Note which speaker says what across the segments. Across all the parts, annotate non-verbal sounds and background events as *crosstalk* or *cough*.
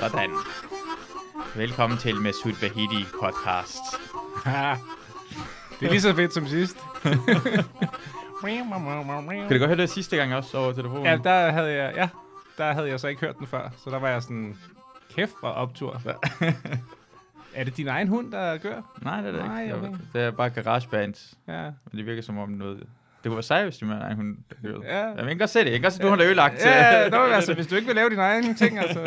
Speaker 1: Sådan. Velkommen til Masud Vahidi podcast.
Speaker 2: det er lige så fedt som sidst.
Speaker 1: Kan du godt høre det sidste gang også over telefonen?
Speaker 2: ja, der havde jeg, ja, der havde jeg så ikke hørt den før, så der var jeg sådan, kæft hvor optur. *laughs* er det din egen hund, der gør?
Speaker 1: Nej, det er det
Speaker 2: Nej,
Speaker 1: ikke.
Speaker 2: okay.
Speaker 1: Det er bare garageband.
Speaker 2: Ja.
Speaker 1: Men det virker som om noget... Det kunne være sejt, hvis de med en hund. Ja.
Speaker 2: Ja.
Speaker 1: Jamen, jeg kan godt se det. Jeg kan godt se, du har det ødelagt. øh,
Speaker 2: Ja, *laughs*
Speaker 1: *laughs*
Speaker 2: det var altså, hvis du ikke vil lave dine egne ting, altså.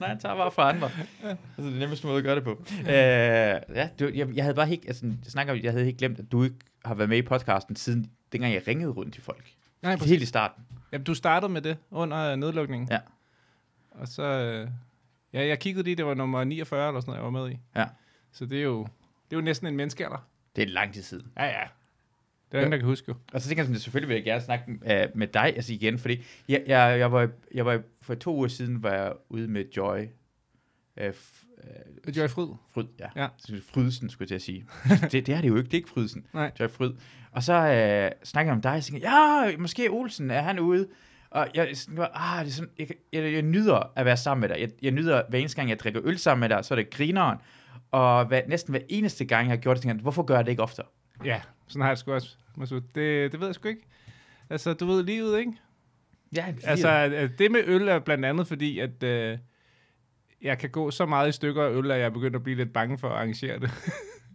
Speaker 1: Nej, han tager bare fra andre. Altså, det er nemmeste måde at gøre det på. Øh, ja, du, jeg, jeg havde bare helt, altså, jeg snakker, om, jeg havde helt glemt, at du ikke har været med i podcasten siden dengang jeg ringede rundt til folk.
Speaker 2: Nej, præcis.
Speaker 1: Helt i starten.
Speaker 2: Jamen, du startede med det under øh, nedlukningen.
Speaker 1: Ja.
Speaker 2: Og så, øh, ja, jeg kiggede lige, det var nummer 49 eller sådan noget, jeg var med i.
Speaker 1: Ja.
Speaker 2: Så det er jo, det er jo næsten en menneskealder.
Speaker 1: Det er lang tid siden.
Speaker 2: Ja, ja. Det er der ingen, der kan huske jo.
Speaker 1: Og så tænker jeg sådan, selvfølgelig vil jeg gerne snakke øh, med dig altså igen, fordi jeg, jeg, jeg, var, jeg var for to uger siden var jeg ude med Joy. Øh, f, øh,
Speaker 2: Joy Fryd.
Speaker 1: Fryd, ja.
Speaker 2: Ja.
Speaker 1: ja. Frydsen, skulle jeg til at
Speaker 2: *laughs*
Speaker 1: sige. det, det er det jo ikke, det er ikke Frydsen.
Speaker 2: Nej.
Speaker 1: Joy Fryd. Og så øh, snakker jeg om dig, og tænker, jeg, ja, måske Olsen, er han ude? Og jeg, sådan, var, ah, det er sådan, jeg, kan- jeg, jeg, nyder at være sammen med dig. Jeg, jeg nyder, hver eneste gang, jeg drikker øl sammen med dig, så er det grineren. Og hvad, næsten hver eneste gang, jeg har gjort det, tænker jeg, hvorfor gør jeg det ikke oftere?
Speaker 2: Ja, sådan har jeg det sgu også. Masud. Det, det ved jeg sgu ikke. Altså, du ved livet, ikke?
Speaker 1: Ja,
Speaker 2: Altså, at- at det med øl er blandt andet fordi, at øh, jeg kan gå så meget i stykker af øl, at jeg er begyndt at blive lidt bange for at arrangere
Speaker 1: *laughs*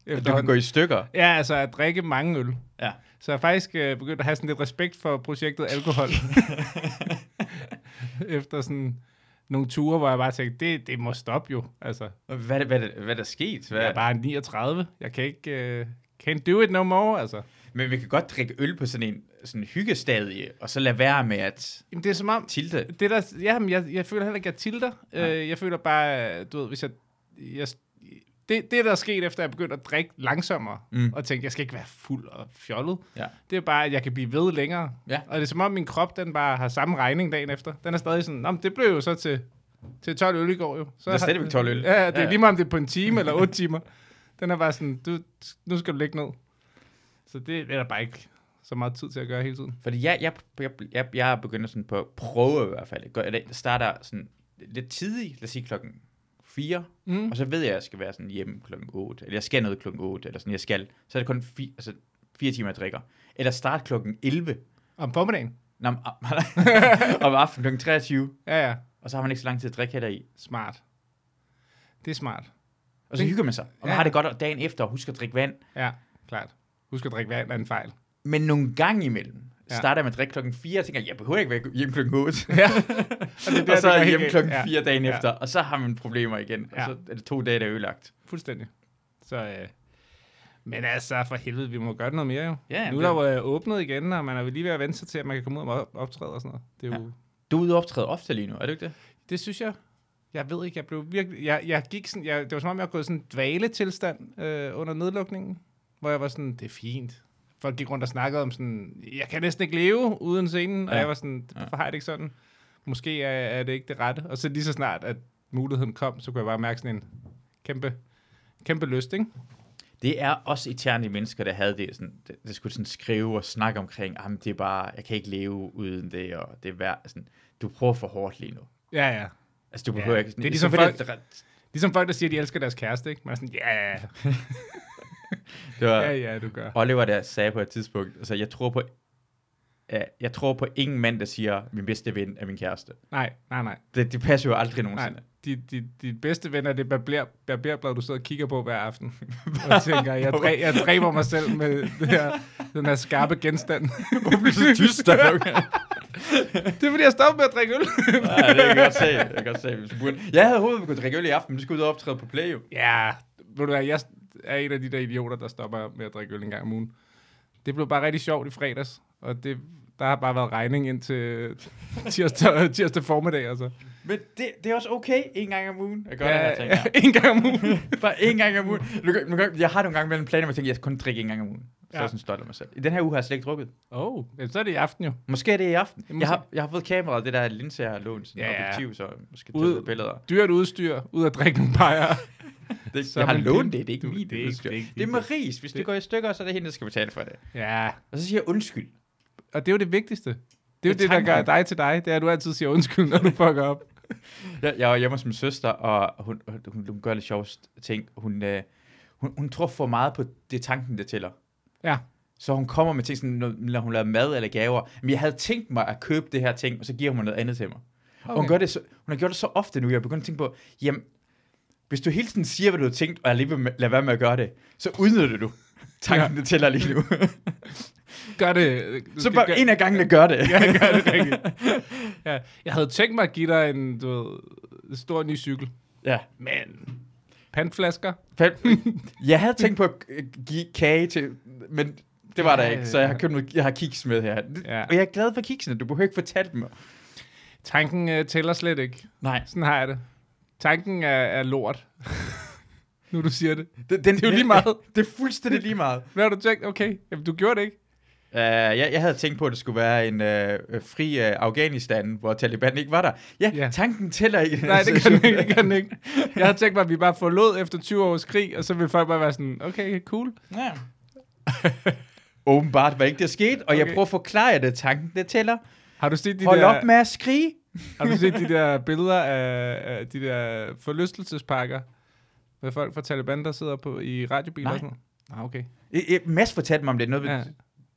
Speaker 2: det.
Speaker 1: du kan gå i stykker.
Speaker 2: Ja, altså at drikke mange øl.
Speaker 1: Ja.
Speaker 2: Så jeg er faktisk øh, begyndt at have sådan lidt respekt for projektet
Speaker 1: *laughs*
Speaker 2: alkohol. *laughs* Efter sådan nogle ture, hvor jeg bare tænkte, det, det må stoppe jo. Altså,
Speaker 1: Hvad, hvad, hvad, hvad der skete? Hvad?
Speaker 2: jeg
Speaker 1: Ja,
Speaker 2: er bare 39. Jeg kan ikke... Øh, can't do it no more, altså.
Speaker 1: Men vi kan godt drikke øl på sådan en sådan en hyggestadie, og så lade være med at
Speaker 2: Jamen, det er som om,
Speaker 1: tilte.
Speaker 2: det der, ja, men jeg, jeg føler heller ikke, at jeg tilter. Øh, jeg føler bare, øh, du ved, hvis jeg... jeg det, det, der er sket, efter jeg begyndte at drikke langsommere,
Speaker 1: Mm.
Speaker 2: mm. og tænkte, jeg skal ikke være fuld og fjollet,
Speaker 1: Ja.
Speaker 2: det er bare, at jeg kan blive ved længere.
Speaker 1: Ja.
Speaker 2: Og det er som om, min krop, den bare har samme regning dagen efter. Den er stadig sådan, Nå, men det blev jo så til, til 12 øl i går jo. Så
Speaker 1: Der er
Speaker 2: har-
Speaker 1: stadigvæk 12 øl.
Speaker 2: Ja, det
Speaker 1: Ja,
Speaker 2: er
Speaker 1: ja.
Speaker 2: lige meget, om det er på en time eller 8 timer. Den er bare sådan, du, nu skal du ligge ned. Så det, det er der bare ikke så meget tid til at gøre hele tiden.
Speaker 1: Fordi jeg, jeg, jeg, jeg, jeg begynder sådan på at prøve i hvert fald. Gør- eller Jeg starter sådan lidt tidligt, lad os sige klokken 4, mm.
Speaker 2: Mm.
Speaker 1: og så ved jeg, at jeg skal være sådan hjemme klokken 8, eller jeg skal noget klokken 8, eller sådan, jeg skal. Så er det kun fi, altså, fire timer, jeg drikker. Eller start klokken 11,
Speaker 2: Om formiddagen?
Speaker 1: Nå, om, *laughs* om aftenen klokken 23,
Speaker 2: Ja, ja.
Speaker 1: og så har man ikke så lang tid at drikke heller i.
Speaker 2: Smart. Det er smart.
Speaker 1: Og så
Speaker 2: Det-
Speaker 1: hygger man sig, og man
Speaker 2: Ja.
Speaker 1: har det godt og dagen efter, og husker at drikke vand,
Speaker 2: Ja, klart. Husk at drikke vand er en fejl.
Speaker 1: Men nogle gang imellem ja.
Speaker 2: Ja.
Speaker 1: starter jeg med at drikke klokken 4, og tænker, jeg behøver ikke være hjemme klokken *laughs* 8.
Speaker 2: *laughs* Ja.
Speaker 1: og,
Speaker 2: det er der,
Speaker 1: og så
Speaker 2: det
Speaker 1: er
Speaker 2: går
Speaker 1: jeg
Speaker 2: helt
Speaker 1: hjemme
Speaker 2: galt.
Speaker 1: klokken
Speaker 2: Ja.
Speaker 1: 4 dagen
Speaker 2: Ja.
Speaker 1: efter, og så har man problemer igen. Og
Speaker 2: Ja.
Speaker 1: så er det to dage, der er ødelagt.
Speaker 2: Fuldstændig. Så, øh, men altså, for helvede, vi må gøre noget mere jo.
Speaker 1: Ja,
Speaker 2: nu er
Speaker 1: det-
Speaker 2: der jo øh, åbnet igen, og man er jo lige ved at vente sig til, at man kan komme ud og op- optræde og sådan noget. Det, er jo,
Speaker 1: Du er ude og optræde ofte lige nu, er du ikke det?
Speaker 2: det synes jeg, jeg ved ikke, jeg blev virkelig, jeg, jeg gik sådan, jeg, det var som om, jeg var gået i sådan en dvaletilstand øh, under nedlukningen, hvor jeg var sådan, det er fint. Folk gik rundt og snakkede om sådan, jeg kan næsten ikke leve uden scenen, ja. og
Speaker 1: Ja.
Speaker 2: jeg var sådan, hvorfor har jeg det ikke sådan? Måske er, er det ikke det rette. Og så lige så snart, at muligheden kom, så kunne jeg bare mærke sådan en kæmpe, kæmpe lyst, ikke?
Speaker 1: Det er også eterne mennesker, der havde det, sådan, det, der skulle sådan skrive og snakke omkring, jamen det er bare, jeg kan ikke leve uden det, og det er værd, sådan, du prøver for hårdt lige nu.
Speaker 2: Ja, ja.
Speaker 1: Altså, du
Speaker 2: Ja,
Speaker 1: behøver ikke... Sådan,
Speaker 2: det er ligesom
Speaker 1: selvfølgelig-
Speaker 2: Ligesom folk, der siger, at de elsker deres kæreste, ikke? Man er sådan, ja, ja,
Speaker 1: Det var,
Speaker 2: ja, ja, du gør.
Speaker 1: Oliver der sagde på et tidspunkt, altså jeg tror på, ja, jeg tror på ingen mand, der siger, min bedste ven er min kæreste.
Speaker 2: Nej, nej, nej.
Speaker 1: Det, det passer jo aldrig
Speaker 2: nej.
Speaker 1: nogensinde.
Speaker 2: Dit, dit, dit bedste ven er det barber, barberblad, du sidder og kigger på hver aften. *laughs* og tænker, jeg, dræ, jeg dræber mig selv med det her, den her skarpe genstand.
Speaker 1: Hvorfor bliver du så tyst der? Okay.
Speaker 2: *laughs* det er fordi, jeg stopper med at drikke øl.
Speaker 1: *laughs* Nej, det kan jeg godt se. Jeg kan godt se, hvis du burde. Jeg havde håbet, vi kunne drikke øl i aften, men vi skulle ud og optræde på Play. Jo.
Speaker 2: ja, ved du hvad, jeg er en af de der idioter, der stopper med at drikke øl en gang om ugen. Det blev bare rigtig sjovt i fredags, og det, der har bare været regning indtil tirsdag, *laughs* tirsdag formiddag, altså.
Speaker 1: Men det, det er også okay, en gang om ugen. Jeg gør ja, det
Speaker 2: Ja,
Speaker 1: her, tænker jeg.
Speaker 2: *laughs* en gang om ugen.
Speaker 1: *laughs* Bare en gang om ugen. Du kan- man kan- Jeg har nogle gange mellem planer, hvor jeg tænker, jeg skal kun drikke en gang om ugen. Så ja. er
Speaker 2: Ja.
Speaker 1: jeg sådan stolt af mig selv. I den her uge har jeg slet ikke drukket.
Speaker 2: Åh, oh, så er det i aften jo.
Speaker 1: Måske er det i aften.
Speaker 2: Jamen,
Speaker 1: Jeg har, jeg har fået kameraet, det der linse, jeg har lånt. Sådan
Speaker 2: Ja,
Speaker 1: ja,
Speaker 2: ja.
Speaker 1: objektiv, så jeg måske tage
Speaker 2: Ude-
Speaker 1: nogle billeder.
Speaker 2: dyrt udstyr, ud at drikke nogle *laughs* bajer.
Speaker 1: Det,
Speaker 2: Så
Speaker 1: jeg har
Speaker 2: man-
Speaker 1: lånt det, det er ikke
Speaker 2: du-
Speaker 1: min
Speaker 2: det er ikke-
Speaker 1: udstyr.
Speaker 2: det er ikke
Speaker 1: Det er
Speaker 2: dit.
Speaker 1: Maries. Hvis det,
Speaker 2: Det-
Speaker 1: går i stykker, så er det hende, der skal betale for det.
Speaker 2: Ja,
Speaker 1: Og så siger jeg undskyld.
Speaker 2: og det er jo det vigtigste. Det er jo
Speaker 1: Det
Speaker 2: det,
Speaker 1: er
Speaker 2: det der gør
Speaker 1: tanken.
Speaker 2: dig til dig. Det er, at du altid siger undskyld, når du fucker op.
Speaker 1: jeg, jeg var hjemme hos min søster, og hun, hun, hun gør lidt sjove ting. Hun, øh, hun, hun tror for meget på det tanken, der tæller.
Speaker 2: Ja.
Speaker 1: Så hun kommer med ting, sådan, når når hun laver mad eller gaver. Men jeg havde tænkt mig at købe det her ting, og så giver hun mig noget andet til mig. Okay. Og hun, gør det så, hun har gjort det så ofte nu, jeg er begyndt at tænke på, jamen, hvis du hele tiden siger, hvad du har tænkt, og alligevel ma- lader være med at gøre det, så udnytter du tanken, ja. det tæller lige nu.
Speaker 2: Gør det. Du
Speaker 1: så
Speaker 2: skal
Speaker 1: bare
Speaker 2: gøre-
Speaker 1: en af gangene gør *laughs* det.
Speaker 2: Ja, gør det rigtigt. *laughs* Ja. Jeg havde tænkt mig at give dig en, du ved, stor ny cykel.
Speaker 1: ja.
Speaker 2: Men pandflasker?
Speaker 1: Fem- *laughs* Jeg havde tænkt på at give kage til, men det var der
Speaker 2: Ja,
Speaker 1: ikke, så jeg har købt noget, jeg har kiks med her. Det-
Speaker 2: Ja.
Speaker 1: Og jeg er glad for kiksene, du behøver ikke fortælle dem.
Speaker 2: Tanken øh, tæller slet ikke.
Speaker 1: Nej.
Speaker 2: Sådan har jeg det. Tanken er, er lort. *laughs* nu du siger det.
Speaker 1: Det, den, det
Speaker 2: er jo lige meget.
Speaker 1: *laughs* Det er fuldstændig lige *laughs* meget.
Speaker 2: Hvad har du tænkt? Okay, jamen, du gjorde det ikke.
Speaker 1: Uh, jeg, jeg havde tænkt på, at det skulle være en uh, fri uh, Afghanistan, hvor Taliban ikke var der. Ja,
Speaker 2: Ja.
Speaker 1: yeah. tanken tæller ikke. i den
Speaker 2: Nej,
Speaker 1: her *laughs*
Speaker 2: det kan
Speaker 1: situation.
Speaker 2: den ikke. Det kan den ikke. Jeg havde tænkt mig, at vi bare forlod efter 20 års krig, og så ville folk bare være sådan, okay, cool.
Speaker 1: Ja. Åbenbart var ikke det sket, og okay. jeg
Speaker 2: Okay.
Speaker 1: prøver at forklare jer det er tanken, det tæller.
Speaker 2: Har du set de,
Speaker 1: Hold
Speaker 2: der,
Speaker 1: op med at skrige.
Speaker 2: har du set de der billeder af, af de der forlystelsespakker med folk fra Taliban, der sidder på, i radiobiler?
Speaker 1: Nej.
Speaker 2: og sådan noget? Nej, ah, okay.
Speaker 1: I- I- Mads fortalte mig om det. Noget,
Speaker 2: Ja.
Speaker 1: ja.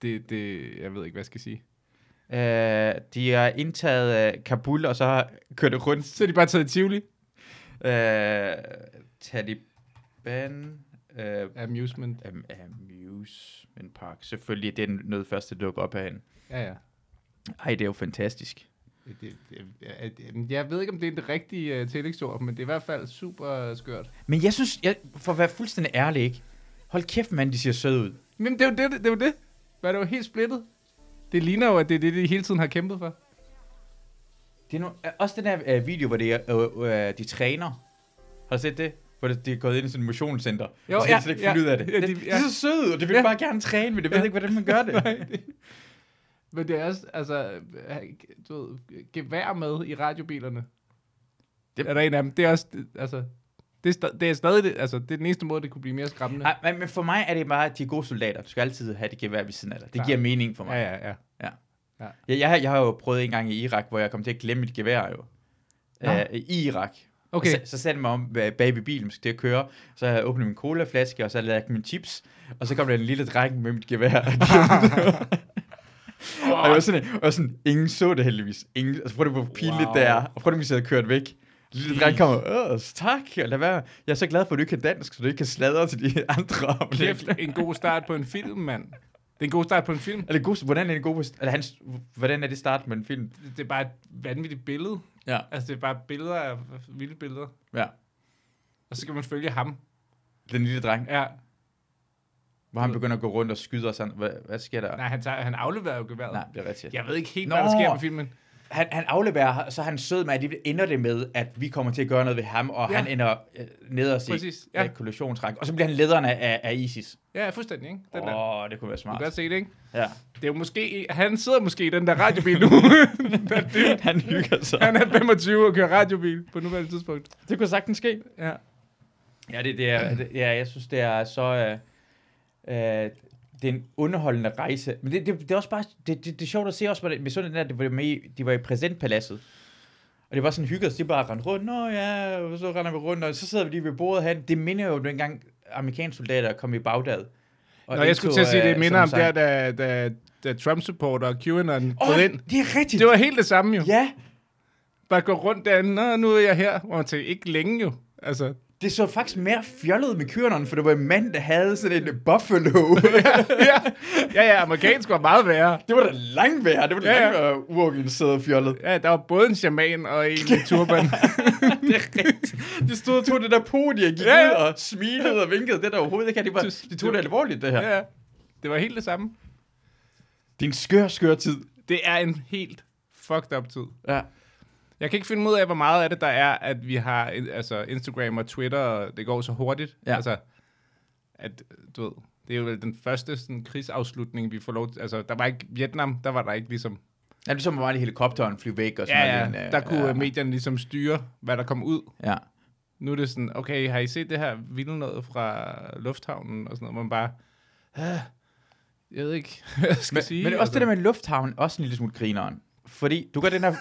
Speaker 2: Det, det, jeg ved ikke, hvad jeg skal sige.
Speaker 1: øh, de har indtaget øh, Kabul, og så har kørt det rundt
Speaker 2: Så er de bare taget i Tivoli.
Speaker 1: Øh, Taliban, øh,
Speaker 2: Amusement.
Speaker 1: am- Amusement Park. Selvfølgelig, det er den- noget første, der dukker op herhen.
Speaker 2: Ja, ja.
Speaker 1: Ej, det er jo fantastisk.
Speaker 2: Det, det, jeg, jeg, jeg ved ikke, om det er det rigtige uh, tillægsord, men det er i hvert fald super skørt.
Speaker 1: Men jeg synes, jeg, for at være fuldstændig ærlig, ikke? Hold kæft, mand, de ser søde ud.
Speaker 2: Men det er jo det, det, det, er jo det. Hvad er det jo helt splittet? Det ligner jo, at det er det, de hele tiden har kæmpet for.
Speaker 1: Det er nu, øh, også den der øh, video, hvor det er, øh, øh, de træner. Har du set det? Hvor det, de er gået ind i sådan et motionscenter.
Speaker 2: Jo,
Speaker 1: og så
Speaker 2: ja,
Speaker 1: kan de slet ikke finde
Speaker 2: ja,
Speaker 1: ud af det.
Speaker 2: ja,
Speaker 1: det,
Speaker 2: de-
Speaker 1: de,
Speaker 2: ja.
Speaker 1: er så søde, og de vil
Speaker 2: Ja.
Speaker 1: bare gerne træne, men de ved
Speaker 2: Ja.
Speaker 1: ikke, hvordan man gør det.
Speaker 2: *laughs* Nej, det- Men det er også, altså, have, du ved, gevær med i radiobilerne.
Speaker 1: Det-
Speaker 2: Det er der en af dem. Det er også, det, altså, det er, sta- det er stadig, det, altså, det er den eneste måde, det kunne blive mere skræmmende.
Speaker 1: Nej, men- men for mig er det bare, at de er gode soldater. Du skal altid have det gevær ved siden af dig. Det
Speaker 2: Klar.
Speaker 1: giver mening for mig.
Speaker 2: Ja, ja, ja.
Speaker 1: Jeg, jeg, har- jeg har jo prøvet en gang i Irak, hvor jeg kom til at glemme mit gevær jo.
Speaker 2: Nå.
Speaker 1: Øh, I Irak.
Speaker 2: Okay.
Speaker 1: Så, så satte jeg mig om øh, bag ved bilen, skulle til at køre. Så havde jeg åbnet min colaflaske, og så lavede jeg mine chips. Og så kom der en lille dreng med mit
Speaker 2: *laughs*
Speaker 1: gevær. og jeg var sådan, jeg var sådan, ingen så det heldigvis. Ingen, altså prøv det, hvor pinligt wow.
Speaker 2: Wow.
Speaker 1: det er. Og prøv det, hvis jeg havde kørt væk. Den Lille dreng kommer, åh, tak, og lad være. Jeg er så glad for, at du ikke kan dansk, så du ikke kan sladre til de andre. om det."
Speaker 2: Kæft, en god start på en film, mand. Det er en god start på en film.
Speaker 1: Er det god, hvordan er det god, eller hans, hvordan er det start med en film?
Speaker 2: Det- Det er bare et vanvittigt billede.
Speaker 1: Ja.
Speaker 2: Altså, det er bare billeder af vilde billeder.
Speaker 1: Ja,
Speaker 2: Og så kan man følge ham.
Speaker 1: den lille dreng.
Speaker 2: Ja.
Speaker 1: Hvor han begynder at gå rundt og skyde og sådan. Hvad, hvad sker der? Nej,
Speaker 2: Nej, han, tager, han afleverer jo geværet.
Speaker 1: Nej det er rigtigt. Ja.
Speaker 2: Jeg ved ikke helt,
Speaker 1: Nå.
Speaker 2: hvad der sker på filmen.
Speaker 1: Han, han afleverer, så er han sød med, at det ender det med, at vi kommer til at gøre noget ved ham, og
Speaker 2: Ja.
Speaker 1: ja. han ender øh, nederst i
Speaker 2: Præcis, ja.
Speaker 1: ja. kollisionsrækken. øh, Og så bliver han lederen af, af ISIS.
Speaker 2: Ja, fuldstændig, ikke? Den
Speaker 1: Åh,
Speaker 2: der.
Speaker 1: oh, det kunne være
Speaker 2: Du kan
Speaker 1: smart.
Speaker 2: godt se det, ikke?
Speaker 1: Ja.
Speaker 2: Det er jo måske... Han sidder måske i den der radiobil nu.
Speaker 1: *laughs*
Speaker 2: *laughs*
Speaker 1: han hygger sig.
Speaker 2: han er 25 og kører radiobil på nuværende tidspunkt.
Speaker 1: Det kunne sagtens ske.
Speaker 2: Ja.
Speaker 1: Ja, det, det
Speaker 2: *clears throat*
Speaker 1: er, det, ja jeg synes, det er så... Øh, øh, det er en underholdende rejse. Men det, det, det er også bare... Det, det, det er sjovt at se også, hvordan- med sådan den der, de var, med, i- de var i præsentpaladset. Og det var sådan hyggeligt, så de bare rendte rundt. Nå ja, og så render vi rundt, og så sidder vi lige ved bordet her. Det minder jo dengang amerikanske soldater kom i Bagdad. Og øh,
Speaker 2: Nå, jeg skulle til at sige, det minder om der,
Speaker 1: der...
Speaker 2: da, da, da Trump-supporter og QAnon
Speaker 1: Åh,
Speaker 2: oh, ind.
Speaker 1: det er rigtigt!
Speaker 2: Det var helt det samme jo.
Speaker 1: Ja,
Speaker 2: Bare gå rundt derinde. Nå, nu er jeg her. Og man tænker, ikke længe jo. Altså, *laughs*
Speaker 1: det så faktisk mere fjollet med kyrneren, for det var en mand, der havde sådan en buffalo.
Speaker 2: *laughs* ja, ja, ja, amerikansk var meget værre.
Speaker 1: det var da langt værre. Det var da
Speaker 2: Ja,
Speaker 1: ja,
Speaker 2: ja.
Speaker 1: langt værre uorganiseret og fjollet.
Speaker 2: Ja, der var både en shaman og en i
Speaker 1: *laughs*
Speaker 2: turban.
Speaker 1: Det er rigtigt. De stod og tog det der podie og gik
Speaker 2: Ja, ja.
Speaker 1: ud og smilede og vinkede. Det der overhovedet ikke. er. De, var, de tog det alvorligt, det her.
Speaker 2: ja, det var helt det samme.
Speaker 1: Det er en skør, skør tid.
Speaker 2: Det er en helt fucked up tid.
Speaker 1: Ja.
Speaker 2: Jeg kan ikke finde ud af, hvor meget af det der er, at vi har altså, Instagram og Twitter, og det går så hurtigt.
Speaker 1: Ja.
Speaker 2: Altså, at, du ved, det er jo vel den første sådan, krigsafslutning, vi får lov til. Altså, der var ikke Vietnam, der var der ikke ligesom...
Speaker 1: Ja, det så var bare lige helikopteren flyve væk og sådan noget. Men, øh,
Speaker 2: der kunne
Speaker 1: ja.
Speaker 2: ja. medierne ligesom styre, hvad der kom ud.
Speaker 1: Ja.
Speaker 2: Nu er det sådan, okay, har I set det her vilde noget fra lufthavnen og sådan noget, hvor man bare, "Ah, jeg ved ikke, *laughs* hvad jeg skal
Speaker 1: Men,
Speaker 2: sige. altså.
Speaker 1: men også det der med lufthavnen, også en lille smule grineren. Fordi du gør den her...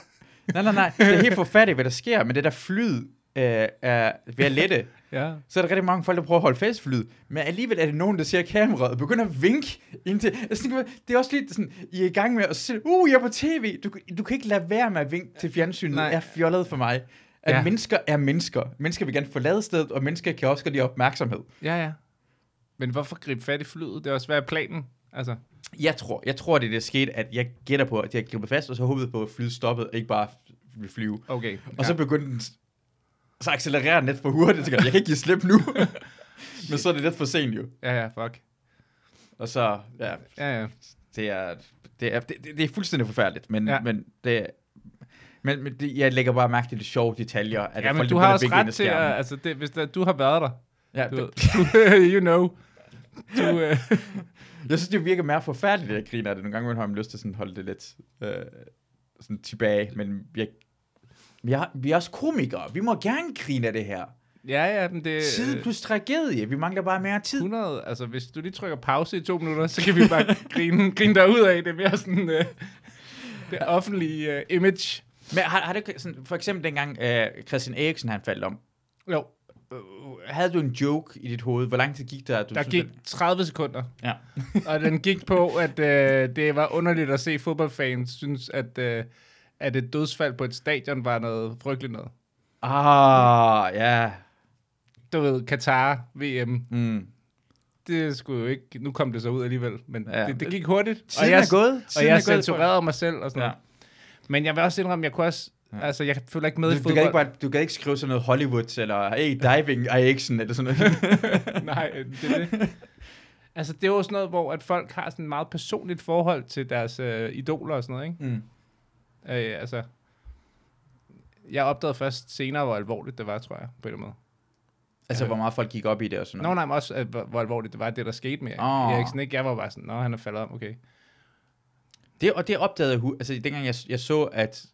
Speaker 1: Nej, nej, nej. Det er helt forfattigt, hvad der sker, men det der flyd øh, er ved at lette,
Speaker 2: Ja.
Speaker 1: så er der rigtig mange folk, der prøver at holde fast for lyd. Men alligevel er det nogen, der ser kameraet og begynder at vinke indtil... Jeg tænker, det er også lidt sådan, I er i gang med at se, uh, jeg er på tv. Du, du kan ikke lade være med at vinke til fjernsynet.
Speaker 2: Nej.
Speaker 1: Nej. er fjollet for mig. At
Speaker 2: Ja.
Speaker 1: ja. mennesker er mennesker. Mennesker vil gerne forlade stedet, og mennesker kan også godt lide opmærksomhed.
Speaker 2: Ja, ja. Men hvorfor gribe fat i flyet? Det er også, hvad er planen? Altså,
Speaker 1: Jeg tror, jeg tror, det er det der skete, at jeg gætter på, at jeg gribet fast, og så håbede på, at flyet stoppede, og ikke bare ville flyve.
Speaker 2: okay.
Speaker 1: Og så begyndte den, så accelererer den lidt for hurtigt, så jeg kan ikke give slip *laughs* nu. Men så er det lidt for sent jo.
Speaker 2: Ja, ja, fuck.
Speaker 1: Og så, ja,
Speaker 2: Ja, ja.
Speaker 1: det er, det er, det, det det er fuldstændig forfærdeligt, men,
Speaker 2: Ja.
Speaker 1: ja. men det er- men, men det, jeg lægger bare mærke til de sjove detaljer. At
Speaker 2: ja, men
Speaker 1: folk
Speaker 2: du
Speaker 1: der
Speaker 2: har
Speaker 1: begynder
Speaker 2: også
Speaker 1: vinke ind i
Speaker 2: ret til, at,
Speaker 1: skærmen.
Speaker 2: altså, det, hvis der, du har været der,
Speaker 1: Ja,
Speaker 2: du, *laughs*
Speaker 1: det,
Speaker 2: ved- you know. Du, øh,
Speaker 1: jeg synes, det virker mere forfærdeligt, at jeg griner af det. Nogle gange har man lyst til sådan, at holde det lidt øh, sådan tilbage, men jeg, vi, er, vi er også komikere. Vi må gerne grine af det her.
Speaker 2: *laughs* ja, ja, men det...
Speaker 1: Tid plus tragedie. Vi mangler bare mere tid.
Speaker 2: 100, altså hvis du lige trykker pause i to minutter, så kan vi *laughs* bare grine, grine dig ud af det er mere sådan øh, det offentlige øh, image.
Speaker 1: Men har, har det sådan, for eksempel dengang øh, Christian Eriksen han faldt om,
Speaker 2: Jo,
Speaker 1: øh, havde du en joke i dit hoved? Hvor lang tid gik der? at Du
Speaker 2: der
Speaker 1: synes,
Speaker 2: gik
Speaker 1: at-
Speaker 2: 30 sekunder,
Speaker 1: Ja.
Speaker 2: og den gik på, at øh, det var underligt at se fodboldfans synes, at, øh, at et dødsfald på et stadion var noget frygteligt noget.
Speaker 1: Ah, ja.
Speaker 2: Du ved, Katar, VM,
Speaker 1: Mm.
Speaker 2: det skulle jo ikke, nu kom det så ud alligevel, men ja.
Speaker 1: Ja.
Speaker 2: det, det gik hurtigt.
Speaker 1: Tiden er gået.
Speaker 2: og
Speaker 1: Tiden er
Speaker 2: jeg
Speaker 1: gået, tror jeg.
Speaker 2: censurerede mig selv og sådan
Speaker 1: Ja.
Speaker 2: noget. Men jeg vil også indrømme, jeg kunne også, altså jeg følger ikke med i
Speaker 1: Du, du,
Speaker 2: fodbold.
Speaker 1: kan ikke bare, *laughs* du kan ikke skrive sådan noget Hollywood, eller hey, diving Eriksen, eller sådan *laughs* noget.
Speaker 2: *laughs* Nej, det er det. Altså, det er jo sådan noget, hvor at folk har sådan et meget personligt forhold til deres øh, idoler og sådan noget,
Speaker 1: mm.
Speaker 2: ikke? Øh, altså, jeg opdagede først senere, hvor alvorligt det var, tror jeg, på en eller anden måde.
Speaker 1: Altså,
Speaker 2: Ja.
Speaker 1: hvor meget folk gik op i det og sådan
Speaker 2: Nå,
Speaker 1: noget.
Speaker 2: nej, men også, at, hvor, hvor alvorligt det var, det der skete med
Speaker 1: Åh.
Speaker 2: oh. Eriksen, ikke? Jeg var bare sådan, nå, han er faldet om, okay.
Speaker 1: Det, og det opdagede hun, altså dengang jeg, jeg så, at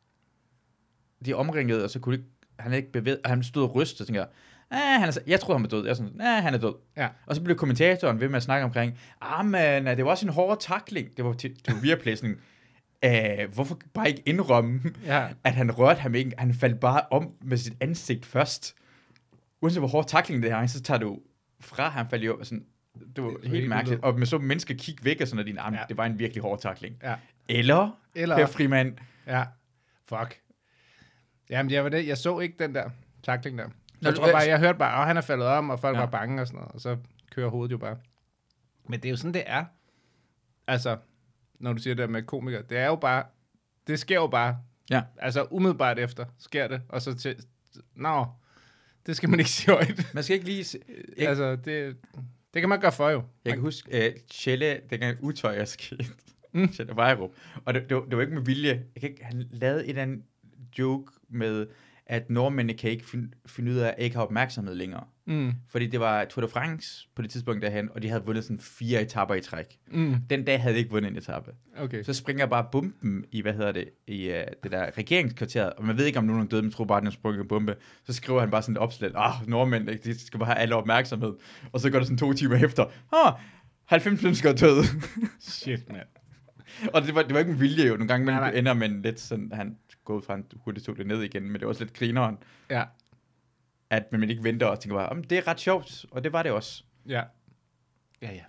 Speaker 1: de omringede, og så kunne de ikke, han havde ikke bevæget, og han stod og rystede, og tænkte jeg, "Ah, han er, jeg tror, han er død. Jeg er sådan, ah, han er død.
Speaker 2: Ja.
Speaker 1: Og så blev kommentatoren ved med at snakke omkring, ah, men øh, det var også en hård takling. Det var, til- det var Viaplay sådan, "Øh, hvorfor bare ikke indrømme,
Speaker 2: Ja,
Speaker 1: at han rørte ham ikke. Han faldt bare om med sit ansigt først. Uanset hvor hård takling det er, så tager du fra ham faldt jo sådan, det var
Speaker 2: Det er helt
Speaker 1: helt mærkeligt. Og med så mennesker kigge væk og sådan, at din arm,
Speaker 2: Ja.
Speaker 1: ja. det var en virkelig hård takling.
Speaker 2: Ja.
Speaker 1: Eller,
Speaker 2: Eller-
Speaker 1: Eller, Per Frimand.
Speaker 2: ja. Fuck. Jamen, jeg, var det. jeg så ikke den der takling der.
Speaker 1: Nå,
Speaker 2: Jeg
Speaker 1: du-
Speaker 2: tror bare, jeg hørte bare, at han er faldet om, og folk ja.
Speaker 1: Ja.
Speaker 2: var bange og sådan noget, og så kører hovedet jo bare. Men det er jo sådan, det er. Altså, når du siger det der med komikere, det er jo bare, det sker jo bare.
Speaker 1: Ja.
Speaker 2: Altså, umiddelbart efter sker det, og så til, nå, det skal man ikke *laughs* sige højt.
Speaker 1: Man skal ikke lige... Se. Jeg, altså,
Speaker 2: altså, det, det kan man gøre for jo.
Speaker 1: jeg kan huske, uh, Chelle, dengang utøj er sket. Mm. Chelle Vejrup. Og det, det, var, det var ikke med vilje. Jeg kan ikke, han lavede et eller andet joke med, at nordmændene kan ikke fin, finde ud af, at ikke have opmærksomhed længere.
Speaker 2: Mm,
Speaker 1: Fordi det var Tour de France på det tidspunkt derhen, og de havde vundet sådan fire etapper i træk.
Speaker 2: mm,
Speaker 1: Den dag havde de ikke vundet en etape.
Speaker 2: okay.
Speaker 1: Så springer bare bomben i, hvad hedder det, i uh, det der regeringskvarteret, og man ved ikke, om nogen er døde, men tror bare, at den sprang en bombe. Så skriver han bare sådan et opslag, ah, nordmænd, ikke? de skal bare have alle opmærksomhed. Og så går der sådan to timer efter, ah, 90 mennesker er døde. *laughs*
Speaker 2: Shit, mand.
Speaker 1: og det var, det var ikke en vilje jo, nogle gange man
Speaker 2: Nej, nej.
Speaker 1: ender man lidt sådan, han går ud fra, han hurtigt tog det ned igen, men det var også lidt grineren,
Speaker 2: Ja,
Speaker 1: at man ikke venter og tænker bare, om det er ret sjovt, og det var det også.
Speaker 2: ja. Ja, ja.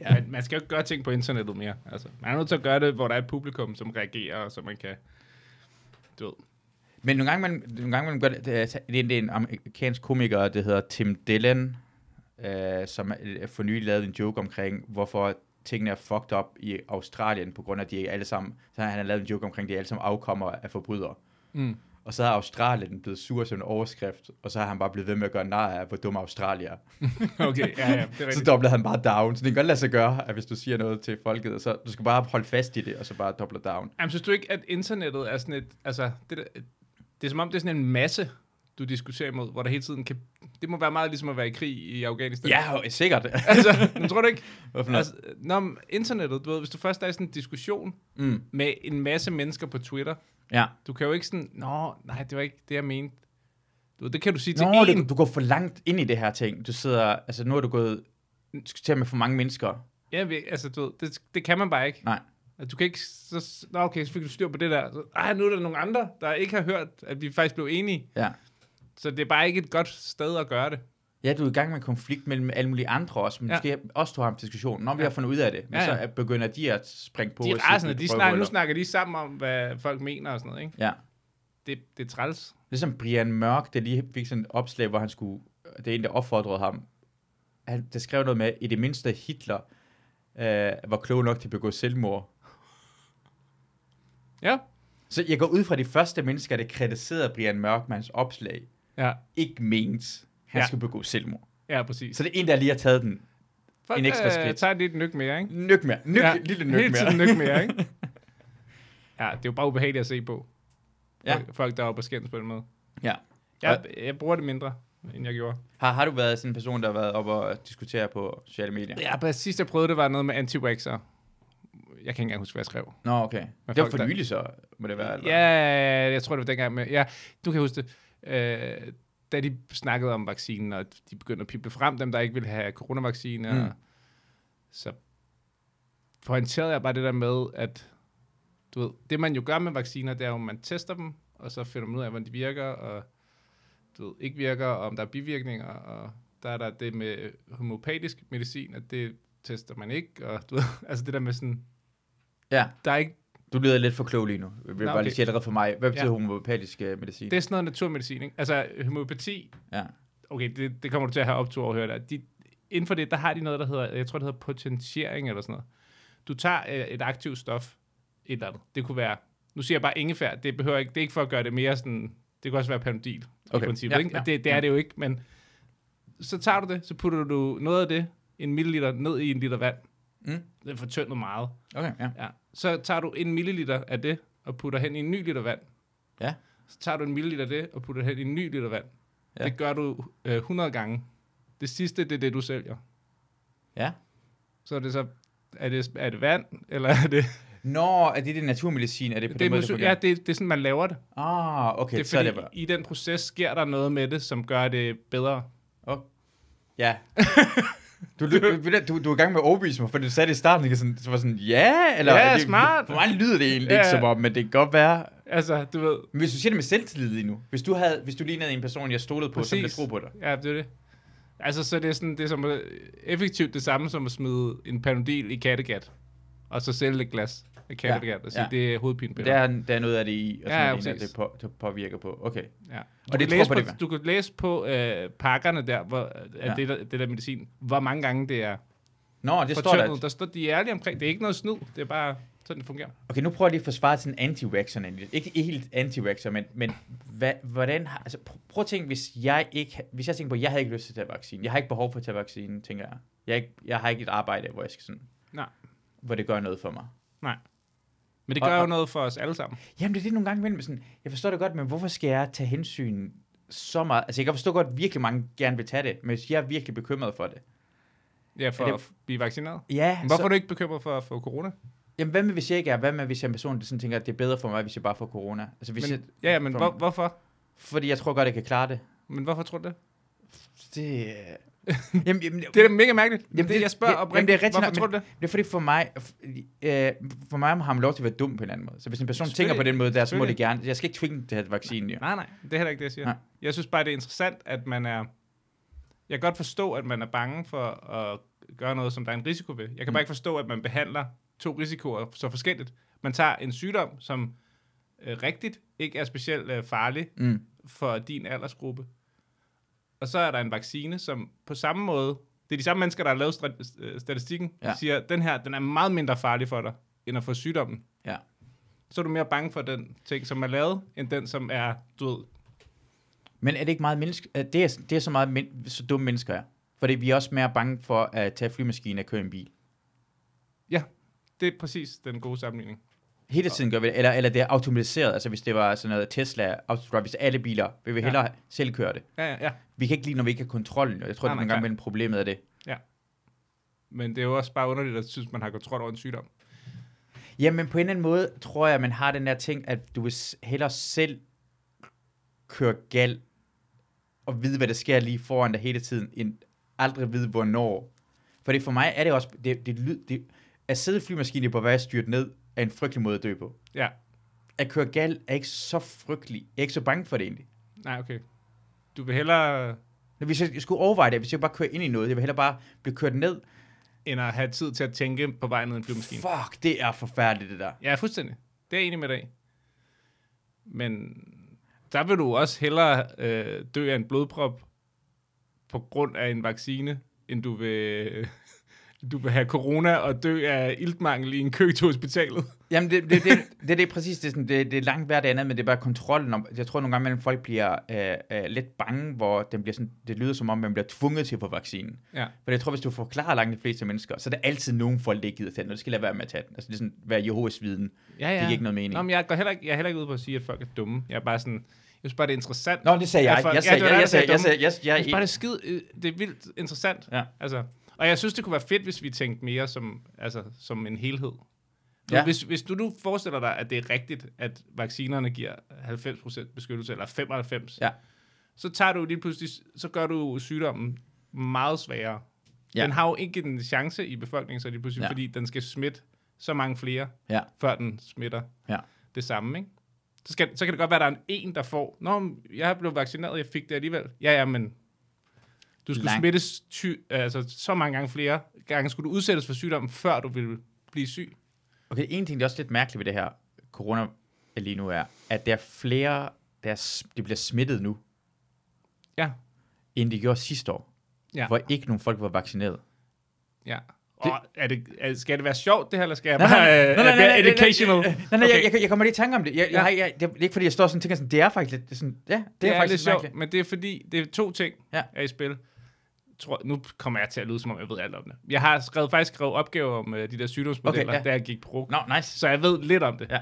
Speaker 2: ja. Man, man skal jo ikke gøre ting på internettet mere. Altså, man er nødt til at gøre det, hvor der er et publikum, som reagerer, og så man kan... Du ved.
Speaker 1: Men nogle gange, man, nogle gange man gør det, det, er- det er en amerikansk komiker, det hedder Tim Dillon, øh, som øh, for nylig lavede en joke omkring, hvorfor tingene er fucked up i Australien, på grund af, at de ikke alle sammen, så han har lavet en joke omkring, at de alle sammen afkommer af forbrydere.
Speaker 2: Mm.
Speaker 1: Og så er Australien blevet sur som en overskrift, og så har han bare blevet ved med at gøre nar af, hvor dum Australien er.
Speaker 2: Okay, ja, ja, det er
Speaker 1: Så
Speaker 2: rigtigt.
Speaker 1: dobler han bare down. Så det kan godt lade sig gøre, at hvis du siger noget til folket, og så du skal bare holde fast i det, og så bare dobler down.
Speaker 2: Jamen, synes du ikke, at internettet er sådan et... Altså, det, der, det er som om, det er sådan en masse, du diskuterer imod, hvor der hele tiden kan... Det må være meget ligesom at være i krig i Afghanistan.
Speaker 1: Ja, og- sikkert.
Speaker 2: *laughs*
Speaker 1: *laughs*
Speaker 2: Altså, men tror du ikke?
Speaker 1: Hvad for noget?
Speaker 2: Altså, når man- internettet, du ved, hvis du først er i sådan en diskussion
Speaker 1: mm,
Speaker 2: med en masse mennesker på Twitter,
Speaker 1: ja.
Speaker 2: du kan jo ikke sådan, nå, nej, det var ikke det, jeg mente. Du ved, det kan du sige
Speaker 1: Nå,
Speaker 2: til
Speaker 1: det,
Speaker 2: én.
Speaker 1: du går for langt ind i det her ting. Du sidder, altså nu er du gået, du skal til med for mange mennesker.
Speaker 2: Ja, vi- altså, du ved, det, det kan man bare ikke.
Speaker 1: Nej.
Speaker 2: At du kan ikke... Så, s- nå, okay, så fik du styr på det der. Så, Ej, nu er der nogle andre, der ikke har hørt, at vi faktisk blev enige.
Speaker 1: Ja.
Speaker 2: Så det er bare ikke et godt sted at gøre det.
Speaker 1: Ja, du er i gang med en konflikt mellem alle mulige andre også, men
Speaker 2: Ja.
Speaker 1: ja. måske også du har en diskussion, når vi
Speaker 2: Ja.
Speaker 1: har fundet ud af det, men ja,
Speaker 2: Ja, ja.
Speaker 1: ja. så er- begynder de at springe på.
Speaker 2: De
Speaker 1: og
Speaker 2: er
Speaker 1: sige,
Speaker 2: rasende.
Speaker 1: "Vi
Speaker 2: De
Speaker 1: prøver
Speaker 2: snakker, nu
Speaker 1: huller."
Speaker 2: snakker de sammen om, hvad folk mener og sådan noget, ikke?
Speaker 1: Ja.
Speaker 2: Det, det er træls.
Speaker 1: Ligesom Brian Mørk, der lige fik sådan et opslag, hvor han skulle, det er en, der opfordrede ham, han, der skrev noget med, i det mindste Hitler øh, var klog nok til at begå selvmord.
Speaker 2: Ja.
Speaker 1: Så jeg går ud fra de første mennesker, der kritiserede Brian Mørkmans opslag,
Speaker 2: Ja,
Speaker 1: ikke mente, han
Speaker 2: Ja.
Speaker 1: ja. skulle begå selvmord.
Speaker 2: ja præcis.
Speaker 1: Så det er en, der lige har taget den.
Speaker 2: Folk,
Speaker 1: en ekstra
Speaker 2: øh,
Speaker 1: skridt.
Speaker 2: tager lidt nyk mere, ikke?
Speaker 1: Nyk mere. Nyk,
Speaker 2: Ja,
Speaker 1: ja. Lille nyk
Speaker 2: Hele
Speaker 1: mere.
Speaker 2: tiden nyk
Speaker 1: *laughs*
Speaker 2: mere, ikke? Ja, det er jo bare ubehageligt at se på.
Speaker 1: Ja.
Speaker 2: Folk, folk der er oppe og skændes på den måde.
Speaker 1: Ja.
Speaker 2: Jeg, jeg bruger det mindre, end jeg gjorde.
Speaker 1: Har, har du været sådan en person, der har været oppe og diskutere på sociale medier?
Speaker 2: Ja, bare sidst jeg prøvede det, var noget med anti -waxer. Jeg kan ikke engang huske, hvad jeg skrev.
Speaker 1: Nå, okay.
Speaker 2: Men
Speaker 1: det var
Speaker 2: folk,
Speaker 1: for
Speaker 2: der-
Speaker 1: nylig så, må det være. Eller?
Speaker 2: Ja, jeg tror, det var dengang med... Ja, du kan huske det. Øh, da de snakkede om vaccinen, og de begyndte at pible frem, dem der ikke ville have coronavacciner, mm.
Speaker 1: Mm.
Speaker 2: så pointerede jeg bare det der med, at du ved, det man jo gør med vacciner, det er jo, at man tester dem, og så finder man ud af, hvordan de virker, og du ved, ikke virker, og om der er bivirkninger, og der er der det med homopatisk medicin, at det tester man ikke, og du ved, *laughs* altså det der med sådan,
Speaker 1: ja.
Speaker 2: der er ikke
Speaker 1: Du lyder lidt for klog lige nu. Jeg vil
Speaker 2: Nå,
Speaker 1: bare
Speaker 2: okay.
Speaker 1: lige sige allerede for mig. Hvad betyder
Speaker 2: Ja.
Speaker 1: ja. homopatisk øh, medicin?
Speaker 2: Det er sådan noget naturmedicin, ikke? Altså, homøopati,
Speaker 1: Ja.
Speaker 2: okay, det, det kommer du til at have optur over at høre der. De, inden for det, der har de noget, der hedder, jeg tror, det hedder potentiering eller sådan noget. Du tager øh, et aktivt stof, et eller andet. Det kunne være, nu siger jeg bare ingefær, det behøver ikke, det er ikke for at gøre det mere sådan, det kan også være panodil okay. i
Speaker 1: Okay.
Speaker 2: princippet,
Speaker 1: Ja,
Speaker 2: ikke? Og
Speaker 1: ja,
Speaker 2: det, det er det jo ikke, men så tager du det, så putter du noget af det, en milliliter, ned i en liter vand.
Speaker 1: Mm.
Speaker 2: Det er fortyndet meget.
Speaker 1: Okay, ja.
Speaker 2: Ja. Så tager du en milliliter af det, og putter hen i en ny liter vand.
Speaker 1: Ja.
Speaker 2: Så tager du en milliliter af det, og putter hen i en ny liter vand. Ja.
Speaker 1: Ja.
Speaker 2: Det gør du øh, 100 gange. Det sidste, det er det, du sælger.
Speaker 1: Ja.
Speaker 2: Så er det så, er det, er det vand, eller er det...
Speaker 1: Når er det det naturmedicin? Er det på
Speaker 2: det,
Speaker 1: den måde,
Speaker 2: det
Speaker 1: det
Speaker 2: ja,
Speaker 1: ja.
Speaker 2: det, det er sådan, man laver det.
Speaker 1: Ah, okay,
Speaker 2: det er
Speaker 1: så er
Speaker 2: fordi,
Speaker 1: det bare.
Speaker 2: i den proces sker der noget med det, som gør det bedre. *laughs*
Speaker 1: Ja. Du, du, du, du er i gang med at overbevise mig, for du sagde det i starten, ikke? Sådan, så var sådan, ja, eller...
Speaker 2: Ja,
Speaker 1: er det,
Speaker 2: smart.
Speaker 1: For mig lyder det egentlig
Speaker 2: Ja.
Speaker 1: ja. ikke som om, men det kan godt være.
Speaker 2: Altså, du ved...
Speaker 1: Men hvis du siger det med selvtillid lige nu, hvis du, havde, hvis du lignede en person, jeg stolede på, som ville tro på dig.
Speaker 2: Ja, det er det. Altså, så det er sådan, det er som, øh, effektivt det samme som at smide en panodil i kattegat, og så sælge et glas af kattegat, ja, og sige, ja.
Speaker 1: ja.
Speaker 2: det er hovedpinepiller.
Speaker 1: Der er, der er noget af det i, og
Speaker 2: Ja, ja,
Speaker 1: sådan ja, ja,
Speaker 2: præcis.
Speaker 1: det, på, det påvirker på. Okay.
Speaker 2: Ja. Du,
Speaker 1: det
Speaker 2: kan
Speaker 1: tror
Speaker 2: læse
Speaker 1: på
Speaker 2: på,
Speaker 1: det, hva'?
Speaker 2: du kan læse på øh, pakkerne der, hvor, ja.
Speaker 1: Ja.
Speaker 2: det, der, det der medicin, hvor mange gange det er.
Speaker 1: Nå, det står
Speaker 2: fortyndet.
Speaker 1: der.
Speaker 2: Der står, de er ærlige omkring. Det er ikke noget snyd, det er bare sådan, det fungerer.
Speaker 1: Okay, nu prøver jeg lige at forsvare sådan anti lidt. Ikke helt anti men, men hvad, hvordan... har- Altså, pr- prøv at tænke, hvis jeg ikke... ha- Hvis jeg tænker på, at jeg havde ikke lyst til at tage vaccinen. Jeg har ikke behov for at tage vaccinen, tænker jeg. Jeg, er ikke, jeg har ikke et arbejde, hvor jeg skal sådan...
Speaker 2: Nej.
Speaker 1: Hvor det gør noget for mig.
Speaker 2: Men det
Speaker 1: Og-
Speaker 2: gør jo
Speaker 1: og-
Speaker 2: noget for os alle sammen.
Speaker 1: Jamen, det er det nogle gange imellem. Sådan, jeg forstår det godt, men hvorfor skal jeg tage hensyn så meget? Altså, jeg kan forstå godt, at virkelig mange gerne vil tage det, men jeg er virkelig bekymret for det.
Speaker 2: Ja, for
Speaker 1: Er det-
Speaker 2: at blive vaccineret.
Speaker 1: Ja,
Speaker 2: Men hvorfor
Speaker 1: så-
Speaker 2: er du ikke bekymret for at få corona?
Speaker 1: Jamen, hvad med, hvis jeg ikke er? Hvad med, hvis jeg er en person, der sådan tænker, at det er bedre for mig, hvis jeg bare får corona? Altså, hvis
Speaker 2: Men,
Speaker 1: jeg,
Speaker 2: ja, ja, men
Speaker 1: for-
Speaker 2: hvor, hvorfor?
Speaker 1: fordi jeg tror godt, jeg kan klare det.
Speaker 2: Men hvorfor tror du det?
Speaker 1: Det... øh, *laughs* jamen, jamen,
Speaker 2: Det er da mega mærkeligt. Jamen, det,
Speaker 1: det-
Speaker 2: jeg spørger
Speaker 1: det-
Speaker 2: oprigtigt.
Speaker 1: jamen, det er rigtigt
Speaker 2: Hvorfor
Speaker 1: nok,
Speaker 2: tror du det?
Speaker 1: det er fordi for mig, øh, for mig har man lov til at være dum på en anden måde. Så hvis en person tænker
Speaker 2: Selvfølgelig.
Speaker 1: på den måde der, så må det
Speaker 2: Selvfølgelig.
Speaker 1: gerne. Jeg skal ikke tvinge dem til at have vaccinen. Jo.
Speaker 2: Nej, nej. Det er heller ikke det, jeg siger. Nej.
Speaker 1: Nej.
Speaker 2: Jeg synes bare, det er interessant, at man er... Jeg kan godt forstå, at man er bange for at gøre noget, som der er en risiko ved. Jeg kan mm. bare ikke forstå, at man behandler to risikoer så forskelligt. Man tager en sygdom, som øh, rigtigt ikke er specielt øh, farlig
Speaker 1: Mm.
Speaker 2: for din aldersgruppe. Og så er der en vaccine, som på samme måde... Det er de samme mennesker, der har lavet stra- øh, statistikken. Ja.
Speaker 1: Ja.
Speaker 2: De siger, den her den er meget mindre farlig for dig, end at få sygdommen
Speaker 1: Ja.
Speaker 2: så er du mere bange for den ting, som er lavet, end den, som er død.
Speaker 1: Men er det ikke meget menneske? øh, Det er, det er så meget men, så dumme mennesker er. Fordi vi er også mere bange for at tage flymaskinen og køre en bil.
Speaker 2: Det er præcis den gode sammenligning.
Speaker 1: Hele tiden gør vi det. Eller, eller det er automatiseret. Altså hvis det var sådan noget Tesla, autodrive, hvis alle biler, vil vi
Speaker 2: Ja.
Speaker 1: hellere selv køre det.
Speaker 2: Ja, ja, ja.
Speaker 1: Vi kan ikke lide, når vi ikke har kontrollen. og Jeg tror, det er
Speaker 2: Nej, nej,
Speaker 1: nogle
Speaker 2: klart.
Speaker 1: gange mellem problemet af det.
Speaker 2: Men det er jo også bare underligt at synes, man har kontrol over en sygdom.
Speaker 1: Jamen på en eller anden måde tror jeg, man har den der ting, at du vil s- hellere selv køre gal og vide, hvad der sker lige foran dig hele tiden, end aldrig vide, hvornår. For det for mig er det også, det, det lyd, det, at sidde i flymaskinen på vej styrt ned, er en frygtelig måde at dø på.
Speaker 2: Ja.
Speaker 1: At køre gal er ikke så frygtelig. Jeg er ikke så bange for det egentlig.
Speaker 2: Nej, okay. Du vil hellere, øh,
Speaker 1: Men Hvis jeg jeg skulle overveje det, hvis jeg bare kører ind i noget, jeg vil hellere bare blive kørt ned.
Speaker 2: end at have tid til at tænke på vej ned i en flyvemaskine.
Speaker 1: Fuck, det er forfærdeligt det der.
Speaker 2: Ja, fuldstændig. Det er jeg enig med dig. i. Men der vil du også hellere øh, dø af en blodprop på grund af en vaccine, end du vil, *laughs* du vil have corona og dø af iltmangel i en kø til hospitalet.
Speaker 1: Jamen, det, det, det, det, det er præcis det, er sådan, det, det er langt hver dag andet, men det er bare kontrollen. Om, jeg tror nogle gange, mellem folk bliver øh, øh, lidt bange, hvor den bliver sådan, det lyder som om, man bliver tvunget til at få vaccinen.
Speaker 2: Ja.
Speaker 1: For jeg tror, hvis du forklarer langt de fleste mennesker, så er der altid nogen folk, der ikke gider tage den, og det skal lade være med at tage den. Altså, det er sådan, være Jehovas viden.
Speaker 2: Ja, ja.
Speaker 1: Det giver ikke noget mening.
Speaker 2: Nå, men jeg, går heller ikke, jeg er heller ikke ude på at sige, at folk er dumme. Jeg er bare sådan, jeg synes bare, det er interessant.
Speaker 1: Nå, det sagde jeg.
Speaker 2: Ja, for-
Speaker 1: Jeg
Speaker 2: ja, det
Speaker 1: sagde,
Speaker 2: var
Speaker 1: jeg,
Speaker 2: dig,
Speaker 1: jeg,
Speaker 2: der
Speaker 1: sagde,
Speaker 2: sagde
Speaker 1: jeg, sagde, jeg, jeg,
Speaker 2: Jeg synes bare, det er
Speaker 1: jeg,
Speaker 2: skide, øh, det er vildt interessant.
Speaker 1: Ja.
Speaker 2: Altså, og jeg synes, det kunne være fedt, hvis vi tænkte mere som, altså, som en helhed. Ja.
Speaker 1: Ja.
Speaker 2: Hvis, hvis du nu forestiller dig, at det er rigtigt, at vaccinerne giver 90% beskyttelse, eller 95%,
Speaker 1: Ja.
Speaker 2: så tager du lige pludselig, så gør du sygdommen meget sværere. Ja.
Speaker 1: Ja.
Speaker 2: Den har jo ikke en chance i befolkningen, så lige pludselig, ja.
Speaker 1: Ja.
Speaker 2: fordi den skal smitte så mange flere,
Speaker 1: Ja.
Speaker 2: før den smitter
Speaker 1: Ja.
Speaker 2: det samme, ikke? Så, skal, så kan det godt være, at der er en, en der får, Nå, men jeg blev vaccineret, jeg fik det alligevel. Ja, ja, men du skulle Lang.
Speaker 1: Lang-
Speaker 2: smittes ty, altså, så mange gange flere gange, skulle du udsættes for sygdommen, før du ville blive syg.
Speaker 1: Okay, en ting, der er også lidt mærkeligt ved det her corona lige nu, er, at der er flere, der, er, s- de bliver smittet nu,
Speaker 2: Ja,
Speaker 1: end de gjorde sidste år,
Speaker 2: ja,
Speaker 1: hvor ikke nogen folk var vaccineret.
Speaker 2: ja. Og er det, er, skal det være sjovt, det her, eller skal jeg
Speaker 1: Nej,
Speaker 2: bare
Speaker 1: nej, nej,
Speaker 2: nej,
Speaker 1: nej, nej, nej, nej,
Speaker 2: educational?
Speaker 1: Nej, nej, okay. jeg, jeg, jeg kommer lige i tanke om det. Jeg,
Speaker 2: Ja.
Speaker 1: jeg, jeg, jeg, det er ikke, fordi jeg står og sådan og tænker sådan, det er faktisk lidt, det er sådan, ja, det,
Speaker 2: det er,
Speaker 1: er
Speaker 2: lidt
Speaker 1: faktisk lidt
Speaker 2: sjovt,
Speaker 1: mærkeligt.
Speaker 2: men det er fordi, det er to ting, ja.
Speaker 1: Ja.
Speaker 2: er i spil. Tror, nu kommer jeg til at lyde, som om jeg ved alt om det. Jeg har skrevet, faktisk skrevet opgaver om uh, de der sygdomsmodeller, okay,
Speaker 1: Okay,
Speaker 2: ja.
Speaker 1: ja.
Speaker 2: da jeg gik pro.
Speaker 1: Nå, nice.
Speaker 2: Så jeg ved lidt om det.
Speaker 1: Ja.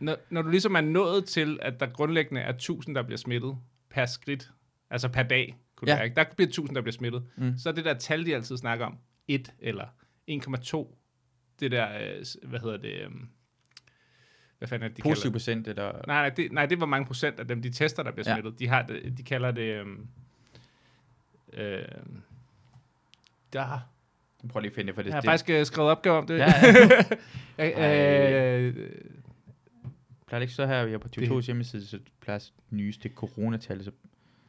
Speaker 2: Når, når du ligesom er nået til, at der grundlæggende er 1000, der bliver smittet per skridt, altså per dag, kunne
Speaker 1: Ja.
Speaker 2: ja. der bliver 1000, der bliver smittet, mm. så er det der tal, de altid snakker om, 1 eller 1,2, det der, øh, s- hvad hedder det, øh, hvad fanden er det, de kalder
Speaker 1: Positiv
Speaker 2: det?
Speaker 1: procent, eller...
Speaker 2: Nej, nej, det, nej, det er, hvor mange procent af dem, de tester, der bliver
Speaker 1: Ja.
Speaker 2: smittet. De, har det, de kalder det... Øhm, øhm, der.
Speaker 1: Prøv lige at finde det, for det,
Speaker 2: Jeg har
Speaker 1: det
Speaker 2: faktisk øh, skrevet opgave om det.
Speaker 1: Ja, ja.
Speaker 2: *laughs* Jeg, øh,
Speaker 1: plejer det ikke så her, jeg er på TV2's
Speaker 2: Det-
Speaker 1: hjemmeside, så plejer det nyeste coronatal. Så...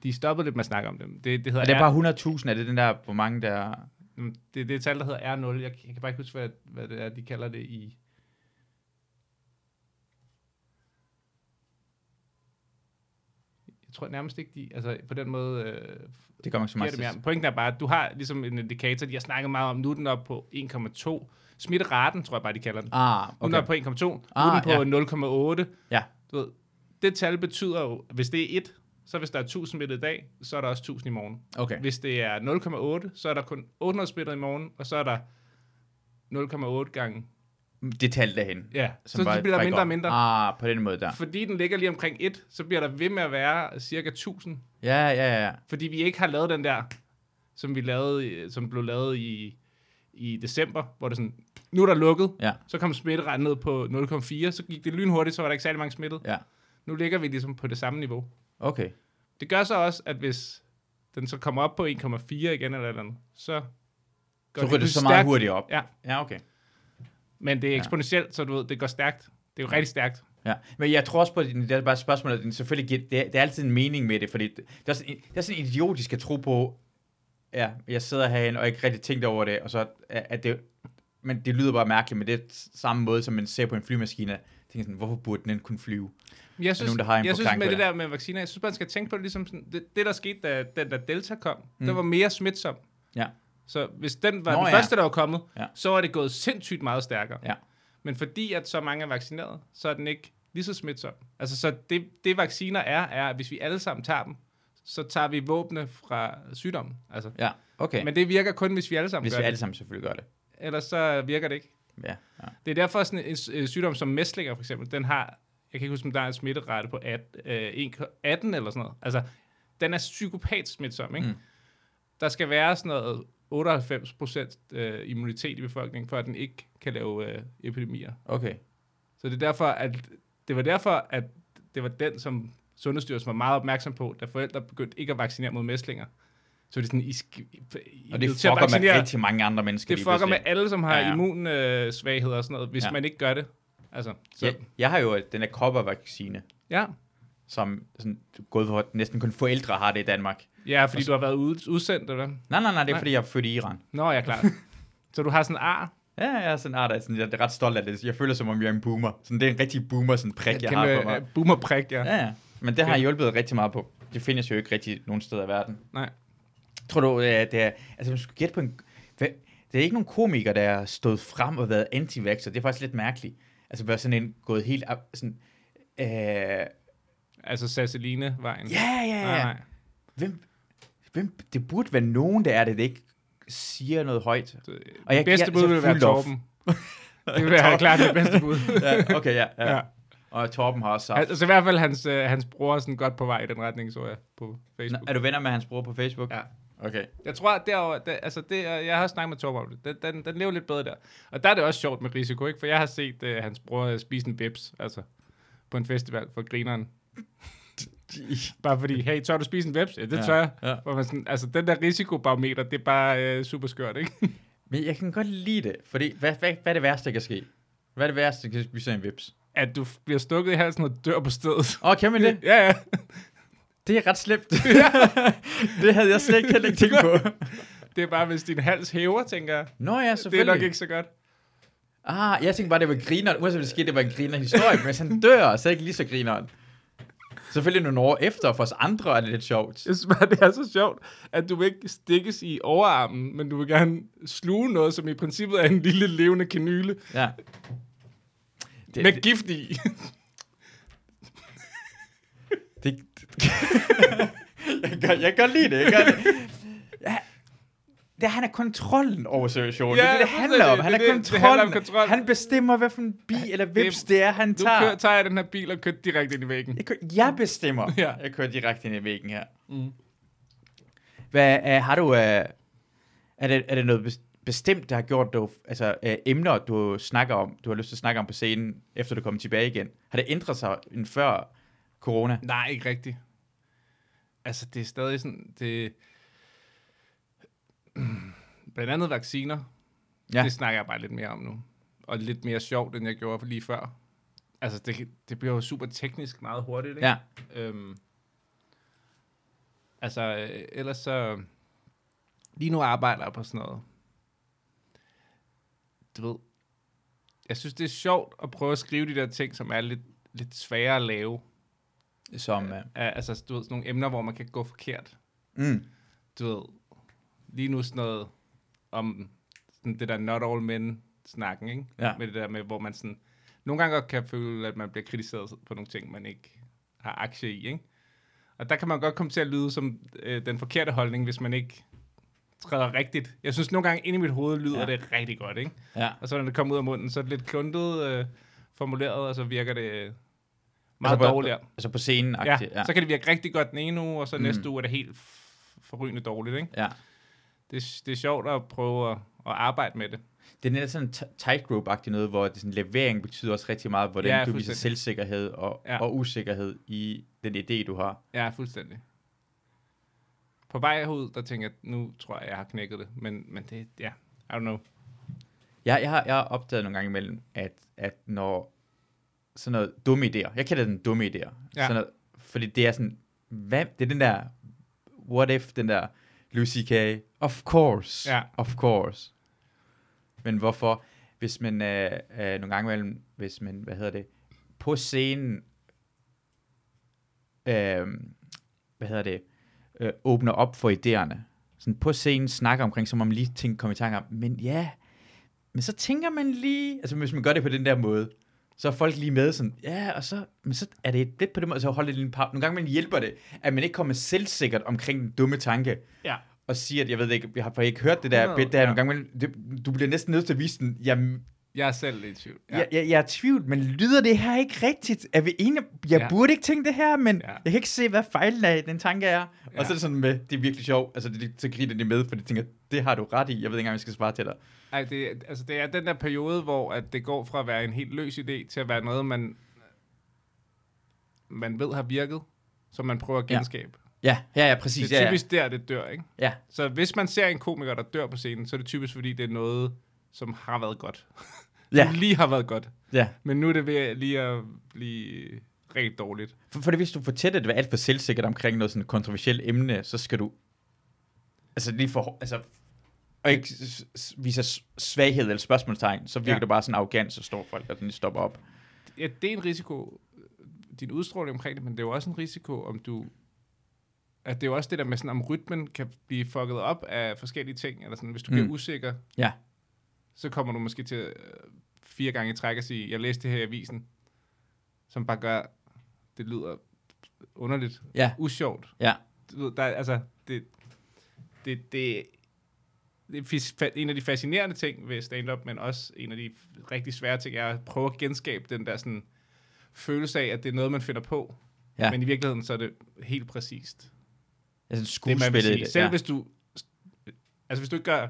Speaker 2: de stoppede lidt med at snakke om dem. Det, det hedder
Speaker 1: Er det bare 100.000? Er det den der, hvor mange der...
Speaker 2: Mm, Det er det tal, der hedder R0. Jeg, jeg kan bare ikke huske, hvad, hvad det er, de kalder det i... Jeg tror nærmest ikke, de... Altså, på den måde... Øh,
Speaker 1: Det kommer ikke så
Speaker 2: giver
Speaker 1: meget
Speaker 2: det
Speaker 1: til.
Speaker 2: mere. Pointen er bare, at du har ligesom en indikator, de har snakket meget om. Nu er den oppe på 1,2. Smitteraten, tror jeg bare, de kalder den.
Speaker 1: Ah,
Speaker 2: Nu er den
Speaker 1: okay.
Speaker 2: oppe på 1,2. nu
Speaker 1: Ah,
Speaker 2: er den på ja. 0,8.
Speaker 1: Ja.
Speaker 2: Du ved, det tal betyder jo, hvis det er 1, så hvis der er 1000 smittede i dag, så er der også 1000 i morgen.
Speaker 1: Okay.
Speaker 2: Hvis det er 0,8, så er der kun 800 smittede i morgen, og så er der 0,8 gange.
Speaker 1: Det tal derhen.
Speaker 2: Ja,
Speaker 1: som
Speaker 2: så, så
Speaker 1: bare-
Speaker 2: bliver der
Speaker 1: bare
Speaker 2: mindre
Speaker 1: går-
Speaker 2: og mindre.
Speaker 1: Ah, på den måde der.
Speaker 2: Fordi den ligger lige omkring 1, så bliver der ved med at være cirka 1000.
Speaker 1: Ja, ja, ja.
Speaker 2: Fordi vi ikke har lavet den der, som vi lavede, i- som blev lavet i, i december, hvor det sådan, nu er der lukket.
Speaker 1: Ja,
Speaker 2: Så kom smitteretten ned på 0,4, så gik det lynhurtigt, så var der ikke særlig mange smittede.
Speaker 1: ja.
Speaker 2: Nu ligger vi ligesom på det samme niveau.
Speaker 1: Okay.
Speaker 2: Det gør så også, at hvis den så kommer op på 1,4 igen eller et eller andet, så går
Speaker 1: Så ryger det så
Speaker 2: pludselig
Speaker 1: meget
Speaker 2: stærkt.
Speaker 1: hurtigt op.
Speaker 2: Ja.
Speaker 1: Ja, okay.
Speaker 2: Men det er
Speaker 1: Ja.
Speaker 2: eksponentielt, så du ved, det går stærkt. Det er jo rigtig stærkt.
Speaker 1: Ja, men jeg tror også på, at det er bare et spørgsmål, at den selvfølgelig giver, det, er, det er altid en mening med det, fordi det det er, sådan, det er sådan idiotisk at tro på, ja, jeg sidder herinde og ikke rigtig tænkt over det, og så at at det, men det lyder bare mærkeligt, men det er samme måde, som man ser på en flymaskine, tænker sådan, hvorfor burde den kunne flyve?
Speaker 2: Men Jeg synes,
Speaker 1: nogen, der har en
Speaker 2: jeg synes
Speaker 1: forklaring
Speaker 2: med
Speaker 1: på
Speaker 2: det
Speaker 1: det?
Speaker 2: der med vacciner, jeg synes, man skal tænke på det ligesom sådan, det, det der skete, da den der Delta kom, mm. der var mere smitsom.
Speaker 1: Ja.
Speaker 2: Så hvis den var Nå,
Speaker 1: Nå
Speaker 2: den ja.
Speaker 1: ja.
Speaker 2: første, der var kommet, ja.
Speaker 1: Ja.
Speaker 2: så var det gået sindssygt meget stærkere.
Speaker 1: Ja.
Speaker 2: Men fordi at så mange er vaccineret, så er den ikke lige så smitsom. Altså, så det, det vacciner er, er, at hvis vi alle sammen tager dem, så tager vi våbne fra sygdommen. Altså.
Speaker 1: Ja, okay. Men
Speaker 2: Men det virker kun, hvis vi alle sammen
Speaker 1: Hvis
Speaker 2: gør
Speaker 1: vi
Speaker 2: det.
Speaker 1: alle sammen selvfølgelig gør det.
Speaker 2: Ellers så virker det ikke.
Speaker 1: Ja, ja.
Speaker 2: Det er derfor sådan en øh, sygdom som mæslinger for eksempel, den har, jeg kan ikke huske, om der er en smitterate på at, øh, 18 eller sådan noget. Altså, den er psykopat smitsom, ikke? Mm.
Speaker 1: Mm.
Speaker 2: Der skal være sådan noget 98 procent øh, immunitet i befolkningen, for at den ikke kan lave øh, epidemier.
Speaker 1: Okay.
Speaker 2: Så det er derfor, at det var derfor, at det var den, som Sundhedsstyrelsen var meget opmærksom på, da forældre begyndte ikke at vaccinere mod mæslinger. Så er det sådan, I, skal, I, I
Speaker 1: Og
Speaker 2: er
Speaker 1: det
Speaker 2: nødt til at
Speaker 1: fucker med
Speaker 2: vaccinere.
Speaker 1: rigtig mange andre mennesker
Speaker 2: Det
Speaker 1: lige
Speaker 2: fucker med
Speaker 1: pludselig.
Speaker 2: alle, som har
Speaker 1: Ja, ja.
Speaker 2: ja. immunsvagheder og sådan noget, hvis
Speaker 1: Ja.
Speaker 2: ja. man ikke gør det. Altså, så, ja.
Speaker 1: Jeg, jeg har jo øh, den her koppervaccine,
Speaker 2: ja.
Speaker 1: som sådan, gået for, at næsten kun forældre har det i Danmark.
Speaker 2: Ja, fordi du har været ude, udsendt, eller hvad?
Speaker 1: Nej, nej, nej, det er nej.
Speaker 2: Nej.
Speaker 1: fordi, jeg er født i Iran.
Speaker 2: Nå, jeg er
Speaker 1: *laughs*
Speaker 2: klar. så du har sådan en ar.
Speaker 1: Ja, jeg er sådan, ah, der er sådan, jeg er ret stolt af det. Jeg føler, som om jeg er en boomer. Sådan, det er en rigtig boomer sådan prik, jeg har på mig.
Speaker 2: øh, boomerprik, ja.
Speaker 1: Ja, ja. Men det har
Speaker 2: Okay.
Speaker 1: hjulpet rigtig meget på. Det findes jo ikke rigtig nogen steder i verden.
Speaker 2: Nej.
Speaker 1: Tror du, øh, det er... Altså, man skulle gætte på en... Hvad, det er ikke nogen komikere, der er stået frem og været anti -vaxxer. Det er faktisk lidt mærkeligt. Altså, være sådan en gået helt... op- Sådan, øh, ja,
Speaker 2: Altså Sasseline-vejen.
Speaker 1: ja,
Speaker 2: Nej,
Speaker 1: ja.
Speaker 2: nej.
Speaker 1: Hvem, hvem, det burde være nogen, der er det, der ikke siger noget højt.
Speaker 2: øh, Det,
Speaker 1: Og jeg-
Speaker 2: bedste
Speaker 1: jeg-
Speaker 2: bud
Speaker 1: så
Speaker 2: ville være
Speaker 1: fuldt off.
Speaker 2: Torben.
Speaker 1: *laughs*
Speaker 2: det vil være klart det bedste bud.
Speaker 1: Ja, okay, ja, ja.
Speaker 2: ja.
Speaker 1: ja. Og Torben har også sagt...
Speaker 2: Altså i hvert fald hans, øh, hans bror er sådan godt på vej i den retning, så jeg på
Speaker 1: Nå,
Speaker 2: Facebook.
Speaker 1: Er du venner med hans bror på Facebook?
Speaker 2: Ja.
Speaker 1: Okay.
Speaker 2: Jeg tror, at derovre, der, altså det, er- jeg har også snakket med Torben om det. Den, den, den lever lidt bedre der. Og der er det også sjovt med risiko, ikke? For jeg har set uh, hans bror øh, spise en bips, altså på en festival for
Speaker 1: *laughs*
Speaker 2: grineren. Bare fordi, hey, tør du spise en webs? Ja, det
Speaker 1: Ja,
Speaker 2: tør jeg.
Speaker 1: ja.
Speaker 2: Hvor man sådan, altså, den der risikobarometer, det er bare øh, super skørt, ikke?
Speaker 1: Men jeg kan godt lide det, fordi hvad, hvad, hvad er det værste, der kan ske? Hvad er det værste, der kan spise en vips?
Speaker 2: At du f- bliver stukket i halsen og dør på stedet.
Speaker 1: Åh, kan man det?
Speaker 2: ja, ja.
Speaker 1: *laughs* Det er ret *laughs* slemt. det havde jeg slet ikke heller ikke tænkt på.
Speaker 2: Det er bare, hvis din hals hæver, tænker jeg.
Speaker 1: *laughs* Nå ja,
Speaker 2: Det er
Speaker 1: selvfølgelig.
Speaker 2: nok ikke så godt.
Speaker 1: Ah, jeg tænkte bare, det var griner. Uanset hvad der skete, det var en griner historie. Men hvis han dør, så er jeg ikke lige så grineren. Selvfølgelig nogle år efter, for os andre er det lidt sjovt.
Speaker 2: Jeg synes bare, *laughs* det er så sjovt, at du vil ikke stikkes i overarmen, men du vil gerne sluge noget, som i princippet er en lille levende kanyle
Speaker 1: Ja. Det,
Speaker 2: med gift i.
Speaker 1: Det, *laughs* det, jeg, kan, godt- jeg kan godt lide det. Jeg kan, godt lide- ja, det, han er kontrollen over situationen. Ja,
Speaker 2: Ja,
Speaker 1: det er det, det
Speaker 2: det
Speaker 1: handler
Speaker 2: er
Speaker 1: om.
Speaker 2: det,
Speaker 1: Han er
Speaker 2: det er det, det
Speaker 1: kontrollen.
Speaker 2: handler om kontrol.
Speaker 1: Han bestemmer, hvad for en bi eller vips det er, han
Speaker 2: Nu
Speaker 1: tager.
Speaker 2: kører, tager jeg den her bil og kører direkte ind i væggen.
Speaker 1: Jeg, kører, jeg bestemmer.
Speaker 2: Ja.
Speaker 1: Jeg kører direkte ind i væggen her.
Speaker 2: Mm.
Speaker 1: Hvad uh, har du... Uh, er, det, er det noget bes- bestemt, der har gjort du, altså, uh, emner, du snakker om, du har lyst til at snakke om på scenen, efter du kommer tilbage igen? Har det ændret sig end før corona?
Speaker 2: Nej, ikke rigtigt. Altså, det er *clears throat* stadig sådan, det... Blandt andet vacciner.
Speaker 1: Ja.
Speaker 2: Ja. Det snakker jeg bare lidt mere om nu. Og lidt mere sjovt, end jeg gjorde lige før. Altså, det, det bliver jo super teknisk meget hurtigt, ikke?
Speaker 1: Ja.
Speaker 2: Øhm, altså, øh, ellers så... Lige nu arbejder jeg på sådan noget. Du ved, jeg synes, det er sjovt at prøve at skrive de der ting, som er lidt, lidt svære at lave.
Speaker 1: Som, uh,
Speaker 2: Ja, altså, du ved, sådan nogle emner, hvor man kan gå forkert.
Speaker 1: mm,
Speaker 2: Du ved, lige nu sådan noget om sådan det der not all men snakken, ikke?
Speaker 1: Ja.
Speaker 2: Med det der med, hvor man sådan, nogle gange godt kan føle, at man bliver kritiseret på nogle ting, man ikke har aktie i, ikke? Og der kan man godt komme til at lyde som øh, den forkerte holdning, hvis man ikke træder rigtigt. Jeg synes nogle gange inde i mit hoved lyder
Speaker 1: Ja.
Speaker 2: ja. det rigtig godt, ikke?
Speaker 1: ja.
Speaker 2: Og så når det kommer ud af munden, så er det lidt kluntet øh, formuleret, og så virker det øh, meget
Speaker 1: Altså på-
Speaker 2: dårligere.
Speaker 1: Altså på scenen
Speaker 2: Ja,
Speaker 1: ja.
Speaker 2: ja, så kan det virke rigtig godt den ene uge, og så mm. næste uge er det helt f- forrygende dårligt, ikke?
Speaker 1: ja.
Speaker 2: Det, er- det er sjovt at prøve at, at arbejde med det.
Speaker 1: Det er netop sådan t- tightrope-agtigt noget, hvor det sådan, levering betyder også rigtig meget, hvordan
Speaker 2: Ja,
Speaker 1: ja, du viser
Speaker 2: fuldstændig.
Speaker 1: selvsikkerhed og, ja.
Speaker 2: Ja.
Speaker 1: og usikkerhed i den idé, du har.
Speaker 2: Ja, fuldstændig. På vej herud, der tænker jeg, nu tror jeg, jeg har knækket det, men, men det, ja, I don't know.
Speaker 1: Jeg, jeg, har, jeg har opdaget nogle gange imellem, at, at når sådan noget dumme idéer, jeg kalder den dumme idéer,
Speaker 2: Ja.
Speaker 1: sådan noget, fordi det er sådan, hvad, det er den der, what if, den der Lucy K. Of course,
Speaker 2: Ja.
Speaker 1: of course. Men hvorfor, hvis man øh, øh, nogle gange imellem, hvis man, hvad hedder det, på scenen, øh, hvad hedder det, øh, åbner op for idéerne, sådan på scenen snakker omkring, som om lige ting kommer i tanke om, men ja, men så tænker man lige, altså hvis man gør det på den der måde, så er folk lige med sådan, ja, og så, men så er det lidt på den måde, så holder det lidt en pause. Nogle gange man hjælper det, at man ikke kommer selvsikkert omkring den dumme tanke,
Speaker 2: Ja.
Speaker 1: og siger, at jeg ved det ikke, jeg har for ikke hørt det der
Speaker 2: 100,
Speaker 1: bit der,
Speaker 2: ja.
Speaker 1: nogle gange man, det, du bliver næsten nødt til at vise den, jamen,
Speaker 2: Jeg er selv lidt i tvivl.
Speaker 1: ja. jeg, jeg, jeg er i tvivl, men lyder det her ikke rigtigt? Er vi enige? Jeg ja.
Speaker 2: Ja.
Speaker 1: burde ikke tænke det her, men ja.
Speaker 2: Ja.
Speaker 1: jeg kan ikke se, hvad fejlen af den tanke er. Ja.
Speaker 2: Ja.
Speaker 1: Og så er det sådan med, det er virkelig sjovt, altså det, det, så griner de med, for de tænker, det har du ret i, jeg ved ikke engang, om jeg skal svare til dig.
Speaker 2: Ej, det, altså, det er den der periode, hvor at det går fra at være en helt løs idé, til at være noget, man, man ved har virket, som man prøver at
Speaker 1: Ja.
Speaker 2: genskabe.
Speaker 1: Ja, ja, ja,
Speaker 2: Det
Speaker 1: præcis.
Speaker 2: er
Speaker 1: Ja, ja.
Speaker 2: typisk der, det dør, ikke?
Speaker 1: ja,
Speaker 2: Så hvis man ser en komiker, der dør på scenen, så er det typisk, fordi det er noget, som har været godt.
Speaker 1: Ja.
Speaker 2: *laughs* Ja. lige har været godt.
Speaker 1: ja.
Speaker 2: Men nu er det ved lige at blive rigtig dårligt.
Speaker 1: For, for det, hvis du fortæller det alt for selvsikkert omkring noget sådan kontroversielt emne, så skal du altså lige for, altså, og ikke s- s- vise s- svaghed eller spørgsmålstegn, så virker
Speaker 2: Ja.
Speaker 1: ja. det bare sådan arrogant, så står folk, og den lige stopper op.
Speaker 2: Ja, det er en risiko, din udstråling omkring det, men det er jo også en risiko, om du... At det er jo også det der med, sådan, om rytmen kan blive fucket op af forskellige ting, eller sådan, hvis du mm. bliver
Speaker 1: Mm.
Speaker 2: usikker,
Speaker 1: Ja.
Speaker 2: så kommer du måske til øh, fire gange i træk at sige, jeg læste det her i avisen, som bare gør, det lyder underligt,
Speaker 1: Ja.
Speaker 2: usjovt.
Speaker 1: Ja.
Speaker 2: Du ved, der, er- altså, det, det, det, det er fis- fa- en af de fascinerende ting ved stand-up, men også en af de f- rigtig svære ting, er at prøve at genskabe den der sådan, følelse af, at det er noget, man finder på.
Speaker 1: Ja.
Speaker 2: Men i virkeligheden, så er det helt præcist.
Speaker 1: Altså
Speaker 2: Det, man vil
Speaker 1: skuespillet.
Speaker 2: sige.
Speaker 1: Det,
Speaker 2: Selv
Speaker 1: ja.
Speaker 2: hvis du... Altså, hvis du ikke gør...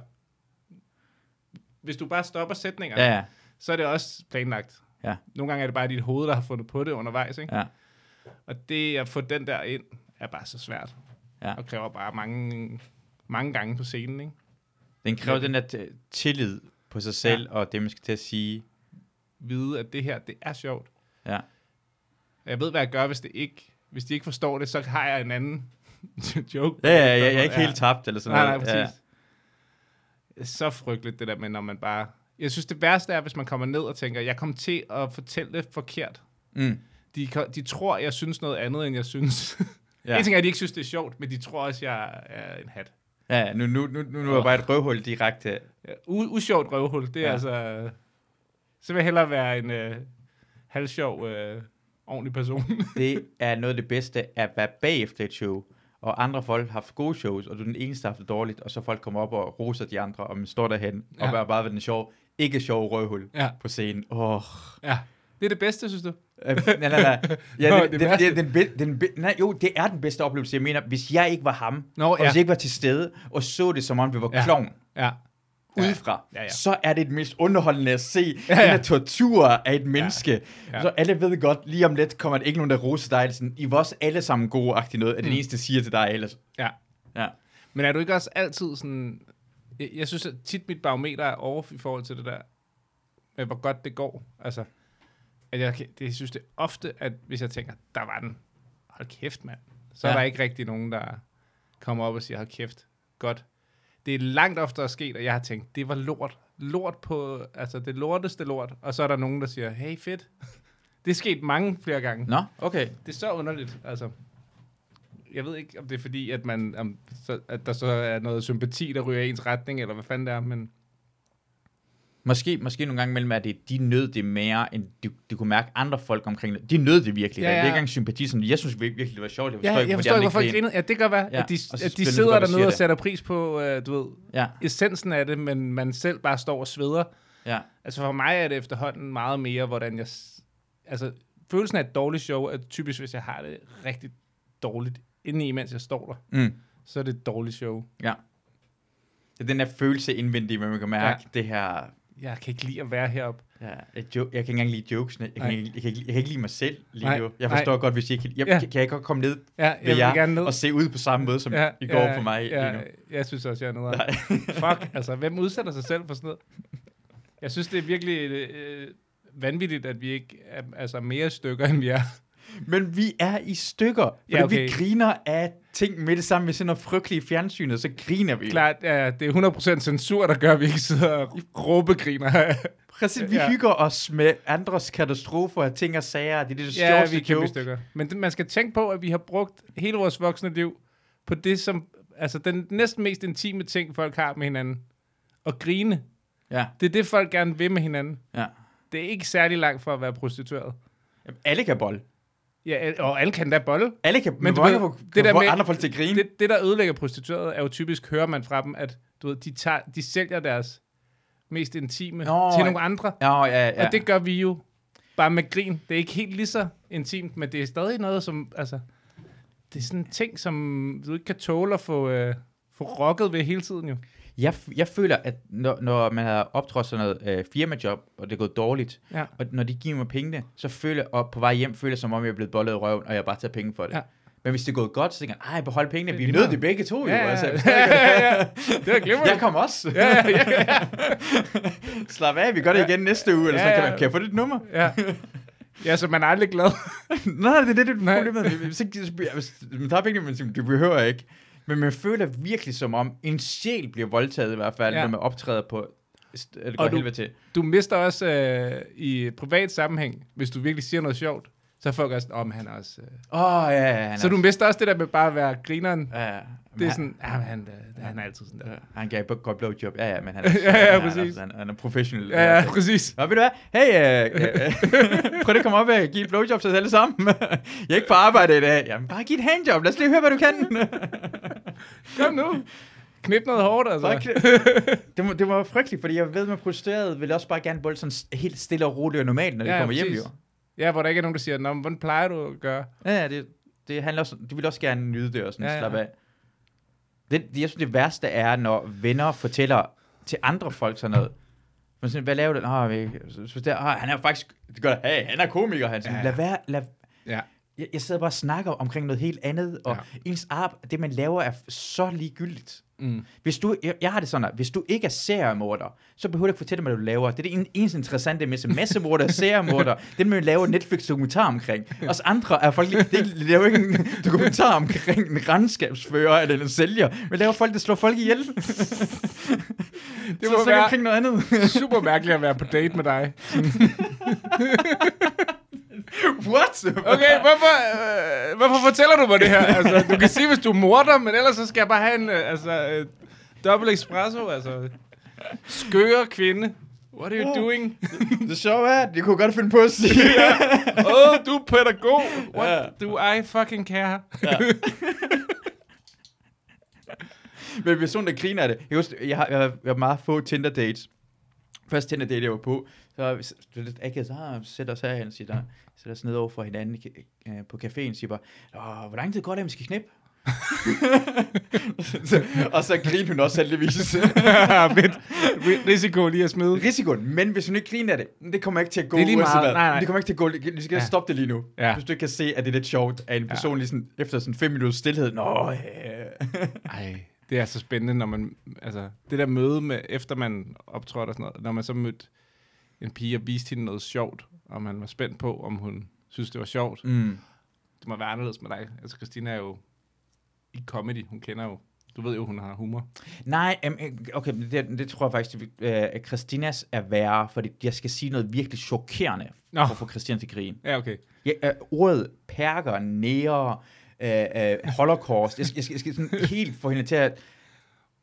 Speaker 2: Hvis du bare stopper sætninger,
Speaker 1: ja, ja.
Speaker 2: så er det også planlagt.
Speaker 1: Ja.
Speaker 2: Nogle gange er det bare dit hoved, der har fundet på det undervejs, ikke?
Speaker 1: Ja.
Speaker 2: Og det at få den der ind, er bare så svært.
Speaker 1: Ja.
Speaker 2: Og kræver bare mange, mange gange på scenen, ikke?
Speaker 1: Den kræver den der t- tillid på sig selv, ja. og det, man skal til at sige.
Speaker 2: Vide, at det her, det er sjovt.
Speaker 1: Ja.
Speaker 2: Og jeg ved, hvad jeg gør, hvis, det ikke, hvis de ikke forstår det, så har jeg en anden *laughs* joke.
Speaker 1: Ja, ja, ja, jeg er ikke helt tabt, eller sådan
Speaker 2: Nej, nej,
Speaker 1: noget. Ja,
Speaker 2: præcis. Ja. Så frygteligt det der med, når man bare... Jeg synes, det værste er, hvis man kommer ned og tænker, jeg kom til at fortælle det forkert.
Speaker 1: Ja. Mm.
Speaker 2: De, ko- de tror, jeg synes noget andet, end jeg synes. Ja.
Speaker 1: Ja.
Speaker 2: En ting er, at de ikke synes, det er sjovt, men de tror også, jeg er en hat.
Speaker 1: ja, ja, nu, nu, nu, nu, nu er jeg bare et røvhul direkte.
Speaker 2: Ja, U- usjovt røvhul, det er ja.
Speaker 1: Ja.
Speaker 2: altså... Så vil jeg hellere være en øh, halvsjov, øh, ordentlig person. *laughs*
Speaker 1: Det er noget af det bedste at være bagefter et show, og andre folk har haft gode shows, og du er den eneste, der har haft det dårligt, og så folk kommer op og roser de andre, og man står derhen
Speaker 2: Ja.
Speaker 1: og bare, bare ved den sjov, ikke sjov røvhul
Speaker 2: ja.
Speaker 1: på scenen. Åh, oh.
Speaker 2: ja. Det er det bedste, synes du?
Speaker 1: Øh, nej, nej, nej.
Speaker 2: Nå,
Speaker 1: Ja,
Speaker 2: det
Speaker 1: det, det,
Speaker 2: værste.
Speaker 1: det, den, be- den, be- nej, jo, det er den bedste oplevelse, jeg mener. Hvis jeg ikke var ham,
Speaker 2: Nå,
Speaker 1: og
Speaker 2: ja.
Speaker 1: hvis jeg ikke var til stede, og så det som om, vi var
Speaker 2: Ja.
Speaker 1: ja. klovn,
Speaker 2: Ja. Ja.
Speaker 1: udefra,
Speaker 2: Ja,
Speaker 1: ja,
Speaker 2: ja.
Speaker 1: ja. så er det det mest underholdende at se
Speaker 2: Ja,
Speaker 1: ja,
Speaker 2: ja.
Speaker 1: ja. den her tortur af et menneske.
Speaker 2: Ja.
Speaker 1: Ja. Så alle ved godt, lige om lidt kommer der ikke nogen, der roser dig. eller Sådan, I var også alle sammen gode-agtigt noget, er det
Speaker 2: Mm.
Speaker 1: eneste, der siger til dig ellers.
Speaker 2: Ja.
Speaker 1: Ja.
Speaker 2: Men er du ikke også altid sådan... Jeg, jeg synes at tit, mit barometer er over i forhold til det der, med hvor godt det går. Altså, at jeg, kan- det, jeg synes det er ofte, at hvis jeg tænker, der var den. Hold kæft, mand. Så ja. er
Speaker 1: Ja.
Speaker 2: der ikke rigtig nogen, der kommer op og siger, hold kæft, godt. Det er langt oftere sket, at jeg har tænkt, det var lort. Lort på, altså det lorteste lort. Og så er der nogen, der siger, hey, fedt. *laughs* Det er sket mange flere gange.
Speaker 1: Nå, okay.
Speaker 2: Det er så underligt, altså. Jeg ved ikke, om det er fordi, at, man, om, så, at der så er noget sympati, der ryger i ens retning, eller hvad fanden det er, men
Speaker 1: Måske, måske nogle gange mellem, at det, de nød det mere, end de, de kunne mærke andre folk omkring det. De nød det virkelig.
Speaker 2: Ja,
Speaker 1: Ja, ja. Det er
Speaker 2: ja.
Speaker 1: ikke engang sympati. Sådan, jeg synes virkelig, det var sjovt. Jeg
Speaker 2: ja,
Speaker 1: forstår
Speaker 2: jeg
Speaker 1: ikke,
Speaker 2: forstår ikke, hvorfor
Speaker 1: hvordan ikke
Speaker 2: ikke grinede. Ja, det kan være, ja,
Speaker 1: Ja,
Speaker 2: at de,
Speaker 1: og så
Speaker 2: at de
Speaker 1: spiller de
Speaker 2: sidder
Speaker 1: godt og
Speaker 2: dernede og
Speaker 1: siger
Speaker 2: sætter pris på, øh, du ved,
Speaker 1: Ja,
Speaker 2: essensen af det, men man selv bare står og sveder.
Speaker 1: ja.
Speaker 2: Altså for mig er det efterhånden meget mere, hvordan jeg... s- Altså, følelsen af et dårligt show er typisk, hvis jeg har det rigtig dårligt indeni, mens jeg står der.
Speaker 1: Mm.
Speaker 2: Så er det et dårligt show.
Speaker 1: Det er den der følelse indvendigt, hvor man kan mærke ja. det her...
Speaker 2: Jeg kan ikke lide at være heroppe.
Speaker 1: Ja, jeg, jo, jeg kan ikke engang lide jokesene. Jeg
Speaker 2: Nej.
Speaker 1: kan, ikke, jeg, kan ikke, jeg kan ikke lide mig selv lige
Speaker 2: Nej,
Speaker 1: nu. Jeg
Speaker 2: nej.
Speaker 1: forstår godt, hvis I ikke... Jeg,
Speaker 2: Ja.
Speaker 1: ja. Kan jeg godt komme ned
Speaker 2: Ja, jeg
Speaker 1: ved
Speaker 2: vil
Speaker 1: jer
Speaker 2: gerne ned.
Speaker 1: og se ud på samme måde, som ja, I går ja, for mig
Speaker 2: ja,
Speaker 1: ja, lige nu?
Speaker 2: Jeg synes også, jeg er noget
Speaker 1: Nej.
Speaker 2: *laughs* Fuck, altså, hvem udsætter sig selv for sådan noget? Jeg synes, det er virkelig øh, vanvittigt, at vi ikke er altså, mere i stykker, end vi er.
Speaker 1: Men vi er i stykker, fordi
Speaker 2: Ja,
Speaker 1: ja,
Speaker 2: okay.
Speaker 1: okay. vi griner af ting med det samme. Vi ser noget frygteligt i fjernsynet, så griner vi. jo.
Speaker 2: Klart, ja, det er 100% censur, der gør, at vi ikke sidder og
Speaker 1: *laughs*
Speaker 2: råbegriner.
Speaker 1: Præcis, vi
Speaker 2: Ja.
Speaker 1: ja. hygger os med andres katastrofer og ting og sager. Det er det
Speaker 2: ja, vi
Speaker 1: sjoveste
Speaker 2: er kæmpe i
Speaker 1: joke.
Speaker 2: stykker. Men det- man skal tænke på, at vi har brugt hele vores voksne liv på det, som altså den næsten mest intime ting, folk har med hinanden. At grine.
Speaker 1: Ja,
Speaker 2: Det er det, folk gerne vil med hinanden.
Speaker 1: ja.
Speaker 2: Det er ikke særlig langt for at være prostitueret.
Speaker 1: Jamen, alle kan bolle.
Speaker 2: Ja, al- og alle kan da bolle.
Speaker 1: Alle kan, men,
Speaker 2: du
Speaker 1: men mange
Speaker 2: ved,
Speaker 1: kan,
Speaker 2: det
Speaker 1: kan
Speaker 2: der
Speaker 1: få
Speaker 2: med-
Speaker 1: andre folk til at grine.
Speaker 2: det, det, der ødelægger prostitueret, er jo typisk, hører man fra dem, at du ved, de, tager, de sælger deres mest intime Nå,
Speaker 1: Nå,
Speaker 2: til
Speaker 1: ja.
Speaker 2: nogle andre.
Speaker 1: Ja, ja, ja.
Speaker 2: Ja. Og det gør vi jo bare med grin. Det er ikke helt lige så intimt, men det er stadig noget, som... Altså, det er sådan en ting, som du ikke kan tåle at få, øh, få rocket ved hele tiden jo.
Speaker 1: Jeg, f- jeg føler, at når, når man har optrådt sådan noget øh, firmajob, og det er gået dårligt,
Speaker 2: Ja.
Speaker 1: og når de giver mig pengene, så føler jeg, og på vej hjem føler jeg, som om jeg er blevet bollet i røven, og jeg har bare tager penge for det.
Speaker 2: Ja.
Speaker 1: Men hvis det er gået godt, så tænker jeg, ej, behold pengene, vi
Speaker 2: lige
Speaker 1: er nødt
Speaker 2: meget."
Speaker 1: til begge to,
Speaker 2: Ja,
Speaker 1: jo.
Speaker 2: *laughs* ja,
Speaker 1: Altså,
Speaker 2: ja, ja. Det var glimrende.
Speaker 1: Jeg kommer også. Ja, ja, ja. *laughs* Slap af, vi gør det igen næste uge, eller
Speaker 2: Ja,
Speaker 1: sådan, kan,
Speaker 2: ja.
Speaker 1: man, kan jeg få dit
Speaker 2: *laughs*
Speaker 1: nummer?
Speaker 2: Ja. ja, så man er aldrig glad.
Speaker 1: Nej, det er det, det
Speaker 2: Nej.
Speaker 1: er problemet. Hvis ikke, så bliver- hvis man tager pengene, men siger, du behøver ikke. Men man føler virkelig som om, en sjæl bliver voldtaget i hvert fald,
Speaker 2: Ja.
Speaker 1: ja. når man optræder på, st- det
Speaker 2: Og
Speaker 1: går
Speaker 2: du-
Speaker 1: helvede til.
Speaker 2: Du mister også øh, i privat sammenhæng, hvis du virkelig siger noget sjovt, så er folk også, om han er også... Øh.
Speaker 1: Åh, oh, ja, ja, han
Speaker 2: Så
Speaker 1: er-
Speaker 2: du mister også det der med bare at være grineren.
Speaker 1: Ja, ja. Men
Speaker 2: Det er
Speaker 1: han-
Speaker 2: sådan, ja, men han, øh, han er altid sådan der.
Speaker 1: Ja, Han gav et godt blowjob. Ja, ja, men han er,
Speaker 2: *laughs* Ja, ja,
Speaker 1: han er-
Speaker 2: præcis.
Speaker 1: Han er, han er professionel.
Speaker 2: Ja, ja, præcis.
Speaker 1: Og ved du hvad? Hey, øh, øh, *laughs* prøv lige at komme op og give et blowjob til os alle sammen. *laughs* jeg er ikke på arbejde i dag. Jamen, bare giv et handjob. Lad os lige høre, hvad du
Speaker 2: *laughs*
Speaker 1: kan.
Speaker 2: Kom nu. Knip noget hårdt, altså.
Speaker 1: Bare knip. det, var, det var frygteligt, fordi jeg ved, med prostitueret vil også bare gerne bolde sådan s- helt stille og roligt og normalt, når de
Speaker 2: Ja, ja,
Speaker 1: kommer hjem.
Speaker 2: præcis.
Speaker 1: Jo.
Speaker 2: Ja, hvor der ikke er nogen, der siger, Nå, men hvordan plejer du at gøre?
Speaker 1: Ja, ja, det, det handler også, de vil også gerne nyde det og sådan
Speaker 2: Ja,
Speaker 1: ja, ja.
Speaker 2: ja.
Speaker 1: slappe af. Det, det- jeg synes, det værste er, når venner fortæller til andre folk sådan noget. Men sådan, hvad laver du? Nå, jeg, så, så der, ah, han er faktisk, det gør det, hey, han er komiker, han. Sådan,
Speaker 2: Ja.
Speaker 1: lad være, lad,
Speaker 2: Ja.
Speaker 1: jeg, jeg sidder bare og snakker omkring noget helt andet, og
Speaker 2: Ja.
Speaker 1: ja. ens arbejde, det man laver er f- så ligegyldigt.
Speaker 2: Mm.
Speaker 1: Hvis du, jeg, jeg har det sådan, at hvis du ikke er seriemorder, så behøver du ikke fortælle mig, hvad du laver. Det er det en- eneste interessante med massemorder og seriemorder. Det man laver Netflix-dokumentar omkring. Os andre er folk, det er- de laver ikke en dokumentar omkring en regnskabsfører eller en sælger. Men laver folk, der slår folk ihjel. Det
Speaker 2: Det
Speaker 1: så
Speaker 2: må
Speaker 1: snak
Speaker 2: være
Speaker 1: omkring noget andet.
Speaker 2: *laughs* super mærkeligt at være på date med dig.
Speaker 1: What?
Speaker 2: Okay, hvorfor, øh, hvorfor fortæller du mig det her? Altså, du kan sige, hvis du er morder, men ellers så skal jeg bare have en øh, altså, øh, dobbelt espresso. Altså. Skøre kvinde. What are you *laughs* doing?
Speaker 1: *laughs* Det sjove er, at det kunne godt finde på at sige.
Speaker 2: *laughs* Åh, oh, du er pædagog. What do I fucking care?
Speaker 1: Men personen, der griner af det. Jeg, husker, jeg, har, jeg, har, jeg har meget få Tinder dates. Første Tinder date, jeg var på, så var vi- så det var lidt akavet, så ah, sætter os herhen, siger der, sætter os ned over for hinanden i ca- øh, på caféen, siger bare, Åh, hvor lang tid går det, at vi skal knippe? *laughs* så, og så griner hun også
Speaker 2: *laughs*
Speaker 1: heldigvis.
Speaker 2: Fedt. Ri- Risiko lige at smide.
Speaker 1: Risikoen, men hvis hun ikke griner af det, det kommer ikke til at gå
Speaker 2: Det er lige
Speaker 1: uanset
Speaker 2: meget.
Speaker 1: hvad.
Speaker 2: Nej, nej.
Speaker 1: Det kommer ikke til at gå. Du skal
Speaker 2: Ja.
Speaker 1: ja. stoppe det lige nu.
Speaker 2: Ja.
Speaker 1: Hvis du ikke kan se, at det er lidt sjovt, at en person ja. lige sådan, efter sådan fem minutters stillhed, Nå, øh.
Speaker 2: Ej, det er så spændende, når man... Altså, det der møde med, efter man optrådte og sådan noget, når man så mødte en pige og viste hende noget sjovt, og man var spændt på, om hun synes, det var sjovt.
Speaker 1: Mm.
Speaker 2: Det må være anderledes med dig. Altså, Christina er jo i comedy. Hun kender jo... Du ved jo, hun har humor.
Speaker 1: Nej, øhm, øh, okay, men det, det tror jeg faktisk, at vi- øh, at Christinas er værre, fordi jeg skal sige noget virkelig chokerende
Speaker 2: Nå.
Speaker 1: Nå. for at få Christina til grin.
Speaker 2: Ja, okay.
Speaker 1: Ja, øh, ordet perker, nære, øh, øh, holocaust, jeg, skal- jeg, skal, jeg skal sådan helt få hende til at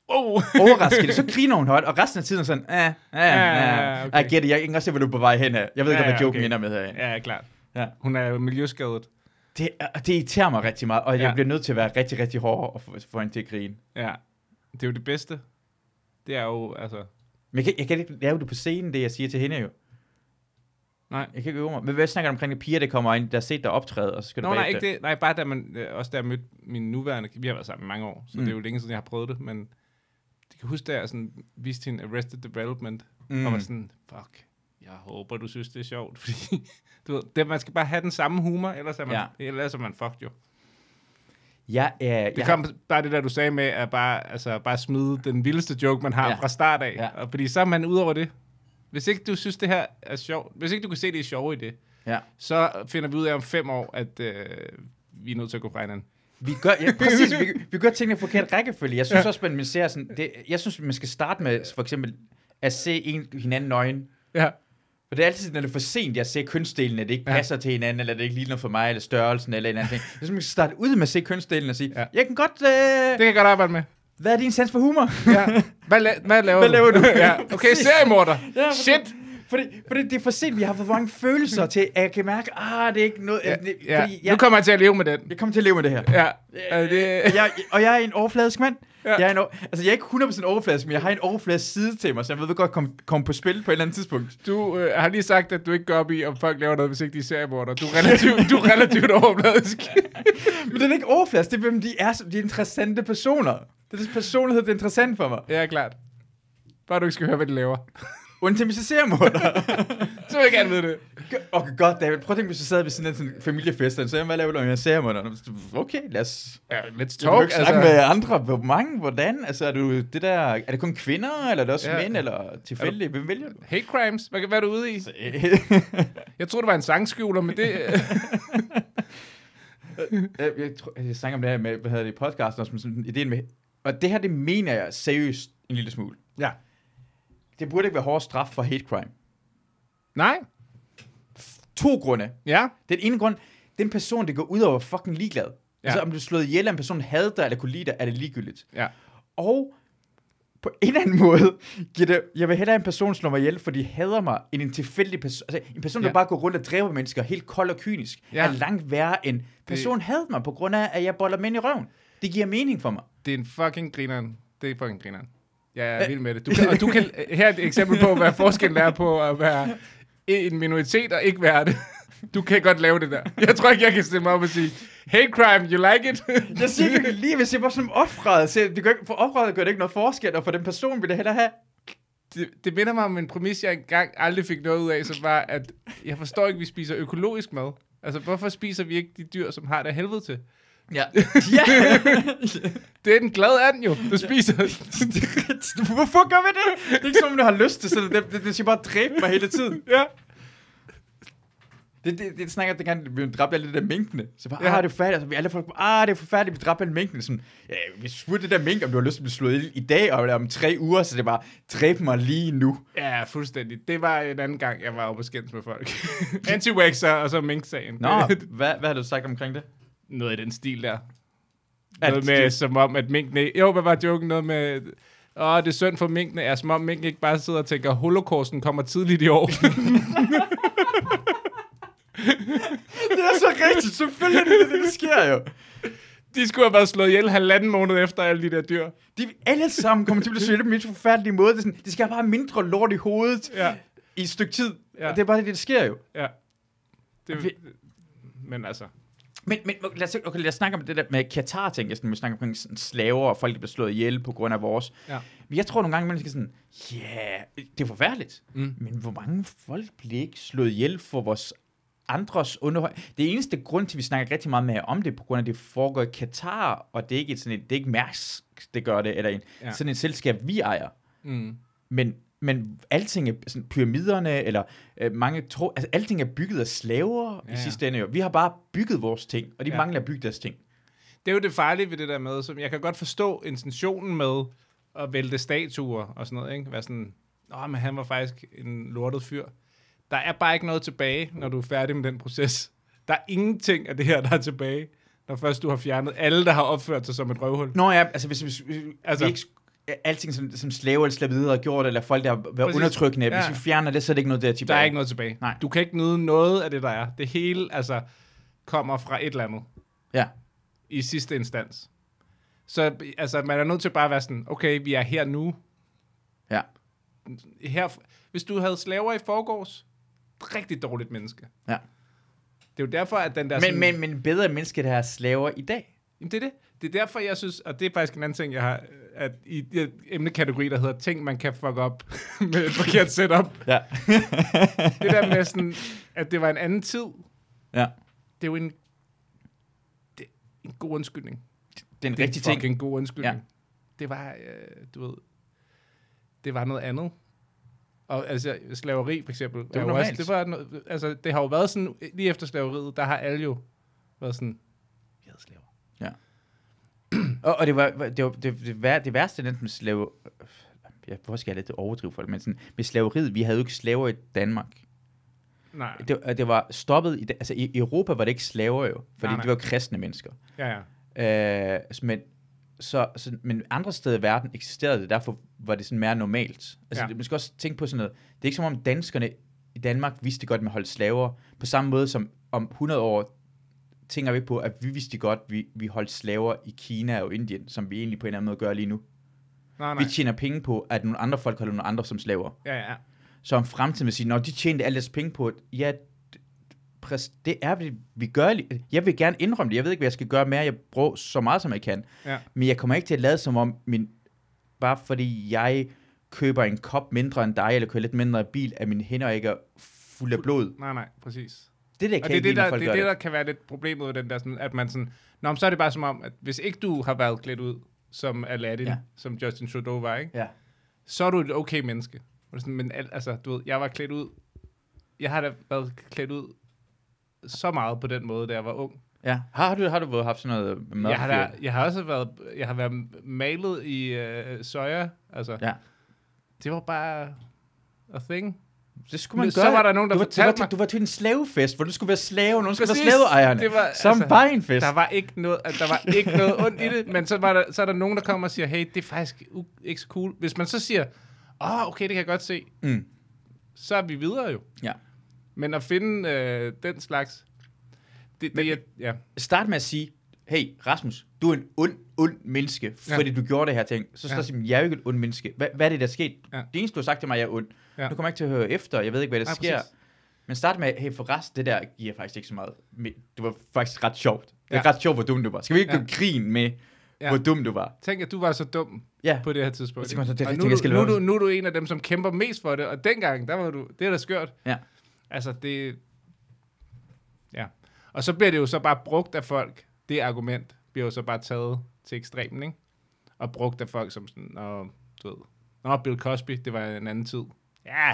Speaker 2: Oh.
Speaker 1: overraske det, så griner hun højt, og resten af tiden er sådan, ah,
Speaker 2: Ja,
Speaker 1: ah, ah,
Speaker 2: okay.
Speaker 1: okay. I get it, jeg kan godt se, hvor du er på vej hen af. Jeg ved
Speaker 2: Ja,
Speaker 1: ja, godt, hvad
Speaker 2: ja,
Speaker 1: joken
Speaker 2: okay.
Speaker 1: okay. ender med herinde.
Speaker 2: Ja, klart.
Speaker 1: Ja.
Speaker 2: Hun er jo miljøskadet.
Speaker 1: Det, er- det irriterer mig rigtig meget, og jeg
Speaker 2: Ja.
Speaker 1: bliver nødt til at være rigtig, rigtig hård og få, få hende til at grine.
Speaker 2: Ja. Det er jo det bedste. Det er jo, altså...
Speaker 1: Men jeg kan, jeg kan ikke lave det på scenen, det jeg siger til hende jo.
Speaker 2: Nej.
Speaker 1: Jeg kan ikke øve mig. Men hvad snakker du omkring de piger, der kommer ind, der har set dig optræde, og så skal
Speaker 2: Nå,
Speaker 1: du
Speaker 2: nej,
Speaker 1: bagefter?
Speaker 2: ikke det. Nej, bare da man, øh, også da jeg mødte min nuværende, vi har været sammen i mange år, så mm.
Speaker 1: Mm.
Speaker 2: det er jo længe siden, jeg har prøvet det, men jeg kan huske, da jeg sådan, viste hende Arrested Development, mm.
Speaker 1: Mm.
Speaker 2: og var sådan, fuck, jeg håber, du synes, det er sjovt, *laughs* fordi du ved, det, man skal bare have den samme humor, ellers er man, ja.
Speaker 1: Ja.
Speaker 2: ellers er man fucked jo.
Speaker 1: Jeg, øh,
Speaker 2: Det
Speaker 1: jeg,
Speaker 2: ja. kom bare det der, du sagde med, at bare, altså, bare smide den vildeste joke, man har ja.
Speaker 1: Ja.
Speaker 2: fra start af, ja.
Speaker 1: Ja.
Speaker 2: og fordi så er man ud over det. Hvis ikke du synes, det her er sjovt, hvis ikke du kan se, det er sjovt i det,
Speaker 1: ja.
Speaker 2: så finder vi ud af om fem år, at øh, vi er nødt til at gå fra hinanden.
Speaker 1: Vi gør,
Speaker 2: *laughs*
Speaker 1: ja, præcis, vi, vi gør tingene i forkert rækkefølge. Jeg synes ja. også, man, man ser sådan, det, jeg synes, man skal starte med for eksempel at se en, hinanden nøgen.
Speaker 2: Ja.
Speaker 1: For det er altid, når det er for sent, jeg ser kønsdelene, at det ikke
Speaker 2: Ja.
Speaker 1: passer til hinanden, eller det ikke ligner for mig, eller størrelsen, eller en eller anden ting. Jeg synes, man skal starte ud med at se kønsdelene og sige,
Speaker 2: Ja.
Speaker 1: ja. jeg kan godt, øh,
Speaker 2: Det kan jeg godt arbejde med.
Speaker 1: hvad er din sans for humor?
Speaker 2: Ja. Hvad, la- hvad laver
Speaker 1: Hvad
Speaker 2: du?
Speaker 1: laver du?
Speaker 2: *laughs* ja. Okay,
Speaker 1: Præcis.
Speaker 2: seriemorder.
Speaker 1: Ja,
Speaker 2: Ja,
Speaker 1: præcis.
Speaker 2: Shit.
Speaker 1: Fordi, fordi det er for sent, vi har for mange følelser til, at jeg kan mærke, ah, det er ikke noget, ja. det,
Speaker 2: Ja.
Speaker 1: fordi
Speaker 2: Nu
Speaker 1: jeg,
Speaker 2: kommer jeg til at leve med den.
Speaker 1: jeg kommer til at leve med det her.
Speaker 2: Ja. Øh,
Speaker 1: Øh,
Speaker 2: det,
Speaker 1: jeg, og jeg er en overfladisk mand.
Speaker 2: Ja.
Speaker 1: Ja. Jeg, er en, o- altså, jeg er ikke 100% overfladisk, men jeg har en overfladisk side til mig, så jeg ved godt komme kom på spil på et eller andet tidspunkt.
Speaker 2: du øh, har lige sagt, at du ikke går op i, om folk laver noget, hvis ikke de er seriemorder. Du er relativt, du er relativt overfladisk.
Speaker 1: Men det er ikke overfladisk, det er, hvem de er, som de er interessante personer. Det er deres personlighed, der er interessant for mig.
Speaker 2: ja, klart. Bare du ikke skal høre, hvad de laver.
Speaker 1: Undtil vi så ser mig.
Speaker 2: Så vil jeg gerne vide det.
Speaker 1: *laughs* Okay, godt, David. Prøv at tænke, hvis du sad ved sådan en sådan familiefest, og sagde, hvad laver du, når jeg ser mig? Og så, Okay, lad os
Speaker 2: Ja, let's
Speaker 1: Du kan
Speaker 2: talk. altså.
Speaker 1: ikke snakke med øh, andre. Hvor mange? Hvordan? Altså, er, du det der, er det kun kvinder, eller er Altså, det også
Speaker 2: Ja.
Speaker 1: ja. mænd, eller tilfældigt? Hvem vælger du?
Speaker 2: Hate crimes. Hvad, hvad er du ude i?
Speaker 1: Så, øh, *laughs*
Speaker 2: Jeg troede, det var en sangskjuler, men det...
Speaker 1: jeg, jeg, tror, jeg snakker om det her med, hvad hedder det, i podcasten, og som sådan, ideen med, og det her, det mener jeg seriøst en lille smule.
Speaker 2: ja.
Speaker 1: Det burde ikke være hård straf for hate crime.
Speaker 2: Nej.
Speaker 1: To grunde.
Speaker 2: Ja.
Speaker 1: Den ene grund, den person, det går ud over, er fucking ligeglad. Ja. Altså, om du er slået ihjel af en person, havde dig eller kunne lide dig, er det ligegyldigt.
Speaker 2: Ja.
Speaker 1: Og på en eller anden måde, giver det, jeg vil hellere have en person slå mig ihjel, for de hader mig, end en tilfældig person. Altså, en person, der
Speaker 2: Ja.
Speaker 1: bare går rundt og dræber mennesker, helt kold og kynisk,
Speaker 2: Ja.
Speaker 1: ja. er langt værre end, personen det... havde mig, på grund af, at jeg boller mænd i røven. Det giver mening for mig.
Speaker 2: Det er en fucking grineren. Det er fucking grineren. Jeg er vild med det. Du kan, og du kan, her er et eksempel på, hvad forskellen er på at være en minoritet og ikke være det. Du kan godt lave det der. Jeg tror ikke, jeg kan stille mig op og sige, hate crime, you like it?
Speaker 1: Jeg siger ikke jeg kan lige, hvis jeg var som offret. Så det gør, ikke- for offret gør det ikke noget forskel, og for den person vil det hellere have.
Speaker 2: det, det minder mig om en præmis, jeg engang aldrig fik noget ud af, som var, at jeg forstår ikke, at vi spiser økologisk mad. Altså, hvorfor spiser vi ikke de dyr, som har det af helvede til?
Speaker 1: Ja. ja. *laughs*
Speaker 2: Det er den glade and jo, der spiser.
Speaker 1: *laughs* Hvorfor gør vi det? Det er ikke som om, du har lyst til sådan noget. Det, det, det skal bare dræbe mig hele tiden.
Speaker 2: ja.
Speaker 1: Det, det, det snakker, det kan vi dræbte alle de der minkene. Så bare,
Speaker 2: Ja.
Speaker 1: ah, det er forfærdeligt. Altså, vi alle folk, ah, det er forfærdeligt, vi dræbte alle minkene. Sådan, ja, vi spurgte det der mink, om du har lyst til at blive slået ihjel i dag, og om tre uger, så det er bare, dræb mig lige nu.
Speaker 2: ja, fuldstændig. Det var en anden gang, jeg var oppe og skændes med folk. *laughs* Anti-waxer og så mink-sagen.
Speaker 1: *laughs* Nå, hvad, hvad har du sagt omkring det?
Speaker 2: *laughs* Noget i den stil der.
Speaker 1: At
Speaker 2: Noget med,
Speaker 1: det-
Speaker 2: som om, at minkene... Jo, hvad var joken? Noget med... Åh, det er synd for minkene. Er som om minkene ikke bare sidder og tænker, holocausten kommer tidligt i år. *laughs*
Speaker 1: Det er så rigtigt, selvfølgelig er det, det, det sker jo.
Speaker 2: de skulle have været slået ihjel halvanden måned efter alle de der dyr.
Speaker 1: De vil alle sammen kommer til at blive slået ihjel på en helt forfærdelig måde. Det, er sådan, de skal have bare mindre lort i hovedet
Speaker 2: Ja.
Speaker 1: i et stykke tid.
Speaker 2: Ja.
Speaker 1: Ja. Og det er bare det, der sker jo.
Speaker 2: Ja. Det,
Speaker 1: Vi-
Speaker 2: men altså,
Speaker 1: Men, men lad, os, okay, lad os snakke om det der med Katar, tænker jeg, sådan, vi snakker omkring sådan slaver og folk, der bliver slået ihjel på grund af vores.
Speaker 2: Ja.
Speaker 1: Men jeg tror nogle gange, man skal sådan, ja, yeah, det er forfærdeligt,
Speaker 2: Mm.
Speaker 1: mm. men hvor mange folk bliver ikke slået ihjel for vores andres underhold? Det eneste grund til, at vi snakker rigtig meget med jer om det, på grund af, at det foregår i Katar, og det er ikke, et sådan et, det er ikke Mærsk, det gør det, eller en,
Speaker 2: Ja.
Speaker 1: ja. sådan et selskab, vi ejer.
Speaker 2: mm.
Speaker 1: Men, men alting er, sådan, pyramiderne, eller øh, mange tro, altså alting er bygget af slaver ja,
Speaker 2: ja.
Speaker 1: i sidste ende. Jo. Vi har bare bygget vores ting, og de
Speaker 2: Ja.
Speaker 1: ja. mangler at bygge deres ting.
Speaker 2: det er jo det farlige ved det der med, som jeg kan godt forstå intentionen med at vælte statuer og sådan noget, ikke? Være sådan, åh, men han var faktisk en lortet fyr. Der er bare ikke noget tilbage, når du er færdig med den proces. Der er ingenting af det her, der er tilbage, når først du har fjernet alle, der har opført sig som et røvhul.
Speaker 1: Nå ja, altså hvis, hvis, hvis
Speaker 2: Altså-
Speaker 1: altså, vi ikke sk- alting, som, som slaver eller slavider har gjort, eller folk, der har været
Speaker 2: Præcis.
Speaker 1: undertrykkende,
Speaker 2: Ja.
Speaker 1: ja. hvis vi fjerner det, så er det ikke noget der
Speaker 2: Der
Speaker 1: tilbage.
Speaker 2: er ikke noget tilbage.
Speaker 1: Nej.
Speaker 2: Du kan ikke nyde noget af det, der er. Det hele, altså, kommer fra et eller andet.
Speaker 1: Ja.
Speaker 2: i sidste instans. Så altså, man er nødt til bare at være sådan, okay, vi er her nu.
Speaker 1: Ja.
Speaker 2: Her, hvis du havde slaver i forgårs, rigtig dårligt menneske.
Speaker 1: Ja.
Speaker 2: Det er jo derfor, at den der... sådan,
Speaker 1: Men, men, men bedre menneske, der har slaver i dag.
Speaker 2: Jamen, det er det. Det er derfor, jeg synes, og det er faktisk en anden ting, jeg har, at i den emnekategori, der hedder ting, man kan fuck op *laughs* med et forkert setup.
Speaker 1: Ja.
Speaker 2: Det der med sådan, at det var en anden tid,
Speaker 1: *laughs* ja.
Speaker 2: det er jo en, det, er en god undskyldning.
Speaker 1: Det er en
Speaker 2: det er
Speaker 1: rigtig
Speaker 2: en
Speaker 1: ting.
Speaker 2: fucking god undskyldning.
Speaker 1: Ja.
Speaker 2: Ja. Det var, øh, du ved, det var noget andet. Og altså, slaveri for eksempel.
Speaker 1: var
Speaker 2: er jo
Speaker 1: normalt.
Speaker 2: Også, det, var noget, altså, det har jo været sådan, lige efter slaveriet, der har alle jo været sådan, vi havde slaver.
Speaker 1: Og, og det var det, var, det, det, vær, det værste næsten med slave... Jeg, hvor skal jeg lidt overdrive folk, men sådan, med slaveriet, vi havde jo ikke slaver i Danmark.
Speaker 2: Nej,
Speaker 1: Det, og det var stoppet i... Da- Altså, i i Europa var det ikke slaver jo, fordi
Speaker 2: Nej, nej.
Speaker 1: det var kristne mennesker.
Speaker 2: ja, ja.
Speaker 1: Øh, altså, men, så, så, men andre steder i verden eksisterede det, derfor var det sådan mere normalt. Altså,
Speaker 2: Ja.
Speaker 1: ja. det, man skal også tænke på sådan noget. Det er ikke som om danskerne i Danmark vidste godt med at holde slaver, på samme måde som om 100 år tænker vi ikke på, at vi vidste godt, at vi, vi holdt slaver i Kina og Indien, som vi egentlig på en eller anden måde gør lige nu.
Speaker 2: Nej, Ah, nej.
Speaker 1: Vi tjener penge på, at nogle andre folk holder nogle andre som slaver.
Speaker 2: Ja, ja.
Speaker 1: Så om fremtiden vil sige, når de tjente alle deres penge på, at ja, d- præs- det er det, vi gør. li- Jeg vil gerne indrømme det. Jeg ved ikke, hvad jeg skal gøre mere. Jeg bruger så meget, som jeg kan.
Speaker 2: Ja.
Speaker 1: Men jeg kommer ikke til at lade som om, min, bare fordi jeg køber en kop mindre end dig, eller kører lidt mindre i bil, at mine hænder ikke er fuld af blod.
Speaker 2: Nej, nej, præcis.
Speaker 1: Det der kan
Speaker 2: Og det er
Speaker 1: ikke lide,
Speaker 2: det,
Speaker 1: når
Speaker 2: der,
Speaker 1: folk
Speaker 2: det, er
Speaker 1: gør
Speaker 2: det, der
Speaker 1: det.
Speaker 2: kan være lidt problemet ved den der, sådan, at man sådan, Nå, men så er det bare som om, at hvis ikke du har været klædt ud som Aladdin,
Speaker 1: Ja.
Speaker 2: ja. som Justin Trudeau var, ikke?
Speaker 1: Ja.
Speaker 2: så er du et okay menneske. Og det er sådan, men al- altså, du ved, jeg var klædt ud, jeg har da været klædt ud så meget på den måde, da jeg var ung.
Speaker 1: ja. Har du, har du både haft sådan noget mad?
Speaker 2: Jeg har, da, jeg har også været, jeg har været malet i øh, soja, altså.
Speaker 1: Ja.
Speaker 2: Det var bare a thing.
Speaker 1: Det skulle man
Speaker 2: Men så
Speaker 1: gøre.
Speaker 2: var der nogen, der
Speaker 1: du var,
Speaker 2: fortalte
Speaker 1: du var, til-
Speaker 2: mig-
Speaker 1: Du var til en slavefest, hvor du skulle være slave, og nogen skulle være
Speaker 2: Præcis.
Speaker 1: slaveejerne.
Speaker 2: Det var-
Speaker 1: Som
Speaker 2: altså,
Speaker 1: bare en fest.
Speaker 2: Der var ikke noget, at der var ikke noget ondt i
Speaker 1: *laughs*
Speaker 2: det, men så, var der, så er der nogen, der kommer og siger, hey, det er faktisk u- ikke så cool. Hvis man så siger, åh, oh, okay, det kan jeg godt se,
Speaker 1: Mm.
Speaker 2: så er vi videre jo.
Speaker 1: Ja.
Speaker 2: Men at finde øh, den slags, det,
Speaker 1: Men-
Speaker 2: det er, ja,
Speaker 1: Start med at sige, hey Rasmus, du er en ond, ond menneske,
Speaker 2: Ja.
Speaker 1: fordi ja. du gjorde det her ting. Så står
Speaker 2: Ja.
Speaker 1: ja. jeg, jeg er jo ikke et ond menneske. Hva, hvad er det, der er sket?
Speaker 2: Ja.
Speaker 1: Det eneste, du har sagt til mig, jeg er ond.
Speaker 2: Ja.
Speaker 1: Ja. Nu kommer jeg ikke til at høre efter, jeg ved ikke, hvad der
Speaker 2: Nej,
Speaker 1: sker.
Speaker 2: præcis.
Speaker 1: Men start med, hey forresten, det der giver faktisk ikke så meget. me- Det var faktisk ret sjovt. Det er
Speaker 2: Ja.
Speaker 1: ret sjovt, hvor dum du var. Skal vi ikke
Speaker 2: Ja.
Speaker 1: ja. gå krigen med,
Speaker 2: Ja.
Speaker 1: ja. hvor dum du var?
Speaker 2: tænk, at du var så dum
Speaker 1: Ja,
Speaker 2: på det her tidspunkt.
Speaker 1: Så kan man så
Speaker 2: ikke?
Speaker 1: tænke,
Speaker 2: Og
Speaker 1: jeg
Speaker 2: nu,
Speaker 1: tænker, jeg
Speaker 2: er
Speaker 1: skal
Speaker 2: du- nu,
Speaker 1: lave
Speaker 2: er du, nu er du en af dem, som kæmper mest for det, og dengang, der var du, det er da skørt.
Speaker 1: Ja.
Speaker 2: Altså, det, ja. Og så bliver det jo så bare brugt af folk, det argument bliver jo så bare taget til ekstremen, ikke? Og brugt af folk som sådan, Nå, du ved, Nå, Bill Cosby, det var en anden tid. Ja,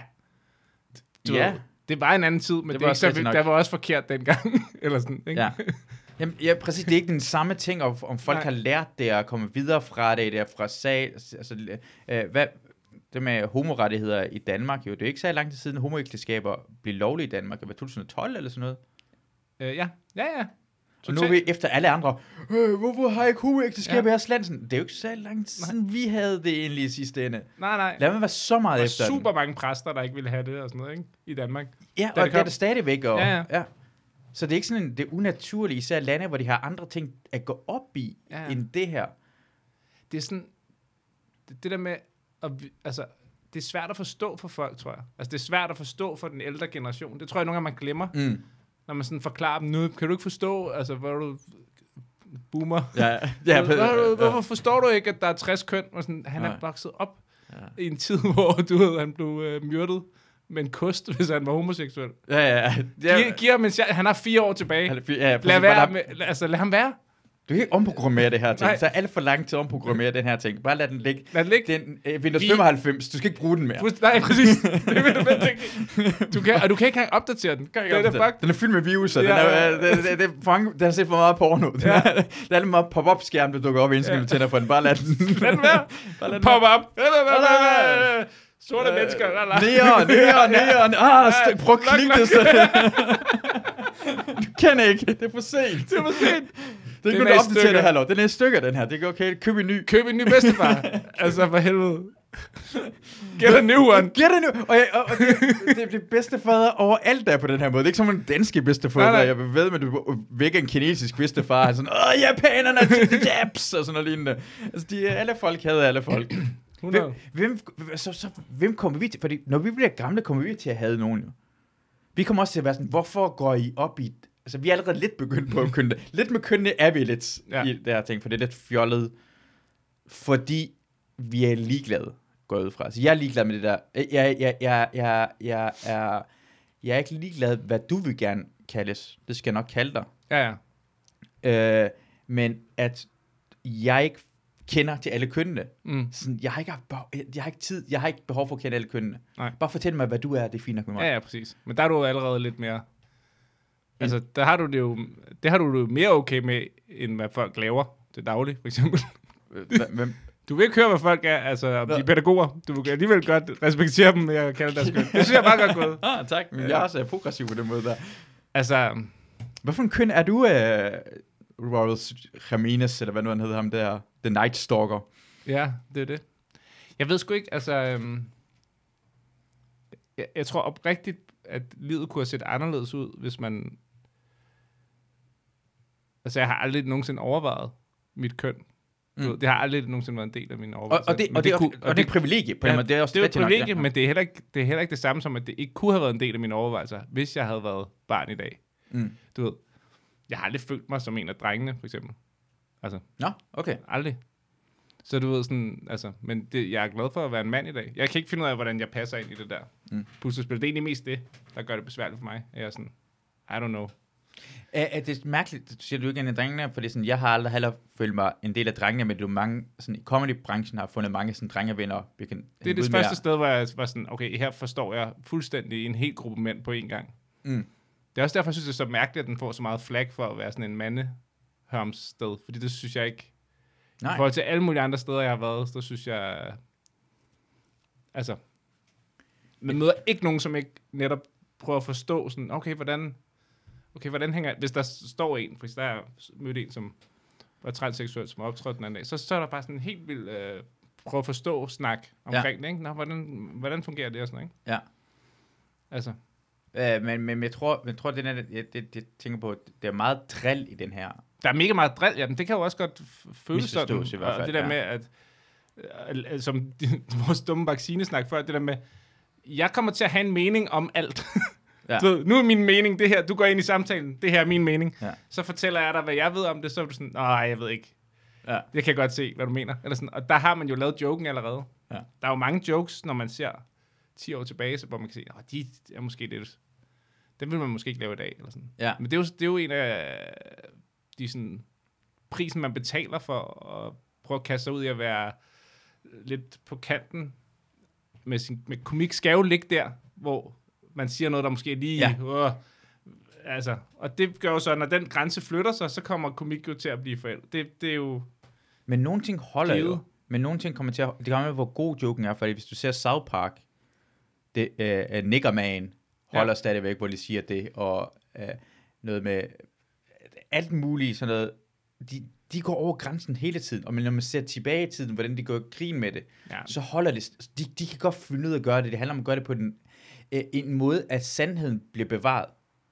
Speaker 2: du
Speaker 1: Ja.
Speaker 2: Ved, det var en anden tid, men det,
Speaker 1: Det
Speaker 2: det
Speaker 1: var
Speaker 2: er ikke så,
Speaker 1: også
Speaker 2: vildt.
Speaker 1: nok.
Speaker 2: der var også forkert dengang, *laughs* eller sådan, ikke?
Speaker 1: Ja. Jamen, ja, præcis. Det er ikke den samme ting, om, om folk
Speaker 2: Nej.
Speaker 1: Nej. har lært det og kommet videre fra det, der fra sag. Altså, øh, hvad, det med homorettigheder i Danmark, jo, det er ikke så lang tid siden, homoægteskaber blev lovlige i Danmark. Det var 2012 eller sådan noget.
Speaker 2: Øh, ja, ja, ja.
Speaker 1: Og nu er vi efter alle andre, øh, hvorfor har ikke homoægteskaber ja. i jeres land? Sådan, Det er jo ikke så lang tid siden, vi havde det egentlig i sidste ende.
Speaker 2: Nej, nej.
Speaker 1: Lad mig være så meget
Speaker 2: Der
Speaker 1: efter
Speaker 2: var
Speaker 1: den.
Speaker 2: super mange præster, der ikke ville have det og sådan noget, ikke? I Danmark.
Speaker 1: Ja,
Speaker 2: det
Speaker 1: og det er
Speaker 2: kom.
Speaker 1: det stadigvæk. Og,
Speaker 2: Ja, ja.
Speaker 1: Så det er ikke sådan en, det er unaturligt, især lande, hvor de har andre ting at gå op i,
Speaker 2: Ja,
Speaker 1: ja.
Speaker 2: ja.
Speaker 1: end det her.
Speaker 2: Det er sådan... Det, det der med... At, vi- altså, det er svært at forstå for folk, tror jeg. Altså, det er svært at forstå for den ældre generation. Det tror jeg nogle gange, man glemmer,
Speaker 1: Mm.
Speaker 2: når man sådan forklarer dem. Nu kan du ikke forstå, altså, hvor er du boomer.
Speaker 1: Ja,
Speaker 2: Ja,
Speaker 1: ja,
Speaker 2: hvor, hvorfor forstår du ikke, at der er 60 køn? Og sådan, han er
Speaker 1: Nej.
Speaker 2: vokset op
Speaker 1: Ja.
Speaker 2: i en tid, *laughs* hvor du ved, han blev øh, myrdet med en kost, hvis han var homoseksuel.
Speaker 1: Ja, ja.
Speaker 2: Ja,
Speaker 1: ja.
Speaker 2: Giv, giv ham en chance. Han har fire år tilbage.
Speaker 1: Han er fi- ja, præcis,
Speaker 2: Lad,
Speaker 1: bare
Speaker 2: være
Speaker 1: lad-
Speaker 2: med, lad- altså, lad ham være.
Speaker 1: Du kan ikke omprogrammere det her
Speaker 2: Nej.
Speaker 1: ting. Så er alt for lang tid at omprogrammere den her ting. Bare lad den ligge.
Speaker 2: Lad det ligge.
Speaker 1: Den, øh, Windows
Speaker 2: Vi-
Speaker 1: 95, du skal ikke bruge den mere.
Speaker 2: Fuldst- Nej, præcis. Det er det, jeg tænker. du kan, og du kan ikke engang opdatere den. Kan det er det fuck.
Speaker 1: Den er fyldt med virus, og
Speaker 2: Ja,
Speaker 1: den, er,
Speaker 2: ja.
Speaker 1: øh, det, det, det, for mange, den har set for meget porno. Den
Speaker 2: Ja.
Speaker 1: er, der er lidt meget pop-up-skærm, der dukker op, inden
Speaker 2: Ja.
Speaker 1: ja. du tænder for den. Bare lad den.
Speaker 2: *laughs* Lad den være.
Speaker 1: *laughs* Bare lad den
Speaker 2: Pop up. Øh, øh, øh,
Speaker 1: Lad
Speaker 2: øh, øh. Sorte mennesker. la, la. *laughs*
Speaker 1: Neon, neon, neon. Ah,
Speaker 2: Ja,
Speaker 1: st- prøv at
Speaker 2: luk,
Speaker 1: klikke
Speaker 2: luk.
Speaker 1: det.
Speaker 2: *laughs*
Speaker 1: Så. du kan ikke. Det er for sent.
Speaker 2: Det var sent.
Speaker 1: Det er
Speaker 2: Det er
Speaker 1: ikke noget,
Speaker 2: næste
Speaker 1: du opdaterer
Speaker 2: stykke.
Speaker 1: det her lov. Det er næste stykke, den her. Det er okay. Køb en ny.
Speaker 2: Køb en ny *laughs* bedstefar. Altså, for helvede. Get a new one.
Speaker 1: Giver det nu! Og, jeg, og, og det, det, det bedste fader overalt der er på den her måde. Det er ikke som en dansk bedstefader.
Speaker 2: Nej, nej.
Speaker 1: Nej, nej. Jeg ved, at du vækker en kinesisk bedstefar. Han er sådan, åh, japanerne, de japs, og sådan noget lignende. Altså, de, alle folk havde alle folk.
Speaker 2: 100.
Speaker 1: Hvem, hvem, så, så, hvem kommer vi til? Fordi når vi bliver gamle, kommer vi til at have nogen jo. Vi kommer også til at være sådan, hvorfor går I op i... Altså, vi er allerede lidt begyndt på at kønne det. Lidt med kønnene er vi lidt
Speaker 2: Ja.
Speaker 1: ja. i det her ting, for det er lidt fjollet. Fordi vi er ligeglade, går jeg ud fra. Altså, jeg er ligeglad med det der. Jeg, jeg, jeg, jeg, jeg, jeg, er, jeg er ikke ligeglad, hvad du vil gerne kaldes. Det skal jeg nok kalde dig.
Speaker 2: Ja, ja.
Speaker 1: Øh, men at jeg ikke kender til alle kønnene.
Speaker 2: Mm.
Speaker 1: Sådan, jeg har ikke haft behov, jeg, jeg har ikke tid, jeg har ikke behov for at kende alle kønnene.
Speaker 2: Nej.
Speaker 1: Bare fortæl mig, hvad du er, det er fint nok med mig.
Speaker 2: Ja, ja, præcis. Men der er du jo allerede lidt mere... Altså, der har du det jo... Det har du det jo mere okay med, end hvad folk laver til daglig, for eksempel.
Speaker 1: Øh, hva- Hvem?
Speaker 2: Du vil ikke høre, hvad folk er, altså om de
Speaker 1: Nå.
Speaker 2: er pædagoger. Du vil alligevel godt respektere dem, jeg kalder deres køn. Det synes jeg er meget godt gået.
Speaker 1: *laughs* ah, tak, men jeg er også øh, progressiv på den måde der.
Speaker 2: Altså,
Speaker 1: Hvorfor en køn er du, øh, Royals Ramirez, eller hvad nu han hedder ham der, The Night Stalker?
Speaker 2: ja, det er det. Jeg ved sgu ikke, altså... Øhm, jeg, jeg tror oprigtigt, at livet kunne have set anderledes ud, hvis man... Altså, jeg har aldrig nogensinde overvejet mit køn.
Speaker 1: Mm.
Speaker 2: Mm. Det har aldrig nogensinde været en del af mine
Speaker 1: Og,
Speaker 2: overvejelser.
Speaker 1: og, det,
Speaker 2: Men
Speaker 1: og, det, og,
Speaker 2: kunne-
Speaker 1: og, det, er et privilegie på en måde. Det er også
Speaker 2: det er jo et
Speaker 1: rigtig nok,
Speaker 2: privilegie,
Speaker 1: ja.
Speaker 2: men det er, heller ikke, det er heller ikke det samme som, at det ikke kunne have været en del af mine overvejelser, hvis jeg havde været barn i dag.
Speaker 1: Mm.
Speaker 2: Du ved, jeg har aldrig følt mig som en af drengene, for eksempel. Altså,
Speaker 1: Nå, okay.
Speaker 2: aldrig. Så du ved sådan, altså, men det, jeg er glad for at være en mand i dag. Jeg kan ikke finde ud af, hvordan jeg passer ind i det der mm. puslespil. Det er egentlig mest det, der gør det besværligt for mig. Jeg er sådan, I don't know.
Speaker 1: Er, er det mærkeligt, du siger du ikke en af drengene, for det er sådan, jeg har aldrig heller følt mig en del af drengene, men du mange, sådan, i comedybranchen har fundet mange sådan, drengevenner. Vi kan
Speaker 2: Det er det første sted, hvor jeg var sådan, okay, her forstår jeg fuldstændig en hel gruppe mænd på én gang.
Speaker 1: Mm.
Speaker 2: Det er også derfor, jeg synes, det er så mærkeligt, at den får så meget flag for at være sådan en mandehørms sted. Fordi det synes jeg ikke... Nej. I
Speaker 1: Nej,
Speaker 2: forhold til alle mulige andre steder, jeg har været, så synes jeg... Altså... Man møder ikke nogen, som ikke netop prøver at forstå sådan, okay, hvordan... Okay, hvordan hænger... Hvis der står en, for eksempel, der har mødt en, som var transseksuel, som optrådte den anden dag, så, så er der bare sådan en helt vild... Øh, prøve at forstå snak omkring ja. det, ikke? Nå, hvordan, hvordan fungerer det og sådan, noget, ikke?
Speaker 1: Ja.
Speaker 2: Altså,
Speaker 1: øh, men, men, men jeg tror, jeg tror det, er, jeg, det, det, tænker på, at det er meget drill i den her.
Speaker 2: der er mega meget drill, ja, men det kan jo også godt f- føles sådan.
Speaker 1: Misforstås i hvert fald,
Speaker 2: og det der
Speaker 1: ja.
Speaker 2: med, at, al- al- som *laughs* vores dumme vaccinesnak før, det der med, jeg kommer til at have en mening om alt.
Speaker 1: Ja.
Speaker 2: Ja. *laughs* Du ved, nu er min mening det her, du går ind i samtalen, det her er min mening.
Speaker 1: Ja.
Speaker 2: Ja. Så fortæller jeg dig, hvad jeg ved om det, så er du sådan, nej, jeg ved ikke.
Speaker 1: Ja.
Speaker 2: Jeg kan godt se, hvad du mener. Eller sådan, og der har man jo lavet joken allerede.
Speaker 1: Ja.
Speaker 2: Der er jo mange jokes, når man ser 10 år tilbage, så hvor man kan se, at de er måske lidt... Dem vil man måske ikke lave i dag. Eller sådan.
Speaker 1: Ja.
Speaker 2: Men det er, jo, det er jo en af øh, de sådan, prisen, man betaler for at prøve at kaste sig ud i at være øh, lidt på kanten. Med, sin, med komik skal jo ligge der, hvor man siger noget, der måske er lige...
Speaker 1: Ja.
Speaker 2: Ja. Åh, altså, og det gør jo så, at når den grænse flytter sig, så kommer komik jo til at blive forældet. Det, det er jo...
Speaker 1: Men nogle ting holder jo.
Speaker 2: Givet.
Speaker 1: Men nogle ting kommer til at... Det kommer med, hvor god joken er, fordi hvis du ser South Park, det, øh, øh, Nickerman holder ja.
Speaker 2: Ja.
Speaker 1: stadigvæk, hvor de siger det, og øh, noget med øh, alt muligt sådan noget. De, de går over grænsen hele tiden, og men når man ser tilbage i tiden, hvordan de går i grin med det,
Speaker 2: Ja,
Speaker 1: så holder det. De, de kan godt finde ud af at gøre det. Det handler om at gøre det på den, øh, en måde, at sandheden bliver bevaret.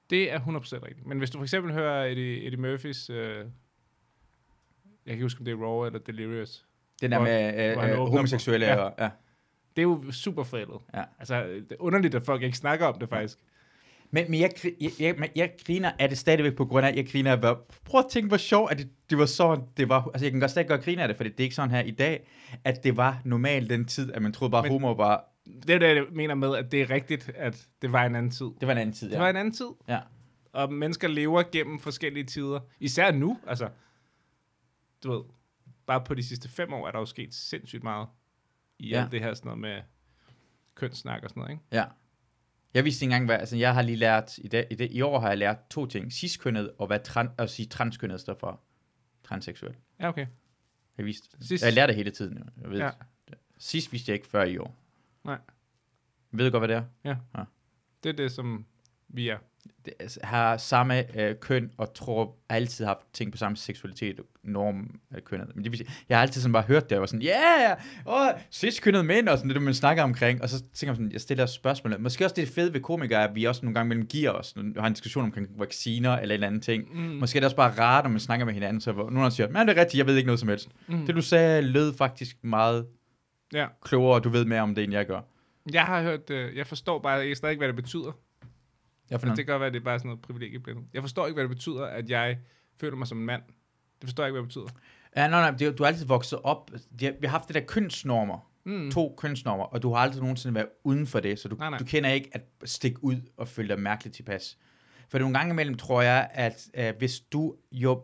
Speaker 2: Det er 100% rigtigt. Men hvis du for eksempel hører Eddie, Eddie Murphys... Øh, jeg kan ikke huske, om det er Raw eller Delirious.
Speaker 1: Den der
Speaker 2: Hvor-
Speaker 1: med
Speaker 2: hvor
Speaker 1: øh,
Speaker 2: han
Speaker 1: øh,
Speaker 2: åbner
Speaker 1: homoseksuelle.
Speaker 2: for-
Speaker 1: Ja.
Speaker 2: ja.
Speaker 1: Og, ja.
Speaker 2: Det er jo super forældet.
Speaker 1: Ja.
Speaker 2: Altså, det er underligt, at folk ikke snakker om det faktisk.
Speaker 1: Men, men jeg, gri- jeg, jeg, men jeg griner af det stadigvæk på grund af, at jeg griner af, hvor- prøv at tænke, hvor sjovt, at det, det var sådan, det var, altså jeg kan godt stadig godt grine af det, for det er ikke sådan her i dag, at det var normalt den tid, at man troede bare, men,
Speaker 2: Men-
Speaker 1: homo var,
Speaker 2: Det er det, jeg mener med, at det er rigtigt, at det var en anden tid.
Speaker 1: det var en anden tid,
Speaker 2: Det
Speaker 1: ja.
Speaker 2: var en anden tid,
Speaker 1: ja.
Speaker 2: og mennesker lever gennem forskellige tider. Især nu, altså. Du ved, bare på de sidste fem år er der jo sket sindssygt meget i
Speaker 1: Ja.
Speaker 2: ja. alt det her sådan noget med kønssnak og sådan noget, ikke?
Speaker 1: ja. Jeg vidste ikke engang, hvad, altså jeg har lige lært, i, dag, i, dag, i år har jeg lært to ting, ciskønnet og hvad tran, at sige transkønnet i stedet for transseksuel.
Speaker 2: Ja, okay.
Speaker 1: Jeg, vidste,
Speaker 2: Cis.
Speaker 1: jeg lærer det hele tiden, jo. jeg ved. Ja.
Speaker 2: Ja.
Speaker 1: Sidst vidste jeg ikke før i år.
Speaker 2: Nej.
Speaker 1: Ved du godt, hvad det er?
Speaker 2: Det er det, som vi er.
Speaker 1: det- altså, har samme øh, køn og tror altid har haft ting på samme seksualitet og norm af kønnet. Men det, vil sige, jeg har altid sådan bare hørt det, og var sådan, ja, yeah, åh, cis-kønnede mænd, og sådan det, man snakker omkring. Og så tænker jeg sådan, jeg stiller spørgsmål. Måske også det fede ved komikere, er, at vi også nogle gange mellem giver os, når vi har en diskussion omkring vacciner eller en eller anden ting. Mm. Måske er det også bare rart, når man snakker med hinanden, så hvor nogen der siger, men det er rigtigt, jeg ved ikke noget som helst. Mm. Det du sagde lød faktisk meget
Speaker 2: Ja.
Speaker 1: klogere, og du ved mere om det, end jeg gør.
Speaker 2: Jeg har hørt, øh, jeg forstår bare jeg stadig ikke, hvad det betyder.
Speaker 1: Jeg
Speaker 2: Men det kan godt være, at det er bare sådan noget privilegieblændet. Jeg forstår ikke, hvad det betyder, at jeg føler mig som en mand. Det forstår jeg ikke, hvad det betyder.
Speaker 1: Ja, nej, nej, det er jo- du har altid vokset op. De har, vi har haft det der kønsnormer,
Speaker 2: Hmm.
Speaker 1: mm. to kønsnormer, og du har aldrig nogensinde været uden for det, så du, nej, nej.
Speaker 2: Nej, nej.
Speaker 1: du kender ikke at stikke ud og føle dig mærkeligt tilpas. For nogle gange imellem tror jeg, at øh, hvis du jo,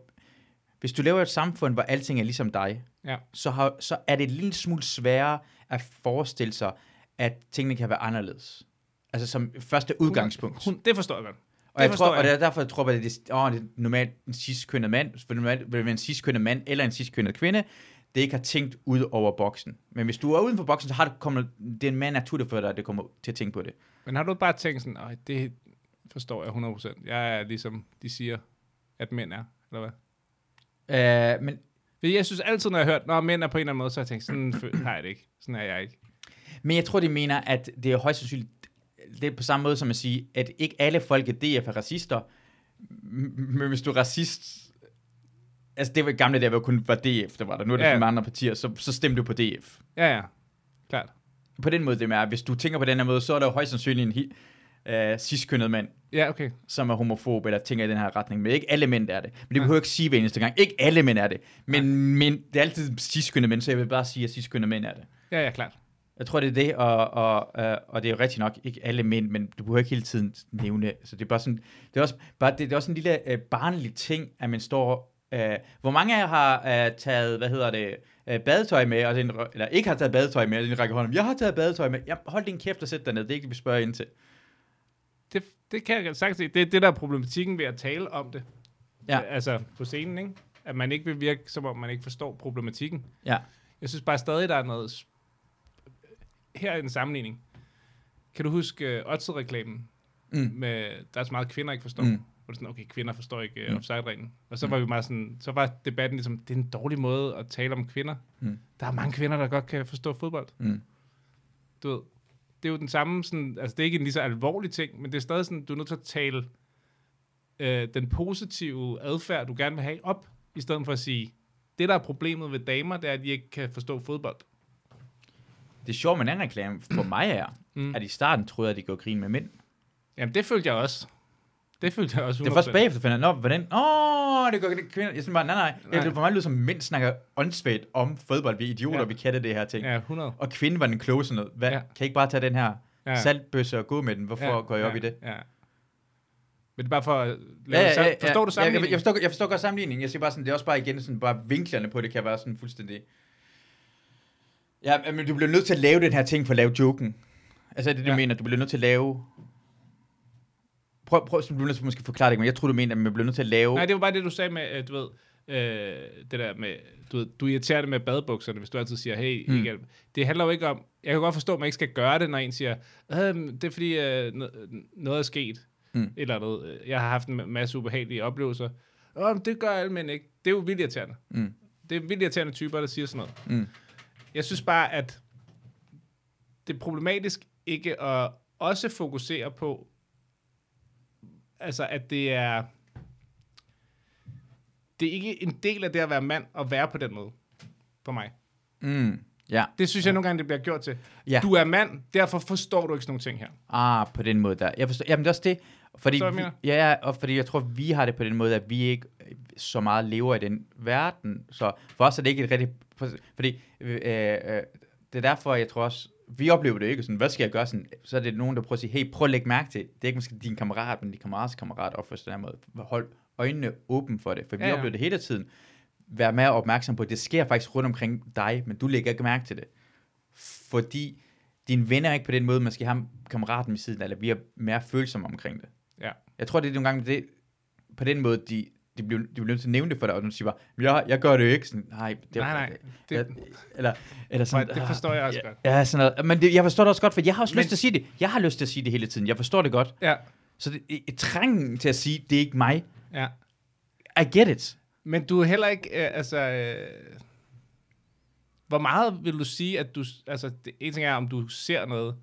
Speaker 1: hvis du lever i et samfund, hvor alting er ligesom dig,
Speaker 2: Ja.
Speaker 1: så, har, så er det en lille smule sværere at forestille sig, at tingene kan være anderledes. Altså som første udgangspunkt.
Speaker 2: Hun, det forstår jeg godt.
Speaker 1: Og, jeg
Speaker 2: forstår
Speaker 1: tror, og
Speaker 2: jeg.
Speaker 1: det er derfor, jeg tror, at det er, åh, det er normalt en cis-kønnet mand, for normalt vil det være en cis-kønnet mand eller en cis-kønnet kvinde, det ikke har tænkt ud over boksen. Men hvis du er uden for boksen, så har det kommet, det er en mere naturligt for dig, at det kommer til at tænke på det.
Speaker 2: Men har du bare tænkt sådan, nej, det forstår jeg 100%. Jeg er ligesom, de siger, at mænd er, eller hvad?
Speaker 1: Øh, men,
Speaker 2: Fordi jeg synes altid, når jeg har hørt, når mænd er på en eller anden måde, så har jeg tænkt, sådan fø- har jeg det ikke. Sådan er jeg ikke.
Speaker 1: men jeg tror, de mener, at det er højst sandsynligt, det er på samme måde som at sige, at ikke alle folk i DF er racister, m- men hvis du er racist, altså det var i gamle dage, hvor kun var DF, der var der, nu er det
Speaker 2: Ja.
Speaker 1: ja. mange andre partier, så, så stemte du på DF.
Speaker 2: Ja, ja. Klart.
Speaker 1: på den måde, det er, hvis du tænker på den her måde, så er der jo højst sandsynligt en, hi- øh, cis-kønnet mand,
Speaker 2: Ja, okay.
Speaker 1: som er homofob eller tænker i den her retning. Men ikke alle mænd er det. Men det behøver jeg ikke sige hver eneste gang. Ikke alle mænd er det. Men, men det er altid cis-kønnet mænd, så jeg vil bare sige, at cis-kønnet mænd er det.
Speaker 2: Ja, ja, klart.
Speaker 1: Jeg tror, det er det, og, og, øh, og det er jo rigtigt nok ikke alle mænd, men du behøver ikke hele tiden nævne. Så det er bare sådan, det er også, bare, det, det er også en lille øh, barnlig ting, at man står... Øh, hvor mange af jer har øh, taget, hvad hedder det, øh, badetøj med, og den, eller ikke har taget badetøj med, og den rækker hånden om, jeg har taget badetøj med, Jamen, hold din kæft og sæt dig ned, det er ikke det, vi spørger ind til.
Speaker 2: Det, det kan jeg sagt Det er det, der er problematikken ved at tale om det.
Speaker 1: Ja.
Speaker 2: Altså på scenen, ikke? At man ikke vil virke, som om man ikke forstår problematikken.
Speaker 1: Ja.
Speaker 2: Jeg synes bare stadig, der er noget... s- Her er en sammenligning. Kan du huske uh, Otze-reklamen?
Speaker 1: Mm.
Speaker 2: Med, der er så meget, kvinder ikke forstår.
Speaker 1: Mm.
Speaker 2: Mm. Hvor det er sådan, okay, kvinder forstår ikke
Speaker 1: Mm.
Speaker 2: uh, offside-reglen. Og så var vi meget sådan, så var debatten ligesom, det er en dårlig måde at tale om kvinder.
Speaker 1: Mm.
Speaker 2: Der er mange kvinder, der godt kan forstå fodbold.
Speaker 1: Mm.
Speaker 2: du ved, det er jo den samme, sådan, altså det er ikke en lige så alvorlig ting, men det er stadig sådan, du er nødt til at tale øh, den positive adfærd, du gerne vil have op, i stedet for at sige, det der er problemet ved damer, det er, at de ikke kan forstå fodbold.
Speaker 1: Det sjove med den anden reklame for mig er, mm.
Speaker 2: Mm.
Speaker 1: at i starten troede jeg, at de gjorde grin med mænd.
Speaker 2: Jamen, det følte jeg også. Det følte jeg også. 100%.
Speaker 1: Det er først bagefter, finder jeg, nå, hvordan, åh, det går det kvinder. Jeg synes bare, nej, nej, nej.
Speaker 2: Nej.
Speaker 1: det for mig lyder som, mænd snakker åndssvagt om fodbold, vi er idioter, ja.
Speaker 2: Ja.
Speaker 1: vi kan det, det her ting. Ja.
Speaker 2: Ja, 100.
Speaker 1: Og kvinden var den kloge sådan noget. Hvad, ja.
Speaker 2: Ja.
Speaker 1: Kan I ikke bare tage den her ja.
Speaker 2: Ja.
Speaker 1: saltbøsse og gå med den? Hvorfor ja. går jeg op
Speaker 2: ja,
Speaker 1: i det?
Speaker 2: Ja. Men det er bare for at lave ja, ja, ja, Forstår
Speaker 1: ja,
Speaker 2: du
Speaker 1: jeg,
Speaker 2: sammenligningen?
Speaker 1: jeg, forstår, jeg forstår godt sammenligningen. Jeg siger bare sådan, det er også bare igen sådan, bare vinklerne på det kan være sådan fuldstændig... Ja, men du bliver nødt til at lave den her ting for at lave joken. Altså er det, du ja.
Speaker 2: Ja.
Speaker 1: mener, du bliver nødt til at lave... Prøv, prøv, så du bliver nødt til at måske forklare det, ikke, men jeg tror, du mener, at man bliver nødt til at lave...
Speaker 2: Nej, det var bare det, du sagde med, øh, du ved, øh, det der med, du, ved, du irriterer det med badebukserne, hvis du altid siger, hey,
Speaker 1: Mm.
Speaker 2: mm. ikke, det handler jo ikke om, jeg kan godt forstå, at man ikke skal gøre det, når en siger, øh, det er fordi, øh, no- noget er sket,
Speaker 1: Mm.
Speaker 2: mm. eller noget, øh, jeg har haft en masse ubehagelige oplevelser, Åh, men det gør alle mænd ikke, det er jo vildt irriterende.
Speaker 1: Mm.
Speaker 2: Det er vildt irriterende typer, der siger sådan noget.
Speaker 1: Mm.
Speaker 2: Jeg synes bare, at det er problematisk ikke at også fokusere på, altså at det er, det er ikke en del af det at være mand at være på den måde, for mig.
Speaker 1: Mm. Ja.
Speaker 2: Det synes jeg nogle gange, det bliver gjort til.
Speaker 1: Ja.
Speaker 2: Du er mand, derfor forstår du ikke sådan nogle ting her.
Speaker 1: Ah, på den måde der. Jeg forstår. Jamen, det er også det. Fordi,
Speaker 2: Forstår du,
Speaker 1: vi,
Speaker 2: hvad
Speaker 1: ja, ja, og fordi jeg tror, vi har det på den måde, at vi ikke øh, så meget lever i den verden. Så for os er det ikke et rigtigt... for- Fordi øh, øh, det er derfor, jeg tror også, vi oplever det jo ikke sådan, hvad skal jeg gøre sådan? Så er det nogen, der prøver at sige, hey, prøv at lægge mærke til, det er ikke måske din kammerat, men din kammerats kammerat opfører sig på den her måde. Hold øjnene åbne for det, for vi ja,
Speaker 2: Ja,
Speaker 1: ja.
Speaker 2: ja.
Speaker 1: oplever det hele tiden. Vær mere opmærksom på, at det sker faktisk rundt omkring dig, men du lægger ikke mærke til det. Fordi dine venner er ikke på den måde, man skal have kammeraten ved siden af, eller vi er mere følsomme omkring det.
Speaker 2: Ja.
Speaker 1: Jeg tror, det er nogle gange det, på den måde, de, de, bliver, de bliver nødt til at nævne det for dig, og du siger bare, "Men jeg, jeg gør det jo ikke. Sådan, nej, det er
Speaker 2: Nej, nej.
Speaker 1: Det,
Speaker 2: Det-
Speaker 1: jeg, eller, eller sådan,
Speaker 2: Nej, det
Speaker 1: "Ah,
Speaker 2: forstår jeg også
Speaker 1: ja,
Speaker 2: godt."
Speaker 1: Ja, sådan noget. Men det, jeg forstår det også godt, for jeg har også Men,
Speaker 2: Men-
Speaker 1: lyst til at sige det. Jeg har lyst til at sige det hele tiden. Jeg forstår det godt.
Speaker 2: Ja,
Speaker 1: Så det, i- i trængen til at sige, det er ikke mig.
Speaker 2: ja.
Speaker 1: I get it.
Speaker 2: Men du er heller ikke, øh, altså... Øh, hvor meget vil du sige, at du... Altså, det, en ting er, om du ser noget.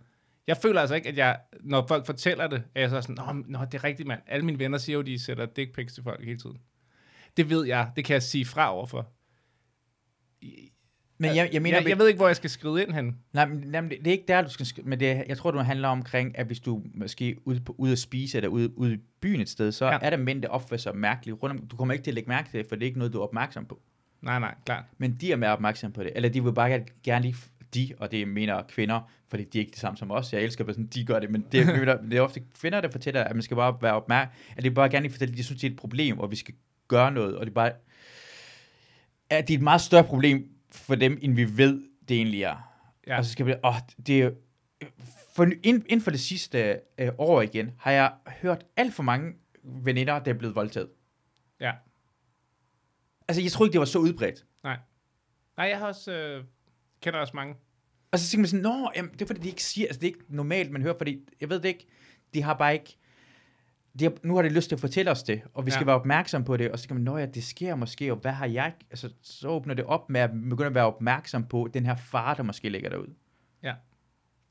Speaker 2: Jeg føler altså ikke, at jeg... Når folk fortæller det, er jeg så sådan... Nå, men- nå det er rigtigt, mand. Alle mine venner siger jo, de sætter dick pics til folk hele tiden. Det ved jeg. Det kan jeg sige fra overfor.
Speaker 1: Men jeg, jeg mener,
Speaker 2: jeg, jeg ved ikke, hvor jeg skal skride ind hen.
Speaker 1: Nej, men, nej, men det, det er ikke der, du skal... sk- Men det, jeg tror, du handler omkring, at hvis du måske ude, på, ude at spise eller ude, ude i byen et sted, så ja.
Speaker 2: Ja.
Speaker 1: er der mænd, der opfører sig mærkeligt rundt om. Du kommer ikke til at lægge mærke til det, for det er ikke noget, du er opmærksom på.
Speaker 2: Nej, nej, klart.
Speaker 1: Men de er mere opmærksomme på det. Eller de vil bare gerne- gerne lige... De, og det mener kvinder, fordi de er ikke det samme som os. Jeg elsker, at sådan, de gør det, men det, er- men det er ofte kvinder, der fortæller, at man skal bare være opmærksom. At de bare gerne lige fortæller, at de synes, det er et problem, og vi skal gøre noget. Og det er bare... At det er et meget større problem for dem, end vi ved, det egentlig er. Ja.
Speaker 2: Ja.
Speaker 1: Og så skal vi, åh, det er jo- for, ny- ind, inden for det sidste øh, år igen, har jeg hørt alt for mange veninder, der er blevet voldtaget.
Speaker 2: Ja.
Speaker 1: Altså, jeg tror ikke, det var så udbredt.
Speaker 2: Nej, jeg har også... Øh, kender også mange.
Speaker 1: Og så tænker man sådan, nå, jamen, det er fordi, de ikke siger, altså det er ikke normalt, man hører, fordi, jeg ved det ikke, de har bare ikke, de har, nu har de lyst til at fortælle os det, og vi skal
Speaker 2: Ja.
Speaker 1: være opmærksom på det, og så kan man, nå ja, det sker måske, og hvad har jeg, altså så åbner det op med at begynde at være opmærksom på den her far, der måske ligger derude.
Speaker 2: Ja.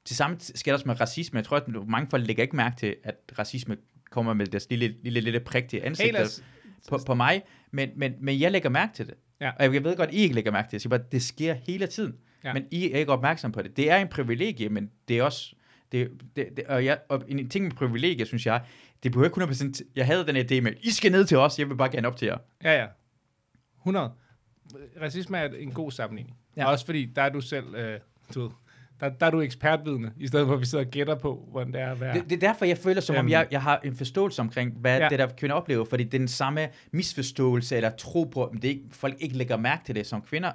Speaker 1: Det samme t- sker der også med racisme. Jeg tror, at mange folk lægger ikke mærke til, at racisme kommer med deres lille, lille, lille prik til ansigtet
Speaker 2: Hey, os,
Speaker 1: på, på mig, men, men, men jeg lægger mærke til det.
Speaker 2: Ja.
Speaker 1: Og jeg ved godt, I ikke lægger mærke til det. Jeg siger bare, det sker hele tiden.
Speaker 2: Ja.
Speaker 1: Men I er ikke opmærksom på det. Det er en privilegie, men det er også Det, det, det, og, jeg, og en ting med privilegier, synes jeg, det behøver ikke 100%... t- Jeg havde den her idé med, I skal ned til os, jeg vil bare gerne op til jer.
Speaker 2: Ja, ja. 100. Racisme er en god sammenligning.
Speaker 1: Ja.
Speaker 2: Ja. Også fordi, der er du selv, øh, du ved, der, der er du ekspertvidne, i stedet for at vi sidder og gætter på, hvordan det er at være.
Speaker 1: Det, det er derfor, jeg føler, som om
Speaker 2: Øhm.
Speaker 1: jeg, jeg har en forståelse omkring, hvad ja.
Speaker 2: Ja.
Speaker 1: det der kvinder oplever, fordi det er den samme misforståelse eller tro på, at det ikke, folk ikke lægger mærke til det, som kvinder ja.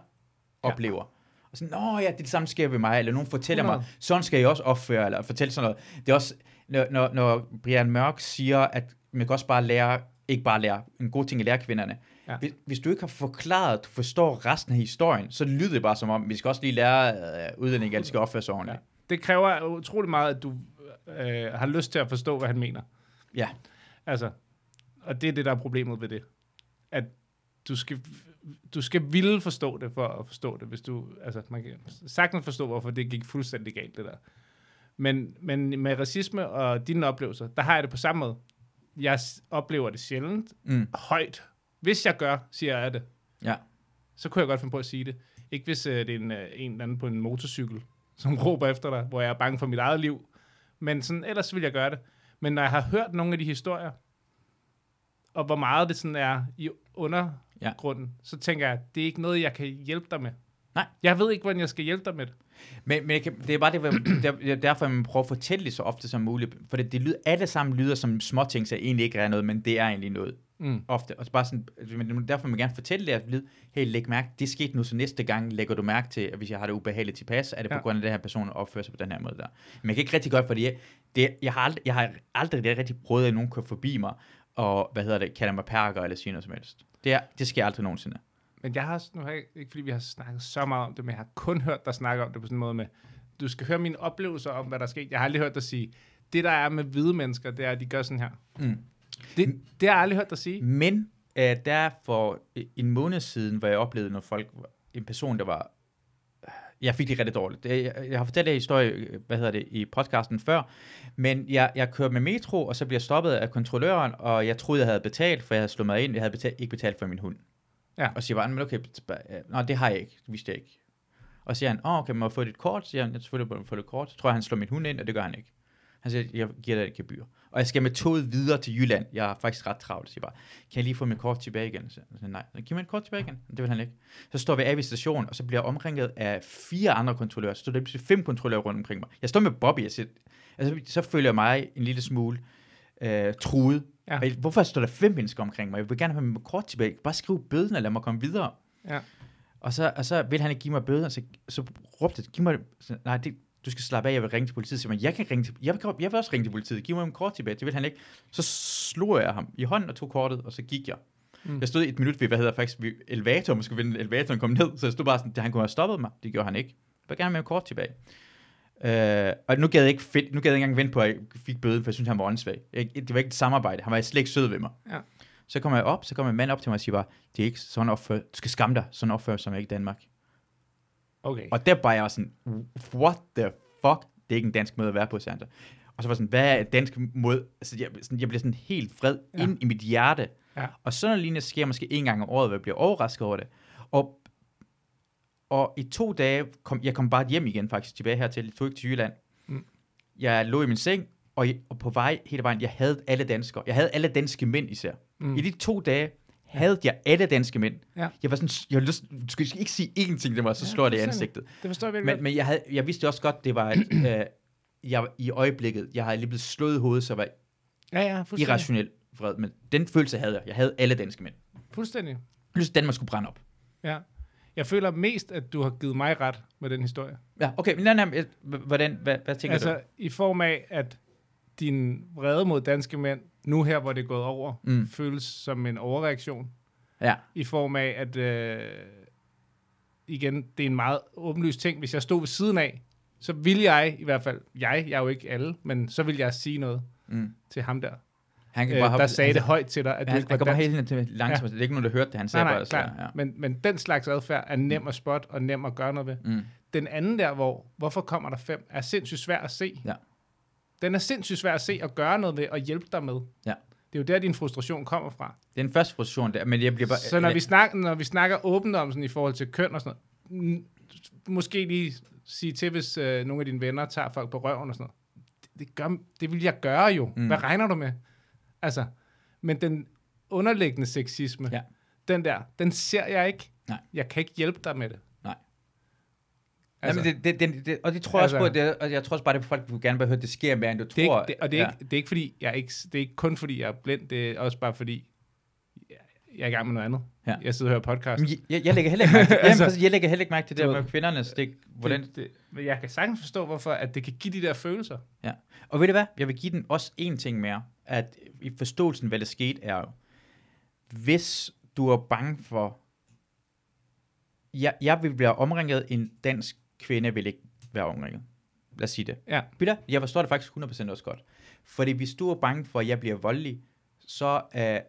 Speaker 1: oplever. Og sådan, Nå ja, det, er det samme sker ved mig, eller nogen fortæller mig,
Speaker 2: 100.
Speaker 1: sådan skal jeg også opføre, eller fortælle sådan noget. Det er også, når, når, når Brian Mørk siger, at man kan også bare lære, ikke bare lære, en god ting at lære kvinderne. Ja.
Speaker 2: Ja.
Speaker 1: Hvis, hvis du ikke har forklaret, at du forstår resten af historien, så lyder det bare som om, vi skal også lige lære øh, udlændinge, at de skal opføre sig
Speaker 2: Ja.
Speaker 1: ordentligt.
Speaker 2: Det kræver utrolig meget, at du øh, har lyst til at forstå, hvad han mener.
Speaker 1: Ja.
Speaker 2: Altså, og det er det, der er problemet ved det. At du skal, du skal ville forstå det, for at forstå det. Hvis du, altså, man kan sagtens forstå, hvorfor det gik fuldstændig galt, det der. Men, men med racisme og dine oplevelser, der har jeg det på samme måde. Jeg s- oplever det sjældent
Speaker 1: Mm.
Speaker 2: højt. Hvis jeg gør, siger jeg det,
Speaker 1: Ja.
Speaker 2: så kunne jeg godt finde på at sige det. Ikke hvis øh, det er en, øh, en eller anden på en motorcykel, som *laughs* råber efter dig, hvor jeg er bange for mit eget liv. Men sådan, ellers vil jeg gøre det. Men når jeg har hørt nogle af de historier, og hvor meget det sådan er i undergrunden, ja. så tænker jeg, det er ikke noget, jeg kan hjælpe dig med.
Speaker 1: Nej.
Speaker 2: Jeg ved ikke, hvordan jeg skal hjælpe dig med det.
Speaker 1: Men, men jeg kan, det er bare det, hvor- *clears throat* der- det er derfor, man prøver at fortælle det så ofte som muligt. For det, det lyder, alle sammen lyder som småting, så egentlig ikke er noget, men det er egentlig noget
Speaker 2: Mm.
Speaker 1: ofte. Og så bare sådan, altså, men det er derfor vil man gerne fortælle det, at lyd, hey, læg mærke, det skete nu, så næste gang lægger du mærke til, at hvis jeg har det ubehageligt tilpas, er det ja. på
Speaker 2: Ja.
Speaker 1: grund af, at den her person opfører sig på den her måde der. Men jeg kan ikke rigtig godt, fordi jeg, det, jeg, har aldrig, jeg har aldrig det rigtig prøvet, at nogen kører forbi mig, og hvad hedder det, kalder mig perker eller siger noget som helst. Det, er, det sker aldrig nogensinde.
Speaker 2: Men jeg har, nu har jeg, ikke fordi vi har snakket så meget om det, men jeg har kun hørt dig snakke om det på sådan en måde med, du skal høre mine oplevelser om, hvad der er sket. Jeg har aldrig hørt dig sige, det der er med hvide mennesker, det er, at de gør sådan her.
Speaker 1: Mm.
Speaker 2: Det, det har jeg aldrig hørt dig sige.
Speaker 1: Men øh, der for en måned siden, hvor jeg oplevede, når folk, en person, der var, jeg fik det rigtig dårligt. Det- Jeg, jeg har fortalt jer historie, øh, hvad hedder det, i podcasten før, men jeg, jeg kørte med metro, og så bliver jeg stoppet af kontrolløren, og jeg troede, jeg havde betalt, for jeg havde slået mig ind, jeg havde betalt, ikke betalt for min hund.
Speaker 2: Ja.
Speaker 1: Og siger bare, men okay, bet- øh, nå, det har jeg ikke, det vidste jeg ikke. Og siger han, åh, okay, må jeg få dit kort? Så siger han, jeg selvfølgelig må jeg få dit kort. Så tror jeg, han slår min hund ind, og det gør han ikke. Han siger, jeg giver dig et gebyr. Og jeg skal med toget videre til Jylland. Jeg er faktisk ret travlt. Så jeg bare, kan jeg lige få mit kort tilbage igen? Så jeg siger, nej. Så, Giv mig et kort tilbage igen. Det vil han ikke. Så står vi af ved stationen, og så bliver jeg omringet af fire andre kontrollører. Så står der pludselig fem kontrollører rundt omkring mig. Jeg står med Bobby, jeg siger, altså, så føler jeg mig en lille smule øh, truet.
Speaker 2: Ja.
Speaker 1: Ja. Hvorfor står der fem mennesker omkring mig? Jeg vil gerne have mit kort tilbage. Bare skriv bøden og lad mig komme videre.
Speaker 2: Ja.
Speaker 1: Og så, og så vil han ikke give mig bøden, så, så råbte jeg, giv mig, så, nej, det, du skal slappe af, jeg vil ringe til politiet. Så siger man, jeg kan ringe til, jeg, kan, jeg vil også ringe til politiet, giv mig en kort tilbage. Det vil han ikke. Så slog jeg ham i hånden og tog kortet, og så gik jeg. Mm.
Speaker 2: Mm.
Speaker 1: Jeg stod i et minut ved, hvad hedder faktisk, ved elevatoren, skulle vende elevatoren kom ned, så jeg stod bare sådan, han kunne have stoppet mig. Det gjorde han ikke. Jeg vil gerne have med en kort tilbage. Øh, og nu gad jeg ikke, fedt, nu gad jeg ikke engang vente på, at jeg fik bøden, for jeg synes, han var åndssvag. Jeg, det var ikke et samarbejde. Han var slet ikke sød ved mig.
Speaker 2: Ja.
Speaker 1: Så kommer jeg op, så kommer en mand op til mig og siger bare, det er ikke sådan opført, du skal skamme dig, sådan opfører som ikke i Danmark.
Speaker 2: Okay.
Speaker 1: Og der var jeg sådan, what the fuck, det er ikke en dansk måde at være på, sagde han så. Og så var jeg sådan, hvad er et dansk måde? Altså, jeg, sådan, jeg bliver sådan helt fred ja.
Speaker 2: Ja.
Speaker 1: ind i mit hjerte.
Speaker 2: Ja.
Speaker 1: Og sådan noget lignende sker måske en gang om året, hvor jeg bliver overrasket over det. Og, og i to dage, kom, jeg kom bare hjem igen faktisk tilbage hertil, jeg tog ikke til Jylland.
Speaker 2: Mm.
Speaker 1: Jeg lå i min seng, og, jeg- og på vej hele vejen, jeg havde alle danskere. Jeg havde alle danske mænd især. Mm.
Speaker 2: Mm.
Speaker 1: I de to dage havde jeg alle danske mænd.
Speaker 2: Ja.
Speaker 1: Jeg var sådan, jeg har lyst, du skal ikke sige én ting til mig, så
Speaker 2: Ja,
Speaker 1: slår det i
Speaker 2: fuldstændig.
Speaker 1: ansigtet.
Speaker 2: Det forstår
Speaker 1: *laughs*
Speaker 2: jeg virkelig
Speaker 1: Men,
Speaker 2: godt.
Speaker 1: men jeg, havde, jeg vidste også godt, det *clears throat* var et, øh, jeg, i øjeblikket, jeg havde lige blevet slået i hovedet, så jeg var
Speaker 2: Ja, ja, fuldstændig.
Speaker 1: irrationelt vred. Men den følelse havde jeg. Jeg havde alle danske mænd.
Speaker 2: fuldstændig.
Speaker 1: Plus Danmark skulle brænde op.
Speaker 2: Ja. Jeg føler mest, at du har givet mig ret med den historie.
Speaker 1: Ja, okay, men nej, nej, men, øh, hvordan, hvad, hvad tænker
Speaker 2: altså, i form af, at din vrede mod danske mænd, nu her, hvor det er gået over,
Speaker 1: Mm.
Speaker 2: mm. føles som en overreaktion.
Speaker 1: du? Ja,
Speaker 2: i form af, at øh, igen, det er en meget åbenlyst ting. Hvis jeg stod ved siden af, så ville jeg i hvert fald, jeg, jeg er jo ikke alle, men så ville jeg sige noget
Speaker 1: Mm.
Speaker 2: til ham der,
Speaker 1: han kan
Speaker 2: øh,
Speaker 1: bare hoppe-
Speaker 2: der sagde
Speaker 1: han,
Speaker 2: det højt til dig, at
Speaker 1: Han,
Speaker 2: du
Speaker 1: han,
Speaker 2: ikke var
Speaker 1: han kommer
Speaker 2: dansk.
Speaker 1: hele tiden til langsomt. Det er ikke nogen, der hørte det. Han
Speaker 2: Nej,
Speaker 1: sagde
Speaker 2: nej,
Speaker 1: bare, så, ja.
Speaker 2: klar. Men, men den slags adfærd er nem at spotte og nem at gøre noget ved.
Speaker 1: Mm.
Speaker 2: Den anden der, hvor, hvorfor kommer der fem, er sindssygt svær at se.
Speaker 1: Ja.
Speaker 2: Den er sindssygt svær at se og gøre noget ved og hjælpe dig med.
Speaker 1: Ja.
Speaker 2: Det er jo der, din frustration kommer fra.
Speaker 1: Det er den første frustration der, men jeg bliver bare...
Speaker 2: Så når vi, snakker, når vi snakker åbent om sådan i forhold til køn og sådan noget, n- måske lige sige til, hvis øh, nogle af dine venner tager folk på røven og sådan noget. det, gør, det vil jeg gøre jo. Mm. Hvad regner du med? Altså, men den underliggende sexisme,
Speaker 1: Ja.
Speaker 2: den der, den ser jeg ikke.
Speaker 1: Nej.
Speaker 2: Jeg kan ikke hjælpe dig med det.
Speaker 1: Nej. Altså.
Speaker 2: Altså, Jamen,
Speaker 1: Jamen, det, det, det, det, og det tror jeg
Speaker 2: Altså.
Speaker 1: altså. også på, at det, og jeg tror også bare, at det er folk, der gerne vil høre, at det sker mere, end du
Speaker 2: det er
Speaker 1: tror.
Speaker 2: ikke, det, og det er, ja. ikke, det er ikke fordi, jeg er ikke, det er ikke kun fordi, jeg er blind, det er også bare fordi, jeg, jeg er i gang med noget andet.
Speaker 1: Ja.
Speaker 2: Jeg sidder og hører podcast.
Speaker 1: Men jeg- Jeg, jeg, lægger heller ikke
Speaker 2: *laughs*
Speaker 1: mærke til,
Speaker 2: Altså.
Speaker 1: altså, jamen, præcis, jeg lægger heller ikke mærke til det
Speaker 2: Du
Speaker 1: der
Speaker 2: ved.
Speaker 1: med kvindernes. Det, hvordan,
Speaker 2: Det, det, men jeg kan sagtens forstå, hvorfor at det kan give de der følelser.
Speaker 1: Ja. Og ved du hvad? Jeg vil give den også en ting mere, at i forståelsen, hvad der skete, er jo, hvis du er bange for, jeg, jeg vil være omringet, en dansk kvinde vil ikke være omringet. Lad os sige det.
Speaker 2: Ja.
Speaker 1: Peter, jeg forstår det faktisk 100% også godt. Fordi hvis du er bange for, at jeg bliver voldelig, så, øh,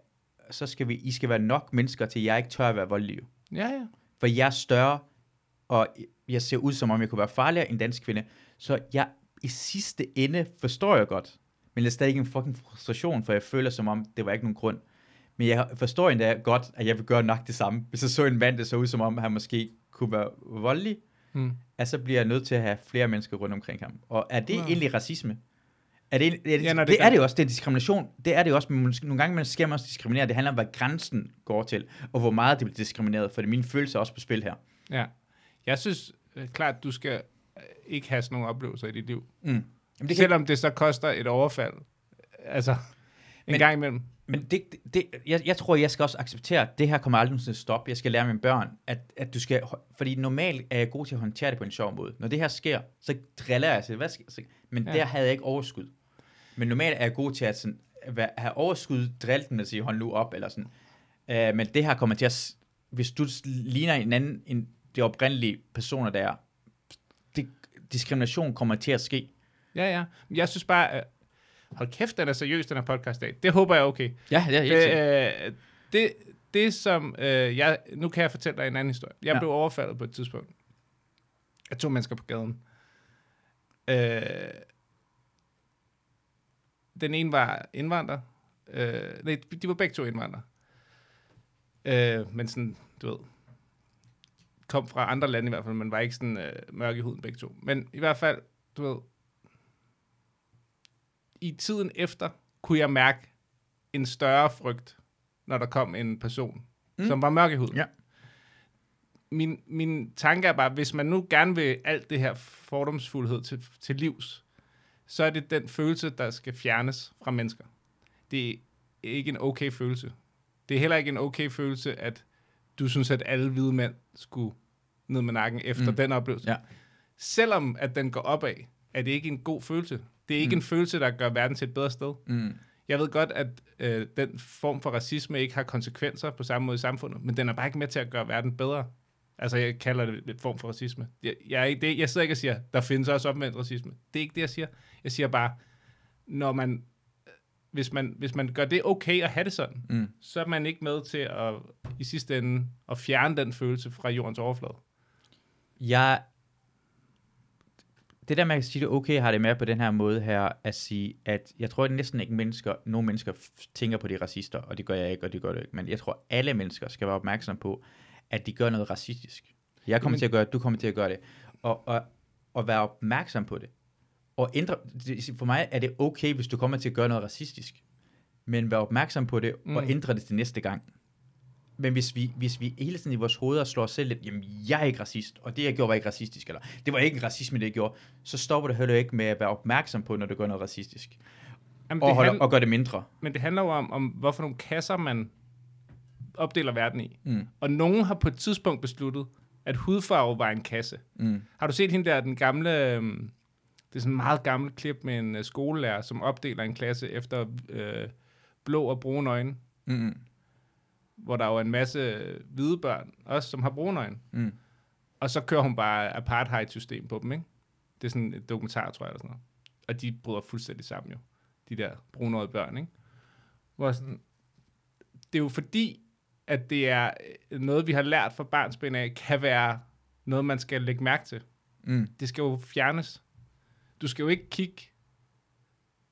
Speaker 1: så skal vi, I skal være nok mennesker til, at jeg ikke tør at være voldelig.
Speaker 2: Ja, ja.
Speaker 1: For jeg er større, og jeg ser ud, som om jeg kunne være farligere end dansk kvinde. Så jeg i sidste ende forstår jeg godt. Men det er stadig en fucking frustration, for jeg føler som om, det var ikke nogen grund. Men jeg forstår endda godt, at jeg vil gøre nok det samme. Hvis jeg så en mand, der så ud som om, han måske kunne være voldelig,
Speaker 2: Mm.
Speaker 1: at så bliver jeg nødt til at have flere mennesker rundt omkring ham. Og er det
Speaker 2: Ja.
Speaker 1: egentlig racisme? Er det, en- er det,
Speaker 2: Ja,
Speaker 1: ja,
Speaker 2: når det
Speaker 1: det, det
Speaker 2: gør-
Speaker 1: er det jo også, det er diskrimination. Det er det jo også, men måske- nogle gange man skal man også diskriminere. Det handler om, hvad grænsen går til, og hvor meget det bliver diskrimineret, for det er mine følelser også på spil her.
Speaker 2: Ja. Jeg synes øh, klart, du skal øh, ikke have sådan nogle oplevelser i dit liv.
Speaker 1: Mm. Jamen, det kan,
Speaker 2: Selvom det så koster et overfald. Altså, en men,
Speaker 1: Men-
Speaker 2: gang imellem.
Speaker 1: men det, det, det, jeg, jeg tror, jeg skal også acceptere, at det her kommer aldrig til at stoppe. Jeg skal lære mine børn, at, at du skal... hå- Fordi normalt er jeg god til at håndtere det på en sjov måde. Når det her sker, så driller jeg til, hvad sker, så, men
Speaker 2: Ja.
Speaker 1: ja. der havde jeg ikke overskud. Men normalt er jeg god til at sådan, at være- have overskud, drille den og sige, hold nu op, eller sådan. Øh, men det her kommer til at... s- Hvis du s- ligner en anden end de oprindelige personer, der er, det, diskrimination kommer til at ske.
Speaker 2: Ja, ja. Men jeg synes bare, øh, hold kæft, den er seriøs, den her podcast i dag. Det håber jeg er okay.
Speaker 1: Ja, det er helt sikkert.
Speaker 2: Det, øh, det, det som øh, jeg... Nu kan jeg fortælle dig en anden historie. Jeg ja.
Speaker 1: Ja.
Speaker 2: blev overfaldet på et tidspunkt af to mennesker på gaden. Øh, den ene var indvandrer. Øh, nej, de var begge to indvandrere. Øh, men sådan, du ved, kom fra andre lande i hvert fald, men var ikke sådan øh, mørk i huden begge to. Men i hvert fald, du ved, i tiden efter kunne jeg mærke en større frygt, når der kom en person, mm.
Speaker 1: Mm.
Speaker 2: som var mørk i huden.
Speaker 1: Ja.
Speaker 2: Min, min tanke er bare, hvis man nu gerne vil alt det her fordomsfuldhed til, til livs, så er det den følelse, der skal fjernes fra mennesker. Det er ikke en okay følelse. Det er heller ikke en okay følelse, at du synes, at alle hvide mænd skulle ned med nakken efter mm.
Speaker 1: Mm.
Speaker 2: den oplevelse.
Speaker 1: Ja.
Speaker 2: Selvom at den går opad, er det ikke en god følelse. Det er ikke mm. en følelse, der gør verden til et bedre sted.
Speaker 1: Mm.
Speaker 2: Jeg ved godt, at øh, den form for racisme ikke har konsekvenser på samme måde i samfundet, men den er bare ikke med til at gøre verden bedre. Altså, jeg kalder det en form for racisme. Jeg, jeg, er ikke, det, jeg sidder ikke og siger, der findes også omvendt racisme. Det er ikke det, jeg siger. Jeg siger bare, når man, hvis, man, hvis man gør det okay at have det sådan,
Speaker 1: Mm.
Speaker 2: så er man ikke med til at, i sidste ende at fjerne den følelse fra jordens overflade.
Speaker 1: jeg... Det der med at sige det okay, har det med på den her måde her, at sige, at jeg tror at næsten ikke mennesker, nogle mennesker f- tænker på de er racister, og det gør jeg ikke, og det gør du ikke, men jeg tror alle mennesker skal være opmærksomme på, at de gør noget racistisk. Jeg kommer
Speaker 2: Jamen-
Speaker 1: Jamen. til at gøre det, du kommer til at gøre det, og, og, og være opmærksom på det. Og ændre, det- for mig er det okay, hvis du kommer til at gøre noget racistisk, men vær opmærksom på det, mm.
Speaker 2: Mm.
Speaker 1: og ændre det til næste gang. Men hvis vi, hvis vi hele tiden i vores hoveder slår os selv lidt, jamen jeg er ikke racist, og det jeg gjorde var ikke racistisk, eller det var ikke en racisme, det jeg gjorde, så stopper det heller ikke med at være opmærksom på, når du gør noget racistisk.
Speaker 2: Jamen,
Speaker 1: Og,
Speaker 2: det
Speaker 1: holder,
Speaker 2: handler-
Speaker 1: og gør det mindre.
Speaker 2: Men det handler jo om, om hvorfor nogle kasser man opdeler verden i.
Speaker 1: Mm.
Speaker 2: Og nogen har på et tidspunkt besluttet, at hudfarve var en kasse.
Speaker 1: Mm.
Speaker 2: Har du set hende der, den gamle... øhm, Det er sådan en meget gammel klip med en øh, skolelærer, som opdeler en klasse efter øh, blå og brune øjne.
Speaker 1: Mm.
Speaker 2: Hvor der jo er en masse øh, hvide børn, også som har brune øjne.
Speaker 1: Mm.
Speaker 2: Og så kører hun bare apartheid-system på dem, ikke? Det er sådan et dokumentar, tror jeg, eller sådan noget. Og de bryder fuldstændig sammen jo, de der brunårede børn, ikke? Hvor sådan, det er jo fordi, at det er øh, noget, vi har lært fra barnsben af, kan være noget, man skal lægge mærke til.
Speaker 1: Mm.
Speaker 2: Det skal jo fjernes. Du skal jo ikke kigge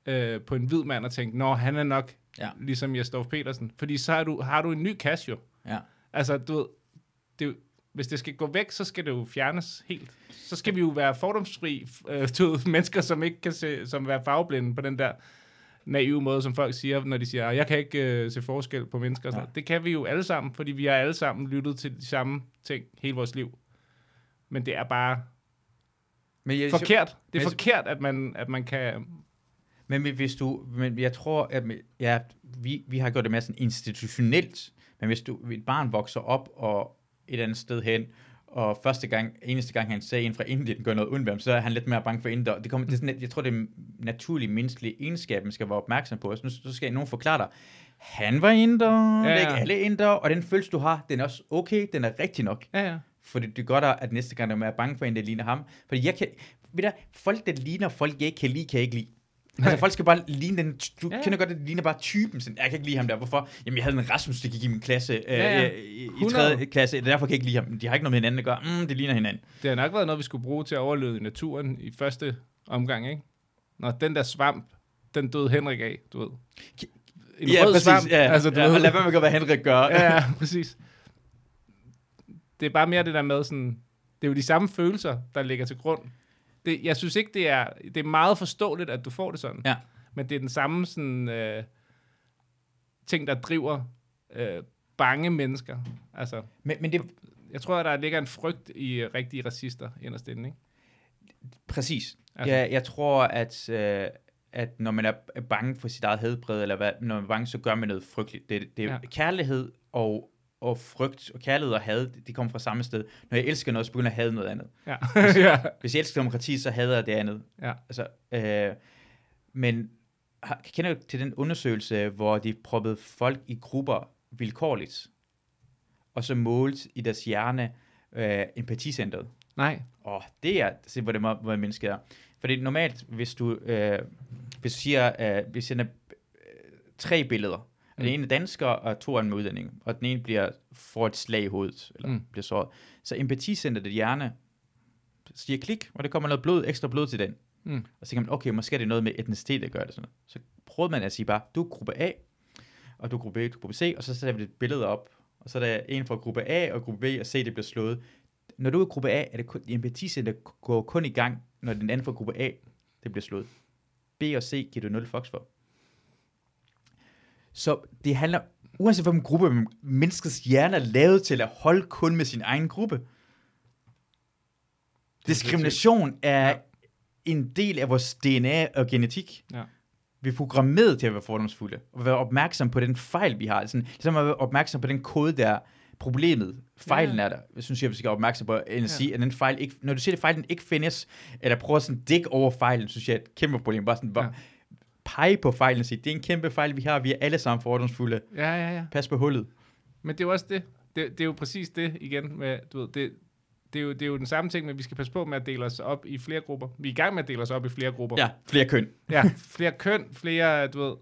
Speaker 2: øh, på en hvid mand og tænke, nå, han er nok
Speaker 1: Ja.
Speaker 2: ligesom Jesdorf Petersen. Fordi så har du, har du en ny kasse jo.
Speaker 1: Ja.
Speaker 2: Altså, du ved, det, er jo- Hvis det skal gå væk, så skal det jo fjernes helt. Så skal vi jo være fordomsfri øh, til mennesker, som ikke kan se, som er farveblinde på den der naive måde, som folk siger, når de siger, jeg kan ikke øh, se forskel på mennesker. Og sådan
Speaker 1: Ja.
Speaker 2: ja. Det kan vi jo alle sammen, fordi vi har alle sammen lyttet til de samme ting hele vores liv. Men det er bare
Speaker 1: Men jeg,
Speaker 2: forkert. Det er
Speaker 1: men-
Speaker 2: forkert, at man, at man kan...
Speaker 1: Men hvis du, men jeg tror, at ja, vi, vi har gjort det mere sådan institutionelt, men hvis du, et barn vokser op og et andet sted hen, og første gang, eneste gang han ser en fra Indien gør noget ondt ved ham, så er han lidt mere bange for indere. Det kommer, det er sådan, lidt- jeg tror, det er en naturlig menneskelig egenskab, man skal være opmærksom på. Så, nu, så skal nogen forklare dig, han var inder, ja, ja.
Speaker 2: Ja, ja.
Speaker 1: det er ikke alle indere, og den følelse, du har, den er også okay, den er rigtig nok.
Speaker 2: Ja, ja.
Speaker 1: Fordi det gør dig, at næste gang, når man er bange for en, der ligner ham. Fordi jeg kan, ved du, folk, der ligner folk, jeg ikke kan lide, kan jeg ikke lide. Altså, folk skal bare ligne den, du
Speaker 2: Ja,
Speaker 1: ja.
Speaker 2: ja.
Speaker 1: kender godt, at det ligner bare typen. Sådan, jeg kan ikke lide ham der. Hvorfor? Jamen, jeg havde en Rasmus, der gik i min klasse, øh,
Speaker 2: Ja, ja.
Speaker 1: øh, i, i
Speaker 2: 100.
Speaker 1: 3. klasse, derfor kan jeg ikke lide ham. De har ikke noget med hinanden at gøre. Mm, det ligner hinanden.
Speaker 2: Det har nok været noget, vi skulle bruge til at overleve i naturen i første omgang, ikke? Når den der svamp, den døde Henrik af, du ved. En rød svamp,
Speaker 1: Ja,
Speaker 2: altså du
Speaker 1: ja,
Speaker 2: ved.
Speaker 1: og lad være med at gøre, hvad Henrik gør.
Speaker 2: ja, ja, præcis. Det er bare mere det der med sådan, det er jo de samme følelser, der ligger til grund. Det, jeg synes ikke, det er, det er meget forståeligt, at du får det sådan.
Speaker 1: Ja.
Speaker 2: Men det er den samme sådan, øh, ting, der driver øh, bange mennesker. Altså,
Speaker 1: Men, men det,
Speaker 2: jeg tror, der ligger en frygt i øh, rigtige racister inderst inde, ikke?
Speaker 1: Præcis.
Speaker 2: Altså-
Speaker 1: Altså. Jeg, jeg tror, at, øh, at når man er bange for sit eget hedbred, eller hvad, når man er bange, så gør man noget frygteligt. Det, det er
Speaker 2: Ja.
Speaker 1: ja. kærlighed og, og frygt, og kærlighed og had, det, det kommer fra samme sted. Når jeg elsker noget, så begynder jeg at hade noget andet. *laughs*
Speaker 2: Ja. ja.
Speaker 1: Hvis jeg elsker demokrati, så hader jeg det andet.
Speaker 2: Ja.
Speaker 1: Altså, øh, men har, kender du til den undersøgelse, hvor de proppede folk i grupper vilkårligt, og så målte i deres hjerne øh, empaticenteret?
Speaker 2: Nej.
Speaker 1: Åh, det er, se hvor det må, hvor mennesket er. Fordi normalt, hvis du, øh, hvis du siger, øh, vi sender øh, tre billeder, mm. den
Speaker 2: Mm.
Speaker 1: ene er dansker, og to er en med udlænding, og den ene bliver, får et slag i hovedet, eller
Speaker 2: Mm.
Speaker 1: mm. bliver såret. Så empaticenter det hjerne, siger klik, og det kommer noget blod, ekstra blod til den.
Speaker 2: Mm.
Speaker 1: Og så tænker man, okay, måske er det noget med etnicitet, der gør det sådan noget. Så prøvede man at sige bare, du er gruppe A, og du er gruppe B, du er gruppe C, og så sætter vi et billede op, og så er der en fra gruppe A og gruppe B og C, det bliver slået. Når du er i gruppe A, er det kun, empaticenter går kun i gang, når den anden fra gruppe A, det bliver slået. B og C giver du 0 fox for. Så det handler, uanset hvilken gruppe, men menneskets hjerne er lavet til at holde kun med sin egen gruppe. Diskrimination er
Speaker 2: Ja.
Speaker 1: en del af vores DNA og genetik.
Speaker 2: Ja.
Speaker 1: Vi er programmeret til at være fordomsfulde, og være opmærksom på den fejl, vi har. Sådan, ligesom at være opmærksom på den kode, der er problemet. Fejlen
Speaker 2: Ja.
Speaker 1: er der. Jeg synes, jeg, vi skal være opmærksom på, end at sige, at den fejl ikke, når du siger, at fejlen ikke findes, eller prøver sådan at dække over fejlen, synes jeg er et kæmpe problem. Bare sådan,
Speaker 2: Ja.
Speaker 1: ja. pege på fejlen og sige, det er en kæmpe fejl, vi har. Vi er alle sammen fordomsfulde.
Speaker 2: Ja, ja, ja.
Speaker 1: Pas på hullet.
Speaker 2: Men det er jo også det. det. Det er jo præcis det igen med, du ved, det, det, er jo, det er jo den samme ting, men vi skal passe på med at dele os op i flere grupper. Vi er i gang med at dele os op i flere grupper.
Speaker 1: Ja, flere køn.
Speaker 2: ja flere køn, flere, du ved,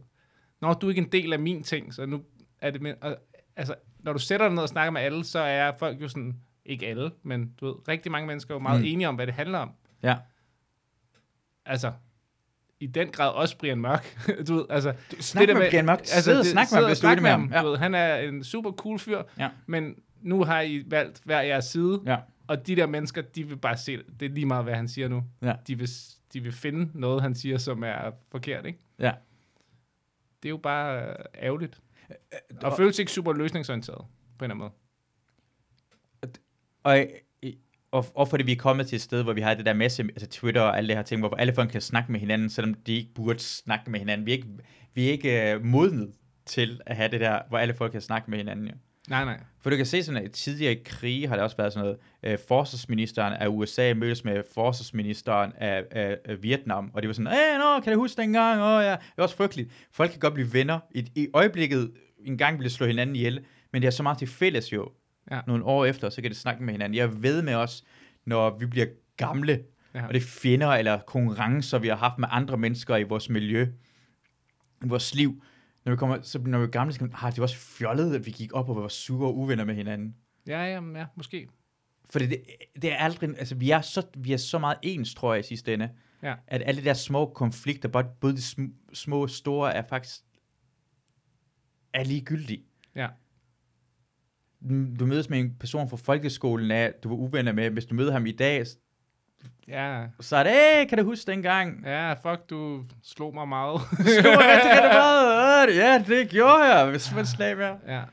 Speaker 2: når du er ikke en del af min ting, så nu er det, min, og, altså, når du sætter dig ned og snakker med alle, så er folk jo sådan, ikke alle, men du ved, rigtig mange mennesker er jo meget
Speaker 1: Mm.
Speaker 2: mm. enige om, hvad det handler om.
Speaker 1: Ja.
Speaker 2: Altså, i den grad også Brian Mørk. *laughs* du ved, altså,
Speaker 1: Snak det med, med Brian Mørk. Altså, sidde og snak med ham,
Speaker 2: sidder
Speaker 1: hvis du
Speaker 2: og
Speaker 1: er
Speaker 2: snak
Speaker 1: enig med ham.
Speaker 2: Du ved, han er en super cool fyr,
Speaker 1: Ja.
Speaker 2: men nu har I valgt hver jeres side,
Speaker 1: Ja.
Speaker 2: og de der mennesker, de vil bare se, det er lige meget, hvad han siger nu.
Speaker 1: Ja.
Speaker 2: De, vil, de vil finde noget, han siger, som er forkert, ikke?
Speaker 1: Ja.
Speaker 2: Det er jo bare øh, ærgerligt.
Speaker 1: øh, og-
Speaker 2: Og føles ikke super løsningsorienteret, på en eller anden måde.
Speaker 1: Og, og, og fordi vi er kommet til et sted, hvor vi har det der masse, altså Twitter og alle det her ting, hvor alle folk kan snakke med hinanden, selvom de ikke burde snakke med hinanden. Vi er ikke, vi er ikke uh, modnet til at have det der, hvor alle folk kan snakke med hinanden. Jo.
Speaker 2: Nej, nej.
Speaker 1: For du kan se sådan, at tidligere i krige har det også været sådan noget, øh, forsvarsministeren af USA mødtes med forsvarsministeren af, af, af Vietnam, og det var sådan, æh, nå, kan du huske dengang? Åh, ja. Det var også frygteligt. Folk kan godt blive venner. I, i øjeblikket en gang ville slå hinanden ihjel, men det er så meget til fælles jo.
Speaker 2: Ja.
Speaker 1: Nogle år efter, så kan det snakke med hinanden. Jeg ved med os, når vi bliver gamle,
Speaker 2: Ja.
Speaker 1: ja. og det er fjender eller konkurrencer, vi har haft med andre mennesker i vores miljø, i vores liv. Når vi kommer, så når vi er gamle, så kan man, ah, det var også fjollet, at vi gik op og var sure og uvenner med hinanden.
Speaker 2: Ja, ja, ja, måske.
Speaker 1: For det, det er aldrig, altså vi er, så, vi er så meget ens, tror jeg, i sidste ende.
Speaker 2: Ja.
Speaker 1: At alle de der små konflikter, både både de sm- små og store, er faktisk er ligegyldige.
Speaker 2: Ja.
Speaker 1: du mødes med en person fra folkeskolen af, du var uvenner med, hvis du møder ham i dag,
Speaker 2: Ja,
Speaker 1: så er det, hey, kan du huske
Speaker 2: *laughs*
Speaker 1: dengang?
Speaker 2: ja, fuck, du slog mig meget. *laughs*
Speaker 1: Slog jeg rigtig, kan du hvad? Øh, Ja, det gjorde jeg, hvis man slag med.
Speaker 2: ja,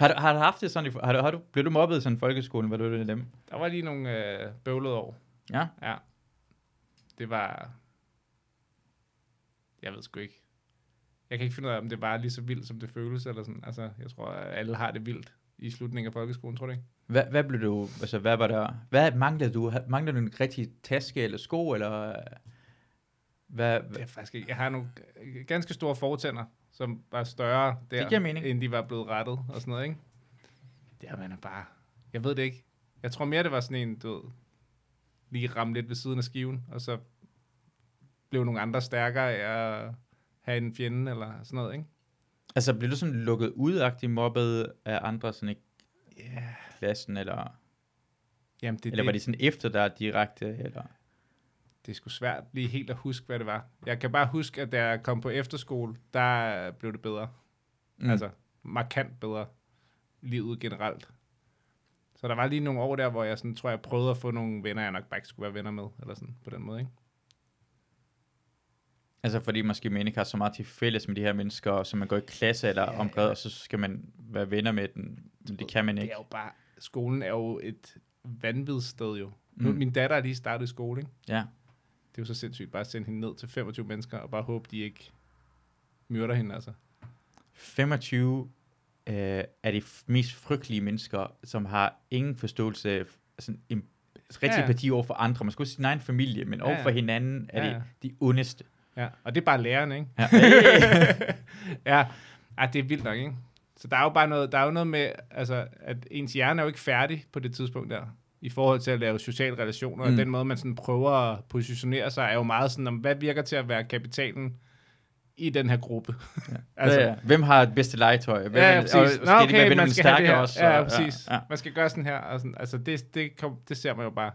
Speaker 1: Har du, har du haft det sådan, i, har du, har du, blev du mobbet i sådan i folkeskolen, var du en af dem?
Speaker 2: der var lige nogle øh, bøvlede år.
Speaker 1: Ja.
Speaker 2: Ja. Det var... Jeg ved sgu ikke. Jeg kan ikke finde ud af, om det var lige så vildt, som det føles, eller sådan. Altså, jeg tror, at alle har det vildt i slutningen af folkeskolen, tror du ikke?
Speaker 1: Hvad, hvad blev du, altså hvad var der, hvad manglede du? Ha- Manglede du en rigtig taske eller sko, eller øh, hvad,
Speaker 2: Det
Speaker 1: hvad?
Speaker 2: er faktisk ikke. Jeg har nogle øh, ganske store fortænder, som var større der,
Speaker 1: Det giver mening.
Speaker 2: end de var blevet rettet og sådan noget, ikke? Det er man er bare... Jeg ved det ikke. Jeg tror mere, det var sådan en, du ved, lige ramme lidt ved siden af skiven, og så blev nogle andre stærkere af at have en fjende eller sådan noget, ikke?
Speaker 1: Altså blev du sådan lukket udagtig mobbet af andre sådan i
Speaker 2: Ja. Yeah.
Speaker 1: klassen, eller,
Speaker 2: Jamen, det,
Speaker 1: eller
Speaker 2: det,
Speaker 1: var
Speaker 2: det,
Speaker 1: det sådan efter dig direkte, eller?
Speaker 2: det er sgu svært lige helt at huske, hvad det var. Jeg kan bare huske, at da jeg kom på efterskole, der øh, blev det bedre. Mm. Altså, markant bedre. Livet generelt. Så der var lige nogle år der, hvor jeg sådan, tror, jeg prøvede at få nogle venner, jeg nok bare ikke skulle være venner med, eller sådan på den måde, ikke?
Speaker 1: Altså fordi måske man ikke har så meget til fælles med de her mennesker, som man går i klasse eller
Speaker 2: Ja,
Speaker 1: yeah. omkring, og så skal man være venner med den. Men det kan man
Speaker 2: Det
Speaker 1: ikke.
Speaker 2: er jo bare, skolen er jo et vanvittigt sted jo. Nu,
Speaker 1: Mm.
Speaker 2: min datter er lige startet i skole, ikke?
Speaker 1: Ja.
Speaker 2: Det er jo så sindssygt bare at sende hende ned til 25 mennesker, og bare håbe, de ikke myrder hende, altså.
Speaker 1: 25 øh, er de f- mest frygtelige mennesker, som har ingen forståelse, f- sådan en rigtig
Speaker 2: Ja.
Speaker 1: ja. parti over for andre. Man skulle sin egen familie, men
Speaker 2: Ja,
Speaker 1: over for
Speaker 2: ja.
Speaker 1: hinanden er
Speaker 2: Ja, ja.
Speaker 1: de de
Speaker 2: *laughs*
Speaker 1: ondeste.
Speaker 2: Ja, og det er bare læreren, ikke?
Speaker 1: Ja.
Speaker 2: *laughs* ja, Ej, det er vildt nok, ikke? Så der er jo bare noget, der er jo noget med, altså, at ens hjerne er jo ikke færdig på det tidspunkt der, i forhold til at lave sociale relationer, mm. og
Speaker 1: Mm.
Speaker 2: den måde, man sådan prøver at positionere sig, er jo meget sådan, om, hvad virker til at være kapitalen i den her gruppe? *laughs* Ja,
Speaker 1: altså, ja, ja. Hvem har det bedste legetøj? Hvem
Speaker 2: Ja,
Speaker 1: er-
Speaker 2: ja, præcis. Og,
Speaker 1: skal
Speaker 2: Nå,
Speaker 1: de være
Speaker 2: okay,
Speaker 1: venner
Speaker 2: man
Speaker 1: med
Speaker 2: skal have det
Speaker 1: stærke
Speaker 2: her.
Speaker 1: også?
Speaker 2: ja,
Speaker 1: Og-
Speaker 2: ja, præcis.
Speaker 1: ja.
Speaker 2: Man skal gøre sådan her. Og sådan. Altså, det, det, kom, det ser man jo bare.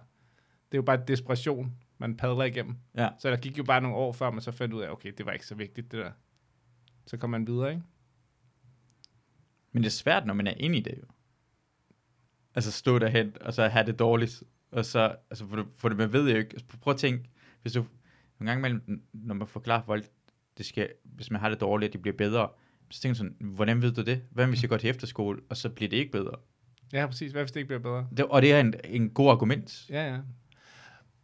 Speaker 2: Det er jo bare desperation, man padler igennem.
Speaker 1: Ja.
Speaker 2: Så der gik jo bare nogle år, før man så fandt ud af, okay, det var ikke så vigtigt, det der. Så kom man videre, ikke?
Speaker 1: Men det er svært, når man er inde i det jo. Altså stå derhen, og så have det dårligt. Og så, altså for, det- for det, man ved jo ikke. Altså, prøv at tænke, hvis du, nogle gange imellem, når man forklarer folk, det skal, hvis man har det dårligt, at de bliver bedre, så tænker man sådan, hvordan ved du det? Hvad hvis jeg går til efterskole, og så bliver det ikke bedre?
Speaker 2: Ja, præcis. Hvad hvis det ikke bliver bedre?
Speaker 1: Det, og det er en, en god argument.
Speaker 2: Ja, ja.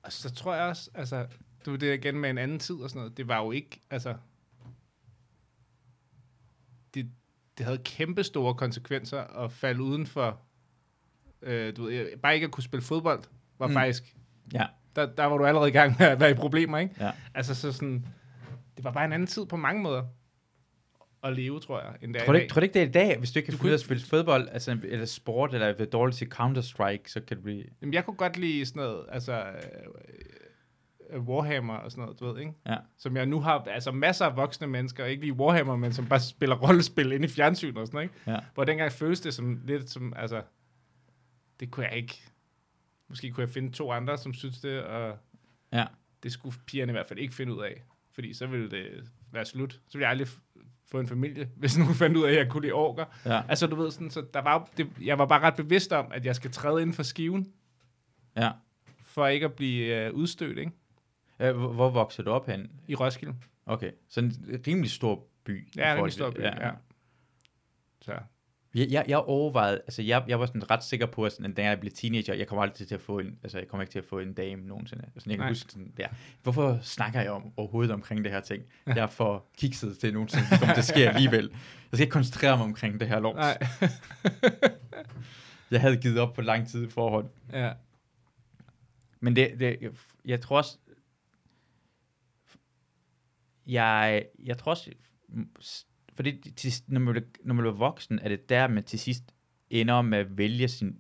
Speaker 2: Og så tror jeg også, altså, du det er igen med en anden tid og sådan noget, det var jo ikke, altså, det, det havde kæmpe store konsekvenser at falde uden for, øh, du ved, jeg- bare ikke at kunne spille fodbold, var mm.
Speaker 1: Mm.
Speaker 2: faktisk,
Speaker 1: Ja.
Speaker 2: der, der var du allerede i gang med at være i problemer, ikke?
Speaker 1: Ja.
Speaker 2: Altså, så sådan, det var bare en anden tid på mange måder at leve, tror jeg, end det er
Speaker 1: Tror
Speaker 2: i
Speaker 1: du,
Speaker 2: dag.
Speaker 1: ikke, tror du ikke, det er i dag, hvis du ikke kan
Speaker 2: Du
Speaker 1: finde ud af at
Speaker 2: kunne-
Speaker 1: spille fodbold, altså, eller sport, eller er dårlig til Counter-Strike, så kan det blive...
Speaker 2: Jamen, jeg kunne godt lide sådan noget, altså øh, øh, Warhammer og sådan noget, du ved, ikke?
Speaker 1: Ja.
Speaker 2: Som jeg nu har, altså masser af voksne mennesker, ikke lige Warhammer, men som bare spiller *laughs* rollespil inde i fjernsynet og sådan noget, ikke?
Speaker 1: Ja.
Speaker 2: Hvor dengang føles det som lidt som, altså, det kunne jeg ikke. Måske kunne jeg finde to andre, som synes det, og
Speaker 1: Ja.
Speaker 2: det skulle pigerne i hvert fald ikke finde ud af. Fordi så ville det være slut. Så ville jeg aldrig f- få en familie, *laughs* hvis nogen fandt ud af, at jeg kunne lide orker.
Speaker 1: Ja.
Speaker 2: Altså, du ved sådan, så der var, jo- det, jeg var bare ret bevidst om, at jeg skal træde inden for skiven,
Speaker 1: ja.
Speaker 2: for ikke at blive øh, udstødt, ikke?
Speaker 1: Øh, Hvor, hvor voksede du op hen?
Speaker 2: I Roskilde.
Speaker 1: Okay, så en rimelig stor by. i
Speaker 2: Ja, det er
Speaker 1: forhold
Speaker 2: en
Speaker 1: til-
Speaker 2: stor by, ja. ja. Så.
Speaker 1: Jeg, jeg, jeg overvejede, altså jeg, jeg var sådan ret sikker på, at sådan, da jeg blev teenager, jeg kommer aldrig til at få en, altså jeg kommer ikke til at få en dame nogensinde. Sådan, jeg kan
Speaker 2: Nej.
Speaker 1: Nej. huske sådan, ja. Hvorfor snakker jeg om, overhovedet omkring det her
Speaker 2: *laughs*
Speaker 1: ting? Jeg er for kikset til nogensinde, det kommer til at ske alligevel. Jeg skal ikke koncentrere mig omkring det her lort.
Speaker 2: Nej.
Speaker 1: Jeg havde givet op på lang tid i forhånd.
Speaker 2: ja.
Speaker 1: Men det, det jeg, jeg tror også, jeg, jeg tror også, for det, til, når, man bliver, når man bliver voksen, er det der, man til sidst ender med at vælge sin,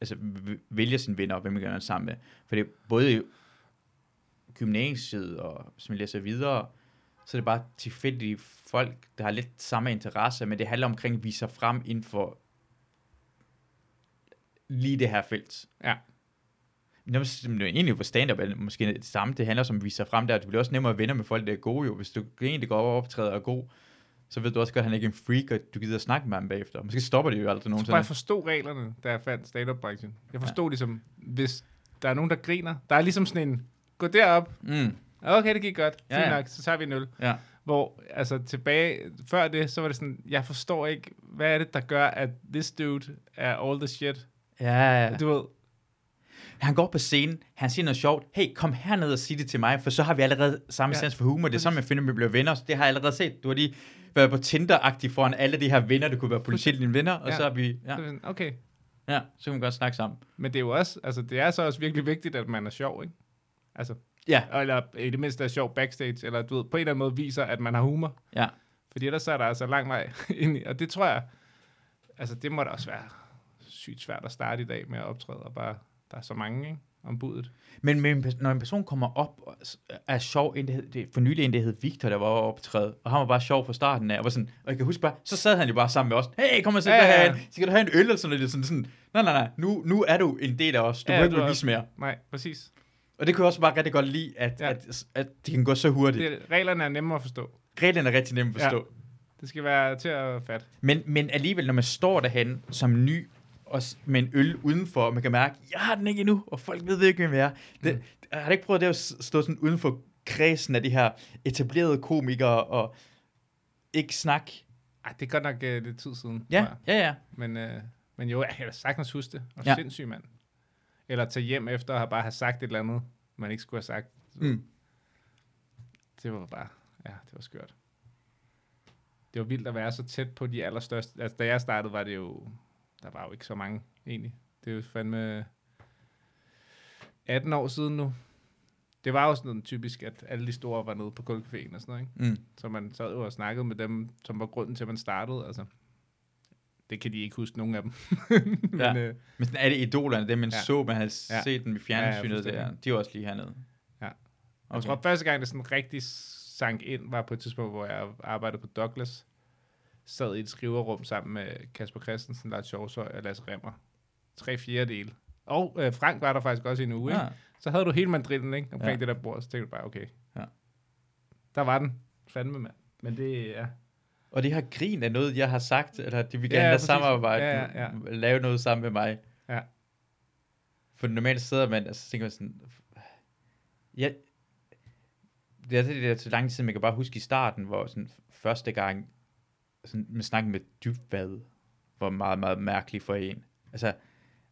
Speaker 1: altså v- vælge sin venner, og hvem man gerne vil sammen med. For det er både i gymnasiet, og hvis man læser videre, så er det bare tilfældige folk, der har lidt samme interesse, men det handler omkring at vise sig frem inden for lige det her felt.
Speaker 2: Ja.
Speaker 1: Men det er også- men det er egentlig for stand-up er det måske det samme. Det handler også om at vise sig frem der. Du bliver også nemmere at vende med folk, der er gode jo. Hvis du egentlig går over og optræder og er god, så ved du også godt, at han ikke er en freak, og du gider at snakke med ham bagefter. Måske stopper de jo aldrig
Speaker 2: Jeg tror, bare,
Speaker 1: nogensinde.
Speaker 2: jeg forstod reglerne, da jeg fandt stand-up-branchen. Jeg forstod ligesom, hvis der er nogen, der griner, der er ligesom sådan en, gå derop,
Speaker 1: Mm,
Speaker 2: okay, det gik godt,
Speaker 1: Ja,
Speaker 2: ja,
Speaker 1: ja.
Speaker 2: nok, så tager vi en øl.
Speaker 1: ja.
Speaker 2: Hvor, altså tilbage, før det, så var det sådan, jeg forstår ikke, hvad er det, der gør, at this dude er all the shit.
Speaker 1: Ja, ja.
Speaker 2: Du ved,
Speaker 1: Han går på scenen, han siger noget sjovt. Hey, kom herned og sig det til mig, for så har vi allerede samme ja.
Speaker 2: Ja.
Speaker 1: sans for humor. Det er sådan, jeg finder, at vi bliver venner. Så det har jeg allerede set. Du har lige været på Tinder-agtig foran alle de her venner. Det kunne være potentielt dine venner, og ja.
Speaker 2: Ja.
Speaker 1: så er vi... Ja,
Speaker 2: så er det sådan, okay.
Speaker 1: ja, så kan vi godt snakke sammen.
Speaker 2: Men det er jo også, altså det er så også virkelig vigtigt, at man er sjov, ikke? Altså,
Speaker 1: Ja,
Speaker 2: eller i det mindste er sjov backstage, eller du ved, på en eller anden måde viser, at man har humor.
Speaker 1: ja.
Speaker 2: Fordi ellers så er der altså lang vej *laughs* ind i, og det tror jeg, altså det må da også være sygt svært at starte i dag med at optræde, og bare, der er så mange, ikke? Om budet.
Speaker 1: Men, men når en person kommer op, og s- er sjov, en, det hed, det, for nylig en, det hed Victor, der var optræde, og han var bare sjov fra starten af, og, var sådan, og jeg kan huske bare, så sad han jo bare sammen med os, hey, kom og sæt
Speaker 2: Ja,
Speaker 1: dig
Speaker 2: ja, ja.
Speaker 1: herhen, skal du have en øl, eller sådan noget, Det er sådan, sådan nej, nej, nej, nu, nu er du en del af os, du
Speaker 2: Ja,
Speaker 1: ja, må ikke
Speaker 2: du er-
Speaker 1: bevise mere.
Speaker 2: Nej, præcis.
Speaker 1: Og det kunne jeg også bare rigtig godt lide, at, ja.
Speaker 2: Ja.
Speaker 1: at, at det kan gå så hurtigt.
Speaker 2: Det, reglerne er nemme at forstå.
Speaker 1: Reglerne er rigtig nemme at forstå. Ja.
Speaker 2: Det skal være til at fatte.
Speaker 1: Men, men alligevel, når man står derhen som ny, og s- med en øl udenfor, og man kan mærke, jeg har den ikke endnu, og folk ved ikke, hvem jeg er. Det, Har du ikke prøvet det at s- stå sådan udenfor kredsen af de her etablerede komikere, og ikke snakke?
Speaker 2: Ej, det er godt nok uh, lidt tid siden.
Speaker 1: Ja,
Speaker 2: tror jeg.
Speaker 1: ja, ja.
Speaker 2: Men, øh, men jo, jeg kan da sagtens huske det. Og
Speaker 1: Ja.
Speaker 2: ja. sindssyg mand. Eller tage hjem efter og bare have sagt et eller andet, man ikke skulle have sagt.
Speaker 1: Mm.
Speaker 2: Det var bare, ja, det var skørt. Det var vildt at være så tæt på de allerstørste. Altså, da jeg startede, var det jo, der var jo ikke så mange egentlig. Det er jo fandme 18 år siden nu. Det var jo sådan noget typisk, at alle de store var nede på kulcaféen og sådan noget, ikke?
Speaker 1: Mm.
Speaker 2: Så man sad jo og snakkede med dem, som var grunden til, at man startede. Altså, det kan de ikke huske, nogen af dem. *laughs*
Speaker 1: *laughs*
Speaker 2: Men,
Speaker 1: Ja.
Speaker 2: øh,
Speaker 1: Mm. Men sådan er det idolerne, dem man ja.
Speaker 2: Ja.
Speaker 1: så, man havde ja.
Speaker 2: Ja.
Speaker 1: set dem i
Speaker 2: Ja, ja,
Speaker 1: fjernsynet ja,
Speaker 2: fuldstændig.
Speaker 1: der, de var også lige hernede.
Speaker 2: Ja.
Speaker 1: Okay.
Speaker 2: Jeg tror, første gang, det sådan rigtig sank ind, var på et tidspunkt, hvor jeg arbejdede på Douglas. Sad i et skriverrum sammen med Kasper Christensen, Lars Sjovsøj og Lasse Remmer. Tre fjerdedele. Og øh, Frank var der faktisk også i en uge. Ja.
Speaker 1: ja.
Speaker 2: Så havde du hele mandrillen ikke? omkring
Speaker 1: Ja.
Speaker 2: ja. det der bord, så tænkte du bare, okay.
Speaker 1: Ja.
Speaker 2: Der var den. Fandme, mand. Men det er... Ja.
Speaker 1: Og det her grin er noget, jeg har sagt, eller de vil
Speaker 2: Ja,
Speaker 1: gerne
Speaker 2: ja,
Speaker 1: ja,
Speaker 2: præcis.
Speaker 1: samarbejde,
Speaker 2: Ja, ja, ja.
Speaker 1: lave noget sammen med mig.
Speaker 2: Ja.
Speaker 1: For normalt sidder man, og så tænker man sådan, ja, det er det der til lang tid, siden, man kan bare huske i starten, hvor sådan første gang, sådan, man snakkede med dybvad, var meget, meget mærkelig for en. Altså,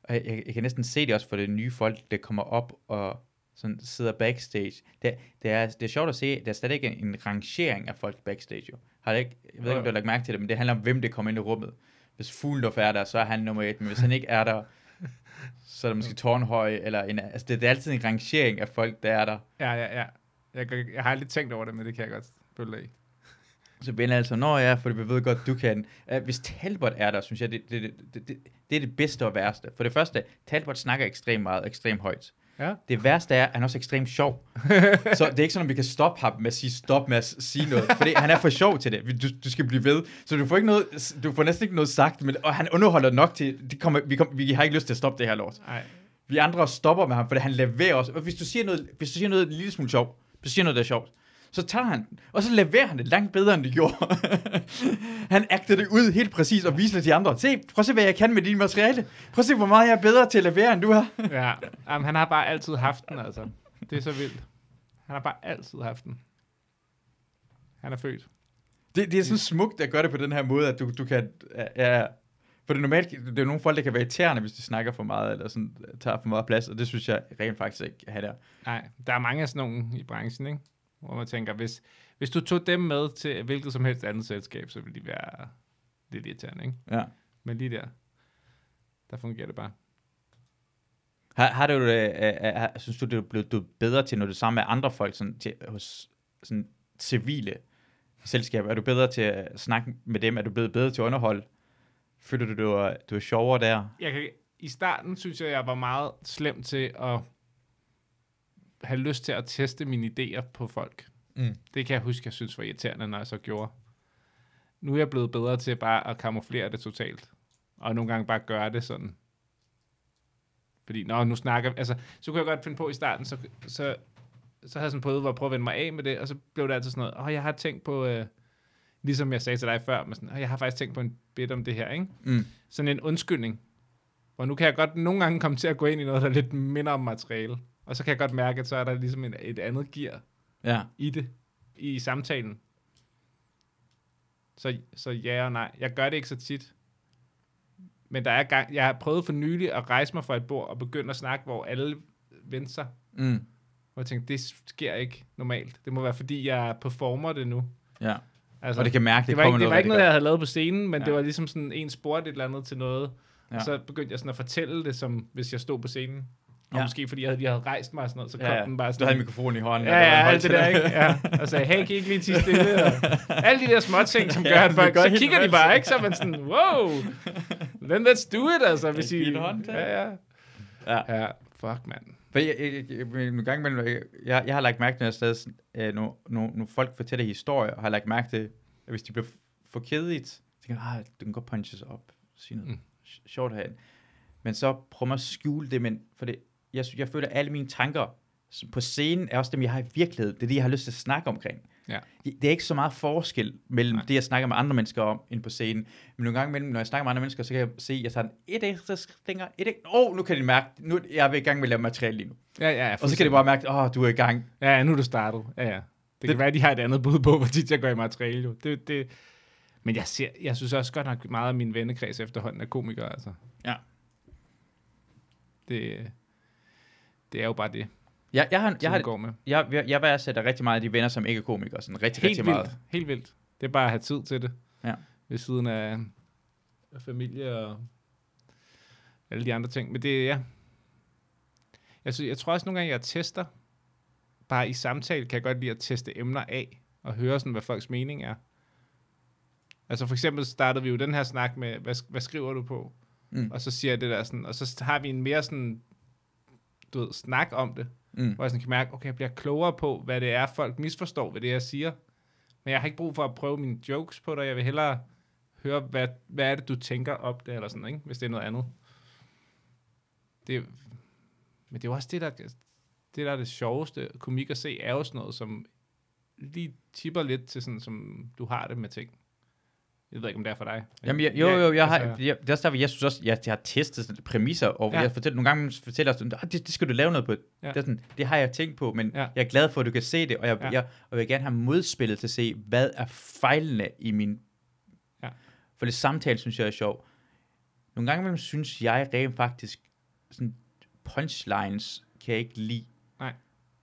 Speaker 1: og jeg, jeg kan næsten se det også for det nye folk, der kommer op og sådan sidder backstage. Det, det, er, det er sjovt at se, der er slet ikke en rangering af folk backstage jo. Har det ikke, jeg ved ikke, om du har lagt mærke til det, men det handler om, hvem det kommer ind i rummet. Hvis Fuglendorf er der, så er han nummer et, men hvis han ikke er der, så er der måske Tårnhøj, eller en, altså det, det er altid en rangering af folk, der er der.
Speaker 2: Ja, ja, ja. Jeg, kan- jeg har lidt tænkt over det, men det kan jeg godt følge dig i.
Speaker 1: Så vender altså, når jeg for vi ved godt, du kan. Uh, hvis Talbot er der, synes jeg, det, det, det, det, det er det bedste og værste. For det første, Talbot snakker ekstremt meget, ekstremt højt.
Speaker 2: Ja.
Speaker 1: Det værste er, at han er også er ekstremt sjov. så det er ikke sådan, at vi kan stoppe ham med at sige stop med at s- sige noget. Fordi han er for sjov til det. Du, du skal blive ved. Så du får, ikke noget, du får næsten ikke noget sagt, men, og han underholder nok til, det kommer, vi, kom, vi har ikke lyst til at stoppe det her lort.
Speaker 2: Nej.
Speaker 1: Vi andre stopper med ham, fordi han leverer os. Og Hvis du siger noget, hvis du siger noget en lille smule sjov, hvis du siger noget, der er sjovt, så tager han, den, og så leverer han det langt bedre, end det gjorde. *laughs* han agter det ud helt præcis og viser det til de andre. Se, prøv at se, hvad jeg kan med din materiale. Prøv at se, hvor meget jeg er bedre til at levere, end du er.
Speaker 2: Ja, Jamen, han har bare altid haft den, altså. Det er så vildt. Han har bare altid haft den. Han er født.
Speaker 1: Det, det er sådan smukt at gøre det på den her måde, at du, du kan... Ja, ja. for det normalt, det er jo nogle folk, der kan være irriterende, hvis de snakker for meget, eller sådan, tager for meget plads, og det synes jeg rent faktisk ikke, han er.
Speaker 2: Nej, der er mange af sådan nogle i branchen, ikke? Hvor man tænker, hvis, hvis du tog dem med til hvilket som helst andet selskab, så ville de være lidt irriterende, ikke?
Speaker 1: Ja.
Speaker 2: Men lige der, der fungerer det bare.
Speaker 1: Har, har du, øh, øh, øh, synes du, det er blevet du er bedre til, når du er sammen med andre folk, sådan, til, hos sådan, civile selskaber? Er du bedre til at snakke med dem? Er du blevet bedre til at underholde? Føler du, du er, du er sjovere der?
Speaker 2: Jeg kan, I starten synes jeg, jeg var meget slem til at have lyst til at teste mine idéer på folk.
Speaker 1: Mm.
Speaker 2: Det kan jeg huske, jeg synes var irriterende, når jeg så gjorde. Nu er jeg blevet bedre til bare at kamuflere det totalt. Og nogle gange bare gøre det sådan. Fordi, nå, nu snakker Altså, så kunne jeg godt finde på i starten, så, så, så havde jeg sådan prøvet at prøve at vende mig af med det, og så blev det altid sådan noget, åh, jeg har tænkt på, øh, Ligesom jeg sagde til dig før, men sådan, "Åh, jeg har faktisk tænkt på en bit om det her, ikke?
Speaker 1: Mm.
Speaker 2: Sådan en undskyldning. Og nu kan jeg godt nogle gange komme til at gå ind i noget, der lidt minder om materiale. Og så kan jeg godt mærke, at så er der ligesom en, et andet gear
Speaker 1: Ja.
Speaker 2: i det, i samtalen. Så, så ja og nej. Jeg gør det ikke så tit. Men der er gang, jeg har prøvet for nylig at rejse mig fra et bord og begynde at snakke, hvor alle vendte sig.
Speaker 1: Mm.
Speaker 2: Og jeg tænkte, det sker ikke normalt. Det må være, fordi jeg performer det nu.
Speaker 1: ja.
Speaker 2: Altså,
Speaker 1: Og det kan mærke, det,
Speaker 2: det var ikke,
Speaker 1: kommer
Speaker 2: det var
Speaker 1: noget
Speaker 2: ikke noget,
Speaker 1: rigtig
Speaker 2: jeg havde lavet på scenen, men ja. det
Speaker 1: Ja.
Speaker 2: var ligesom sådan en sport et eller andet til noget. Ja.
Speaker 1: Ja.
Speaker 2: Og så begyndte jeg sådan at fortælle det, som hvis jeg stod på scenen. Og ja.
Speaker 1: Ja.
Speaker 2: måske fordi jeg havde, lige havde rejst mig og sådan noget, så kom
Speaker 1: godt.
Speaker 2: ja. den bare
Speaker 1: ja.
Speaker 2: sådan.
Speaker 1: Du havde mikrofonen i hånden.
Speaker 2: Ja,
Speaker 1: og der var en
Speaker 2: ja,
Speaker 1: hånd
Speaker 2: alt det
Speaker 1: til
Speaker 2: der,
Speaker 1: dig.
Speaker 2: ikke? Ja. Og sagde, hey, kan I ikke lige tige stille? Og alle de der små ting, som gør,
Speaker 1: Ja,
Speaker 2: at
Speaker 1: det
Speaker 2: folk,
Speaker 1: gør
Speaker 2: så
Speaker 1: helt
Speaker 2: kigger de
Speaker 1: normalt.
Speaker 2: bare, ikke? Så er man sådan, wow, then let's do it, altså. Hvis
Speaker 1: Giv
Speaker 2: I,
Speaker 1: en hånd til.
Speaker 2: ja, ja.
Speaker 1: Ja.
Speaker 2: ja, fuck, mand.
Speaker 1: Fordi jeg, jeg, jeg, jeg, en gang imellem, jeg, jeg, jeg har lagt mærke til, når, jeg stadig, sådan, øh, når, når, når folk fortæller historier, har jeg lagt mærke til, at hvis de bliver f- for kedeligt, så tænker jeg, ah, du kan godt punches op, sige noget
Speaker 2: Mm.
Speaker 1: mm. sjovt herinde. Men så prøver man at skjule det, men for det, jeg, sy- jeg føler, at alle mine tanker s- på scenen er også dem, jeg har i virkeligheden. Det er det, jeg har lyst til at snakke omkring.
Speaker 2: Ja.
Speaker 1: Det, det er ikke så meget forskel mellem
Speaker 2: Nej.
Speaker 1: Nej. det, jeg snakker med andre mennesker om, end på scenen. Men nogle gange imellem, når jeg snakker med andre mennesker, så kan jeg se, at jeg tager en et ekstra skridt længere. Et, ek- Åh, oh, nu kan de mærke, nu er jeg er i gang med at lave materiale lige nu.
Speaker 2: Ja, ja, ja,
Speaker 1: Og så kan det bare mærke, at oh, du er i gang.
Speaker 2: Ja, ja, nu er du startet. Ja, ja. Det, det kan være, at de har et andet bud på, *laughs* hvor tit jeg går i materiale. Jo. Det, det. Men jeg, ser, jeg synes også godt nok meget af min vennekreds efterhånden er komikere. Altså.
Speaker 1: Ja.
Speaker 2: Det, det er jo bare det,
Speaker 1: Jeg, jeg, har, jeg,
Speaker 2: som
Speaker 1: har,
Speaker 2: jeg går med.
Speaker 1: jeg, jeg, jeg værdsætter rigtig meget af de venner, som ikke er komikere. Sådan rigtig,
Speaker 2: Helt
Speaker 1: rigtig
Speaker 2: vildt.
Speaker 1: meget.
Speaker 2: Helt vildt. Det er bare at have tid til det.
Speaker 1: Ja.
Speaker 2: Ved siden af, af familie og alle de andre ting. Men det er, ja. Jeg, synes, jeg tror også nogle gange, jeg tester. Bare i samtale kan jeg godt lide at teste emner af og høre sådan, hvad folks mening er. Altså for eksempel startede vi jo den her snak med, hvad, sk- hvad skriver du på?
Speaker 1: Mm.
Speaker 2: Og så siger jeg det der sådan, og så har vi en mere sådan, du ved, snak om det
Speaker 1: Mm.
Speaker 2: hvor jeg sådan kan mærke, okay, jeg bliver klogere på, hvad det er, folk misforstår ved det, jeg siger. Men jeg har ikke brug for at prøve mine jokes på dig. Jeg vil hellere høre, hvad, hvad er det, du tænker op det, eller sådan, ikke? hvis det er noget andet. Det, men det er jo også det, der, det, der er det sjoveste komik at se, er jo sådan noget, som lige tipper lidt til sådan, som du har det med ting. Jeg ved ikke, om det er for dig.
Speaker 1: Jamen, jeg, jo, jo, jeg har,
Speaker 2: altså,
Speaker 1: jeg, det er også derfor, jeg synes også, jeg, jeg har testet sådan præmisser, og
Speaker 2: Ja.
Speaker 1: ja. jeg fortæller, nogle gange fortæller jeg sådan, "Ah, det, det skal du lave noget på.
Speaker 2: Ja.
Speaker 1: Ja. Det, er sådan, det har jeg tænkt på, men
Speaker 2: Ja.
Speaker 1: ja. jeg er glad for, at du kan se det, og jeg,
Speaker 2: Ja.
Speaker 1: ja. jeg og jeg vil gerne have modspillet til at se, hvad er fejlene i min...
Speaker 2: Ja.
Speaker 1: For det samtale, synes jeg er sjov. Nogle gange imellem synes jeg rent faktisk, sådan punchlines kan jeg ikke lide.
Speaker 2: Nej.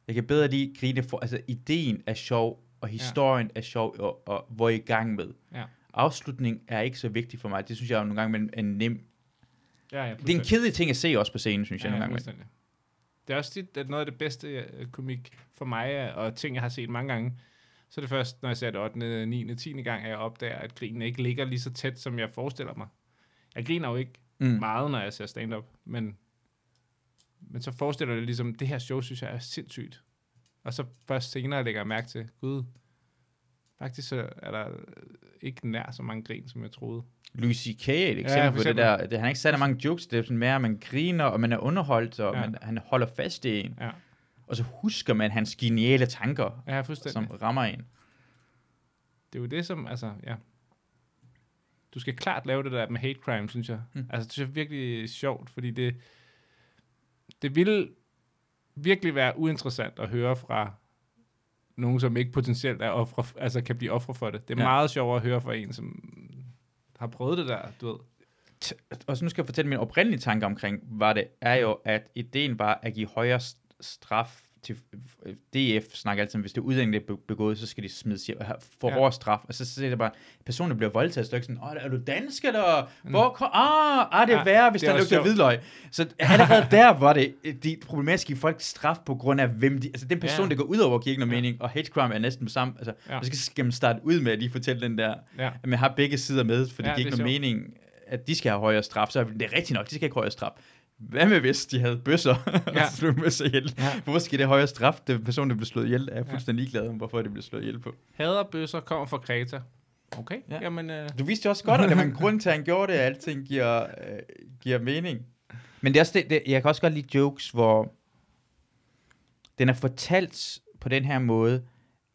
Speaker 1: Jeg kan bedre lide grine for, altså ideen er sjov, og historien ja. er sjov, og, og hvor jeg er i gang med afslutning er ikke så vigtig for mig. Det synes jeg jo nogle gange imellem er nem.
Speaker 2: ja, ja,
Speaker 1: Det er en kedelig ting at se også på scenen, synes jeg ja, nogle gange. imellem.
Speaker 2: fuldstændig. Det er også tit, at noget af det bedste øh, komik for mig, er- og ting, jeg har set mange gange, så er det først, når jeg ser det 8., 9., 10. gang, at jeg opdager, at grinen ikke ligger lige så tæt, som jeg forestiller mig. Jeg griner jo ikke mm.
Speaker 1: Mm.
Speaker 2: meget, når jeg ser stand-up, men, men så forestiller jeg det ligesom, det her show, synes jeg er sindssygt. Og så først senere lægger jeg mærke til, gud, faktisk så er der øh, ikke nær så mange grin, som jeg troede.
Speaker 1: Louis C.K. er et
Speaker 2: Ja,
Speaker 1: eksempel
Speaker 2: for
Speaker 1: ja, på det
Speaker 2: eksempel.
Speaker 1: der. Det, han har ikke sat der mange jokes, det er sådan mere, at man griner, og man er underholdt, og
Speaker 2: Ja.
Speaker 1: ja. man, han holder fast i en.
Speaker 2: Ja,
Speaker 1: Og så husker man hans geniale tanker,
Speaker 2: ja fuldstændig.
Speaker 1: som rammer en.
Speaker 2: det er jo det, som, altså, ja. Du skal klart lave det der med hate crime, synes jeg. Mm.
Speaker 1: Mm.
Speaker 2: Altså, det synes jeg er virkelig sjovt, fordi det, det ville virkelig være uinteressant at høre fra nogen, som ikke potentielt er ofre, altså kan blive ofre for det. Det er ja.
Speaker 1: Ja.
Speaker 2: meget sjovere at høre fra en, som har prøvet det der, du ved.
Speaker 1: T- Og så nu skal jeg fortælle mine oprindelige tanker omkring, var det er jo, at ideen var at give højere s- straf til DF snakker altid om, hvis det er udlænding, der er be- begået, så skal de smides hjem, have- få
Speaker 2: Ja.
Speaker 1: ja. hård straf. Og så siger det bare, personen der bliver voldtaget, så er det ikke sådan, åh, er du dansk, eller hvor kom, ah, ah, det
Speaker 2: Ja,
Speaker 1: er værre, hvis
Speaker 2: Mm. det er
Speaker 1: der
Speaker 2: også
Speaker 1: lugter
Speaker 2: sjovt.
Speaker 1: hvidløg. Så allerede der var det, øh, de problematiske at give folk straf på grund af, hvem de, altså den person,
Speaker 2: Ja.
Speaker 1: der går ud over, giver ikke noget
Speaker 2: Ja.
Speaker 1: mening, og hate crime er næsten på samme, altså,
Speaker 2: Ja.
Speaker 1: ja. så skal man starte ud med at lige fortælle den der,
Speaker 2: Ja.
Speaker 1: at man har begge sider med, for
Speaker 2: Ja,
Speaker 1: ja, det giver
Speaker 2: det
Speaker 1: ikke
Speaker 2: er
Speaker 1: nogen mening, at de skal have højere straf. Så er det rigtigt nok, de skal ikke have højere straf. Hvad med hvis de havde bøsser, *laughs*
Speaker 2: Ja.
Speaker 1: ja. og slog bøsser ihjel?
Speaker 2: Ja.
Speaker 1: Ja. Hvorfor skal det højere straf? Den person, der blev slået ihjel, er fuldstændig ligeglad om, hvorfor det blev slået ihjel på.
Speaker 2: Hader bøsser kommer fra Kreta. Okay, ja.
Speaker 1: Ja.
Speaker 2: jamen, øh,
Speaker 1: Du vidste jo også godt, at der *laughs* var en grund til, at han gjorde det, at alting giver, øh, giver mening. Men det er også det, det, jeg kan også godt lide jokes, hvor den er fortalt på den her måde,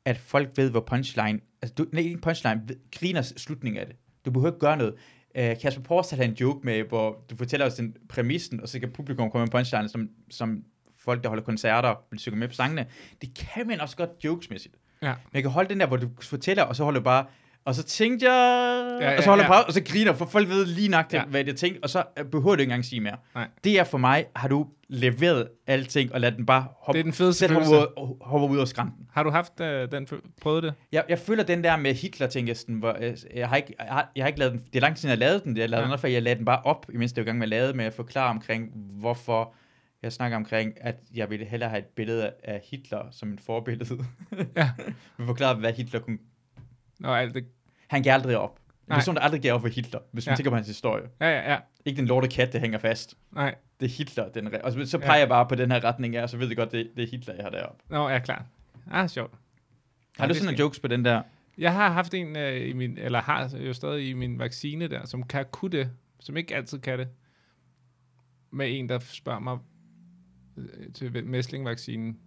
Speaker 1: at folk ved, hvor punchline... Altså, du, nej, ikke punchline, ved, griner slutningen af det. Du behøver ikke gøre noget. Øh, Kasper Porsdal havde en joke med, hvor du fortæller os den præmissen, og så kan publikum komme med punchline, som, som folk, der holder koncerter, vil synge med på sangene. Det kan man også godt jokesmæssigt.
Speaker 2: Ja.
Speaker 1: Men jeg kan holde den der, hvor du fortæller, og så holder du bare, og så tænkte jeg,
Speaker 2: Ja, ja,
Speaker 1: og så holder
Speaker 2: ja.
Speaker 1: du bare, og så griner, for folk ved lige nok,
Speaker 2: Ja.
Speaker 1: ja. hvad jeg tænkte, og så øh, behøver du ikke engang sige mere.
Speaker 2: Nej.
Speaker 1: Det er for mig, har du leveret alting, og lad den bare hoppe,
Speaker 2: Det er den fedeste
Speaker 1: selv
Speaker 2: følelse.
Speaker 1: hoppe, ud- hoppe ud af skrænten.
Speaker 2: Har du haft øh, den? fø- Prøvet det?
Speaker 1: Jeg, jeg føler den der med Hitler, tænker jeg sådan, hvor, øh, jeg, har ikke, jeg, har, jeg har ikke lavet den, det er lang tid, jeg har lavet den, jeg har lavet
Speaker 2: Ja.
Speaker 1: ja. den, for jeg lagde den bare op, imens det var i gang med at lave med at forklare omkring, hvorfor jeg snakker omkring, at jeg ville hellere have et billede af Hitler som en forbillede.
Speaker 2: Ja.
Speaker 1: *laughs* Vi forklarer, hvad Hitler kunne
Speaker 2: Nå, alt det.
Speaker 1: Han gav aldrig op. En
Speaker 2: Nej.
Speaker 1: person, der aldrig gav op for Hitler, hvis man
Speaker 2: Ja.
Speaker 1: tænker på hans historie.
Speaker 2: Ja, ja, ja.
Speaker 1: Ikke den lorte kat, der hænger fast.
Speaker 2: Nej.
Speaker 1: Det er Hitler, den re- Og så- så
Speaker 2: Ja.
Speaker 1: peger ja. jeg bare på den her retning af, og så ved jeg godt, det, det er Hitler, jeg har deroppe.
Speaker 2: Nå, jeg er klar. Ah, sjovt.
Speaker 1: Har du
Speaker 2: Ja, det
Speaker 1: sådan nogle
Speaker 2: skal-
Speaker 1: jokes på den der?
Speaker 2: Jeg har haft en øh, i min, eller har jo stadig i min vaccine der, som kan kunne det, som ikke altid kan det. Med en, der spørger mig øh, til mæslingvaccinen.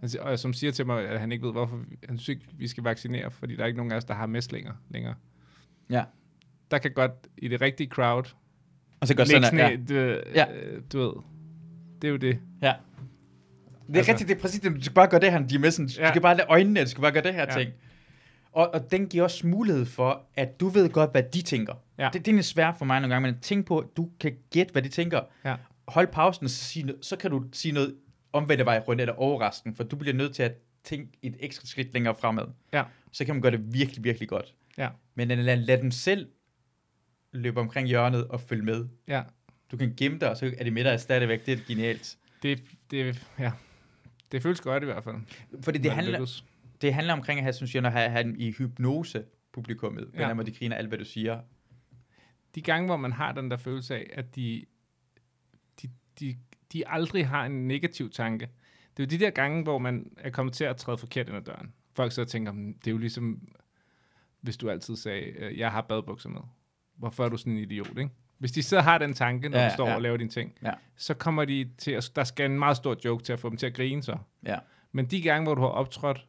Speaker 2: Han siger, og som siger til mig, at han ikke ved, hvorfor vi- han synes ikke, vi skal vaccinere, fordi der er ikke nogen af os, der har mæslinger længere.
Speaker 1: Ja.
Speaker 2: Der kan godt, i det rigtige crowd,
Speaker 1: Og så gør
Speaker 2: lægge
Speaker 1: sådan
Speaker 2: sådan
Speaker 1: her, ja.
Speaker 2: et, øh,
Speaker 1: Ja.
Speaker 2: øh, du ved, det er jo det.
Speaker 1: Det er
Speaker 2: altså-
Speaker 1: rigtigt, det er præcis det. Du skal bare gøre det her, de er med sådan, du
Speaker 2: Ja.
Speaker 1: skal bare lade øjnene, du skal bare gøre det her
Speaker 2: Ja.
Speaker 1: ja. ting. Og, og den giver også mulighed for, at du ved godt, hvad de tænker.
Speaker 2: Ja.
Speaker 1: Det, det er lidt svært for mig nogle gange, men tænk på, at du kan gætte, hvad de tænker.
Speaker 2: Ja.
Speaker 1: Hold pausen, og så, sige, noget- så kan du sige noget omvendt vej rundt eller overraskende, for du bliver nødt til at tænke et ekstra skridt længere fremad.
Speaker 2: Ja.
Speaker 1: Så kan man gøre det virkelig, virkelig godt.
Speaker 2: Ja.
Speaker 1: Men lad, lad dem selv løbe omkring hjørnet og følge med.
Speaker 2: Ja.
Speaker 1: Du kan gemme dig, og så er det med dig stadigvæk. Det er genialt.
Speaker 2: Det, det, ja. det føles godt i hvert fald.
Speaker 1: Fordi det
Speaker 2: Når
Speaker 1: handler,
Speaker 2: lykkes.
Speaker 1: det handler omkring at have, synes jeg, at have, have dem i hypnose publikummet,
Speaker 2: Ja.
Speaker 1: hvordan ja. de griner alt, hvad du siger.
Speaker 2: de gange, hvor man har den der følelse af, at de, de, de, de aldrig har en negativ tanke. Det er jo de der gange, hvor man er kommet til at træde forkert ind ad døren. Folk så tænker, "Men det er jo ligesom, hvis du altid sagde, øh, jeg har badbukser med. Hvorfor er du sådan en idiot, ikke? Hvis de så har den tanke, når
Speaker 1: Ja,
Speaker 2: ja, du står ja.
Speaker 1: ja.
Speaker 2: og laver dine ting,
Speaker 1: Ja.
Speaker 2: så kommer de til at, der skal en meget stor joke til at få dem til at grine så.
Speaker 1: Ja.
Speaker 2: Men de gange, hvor du har optrådt,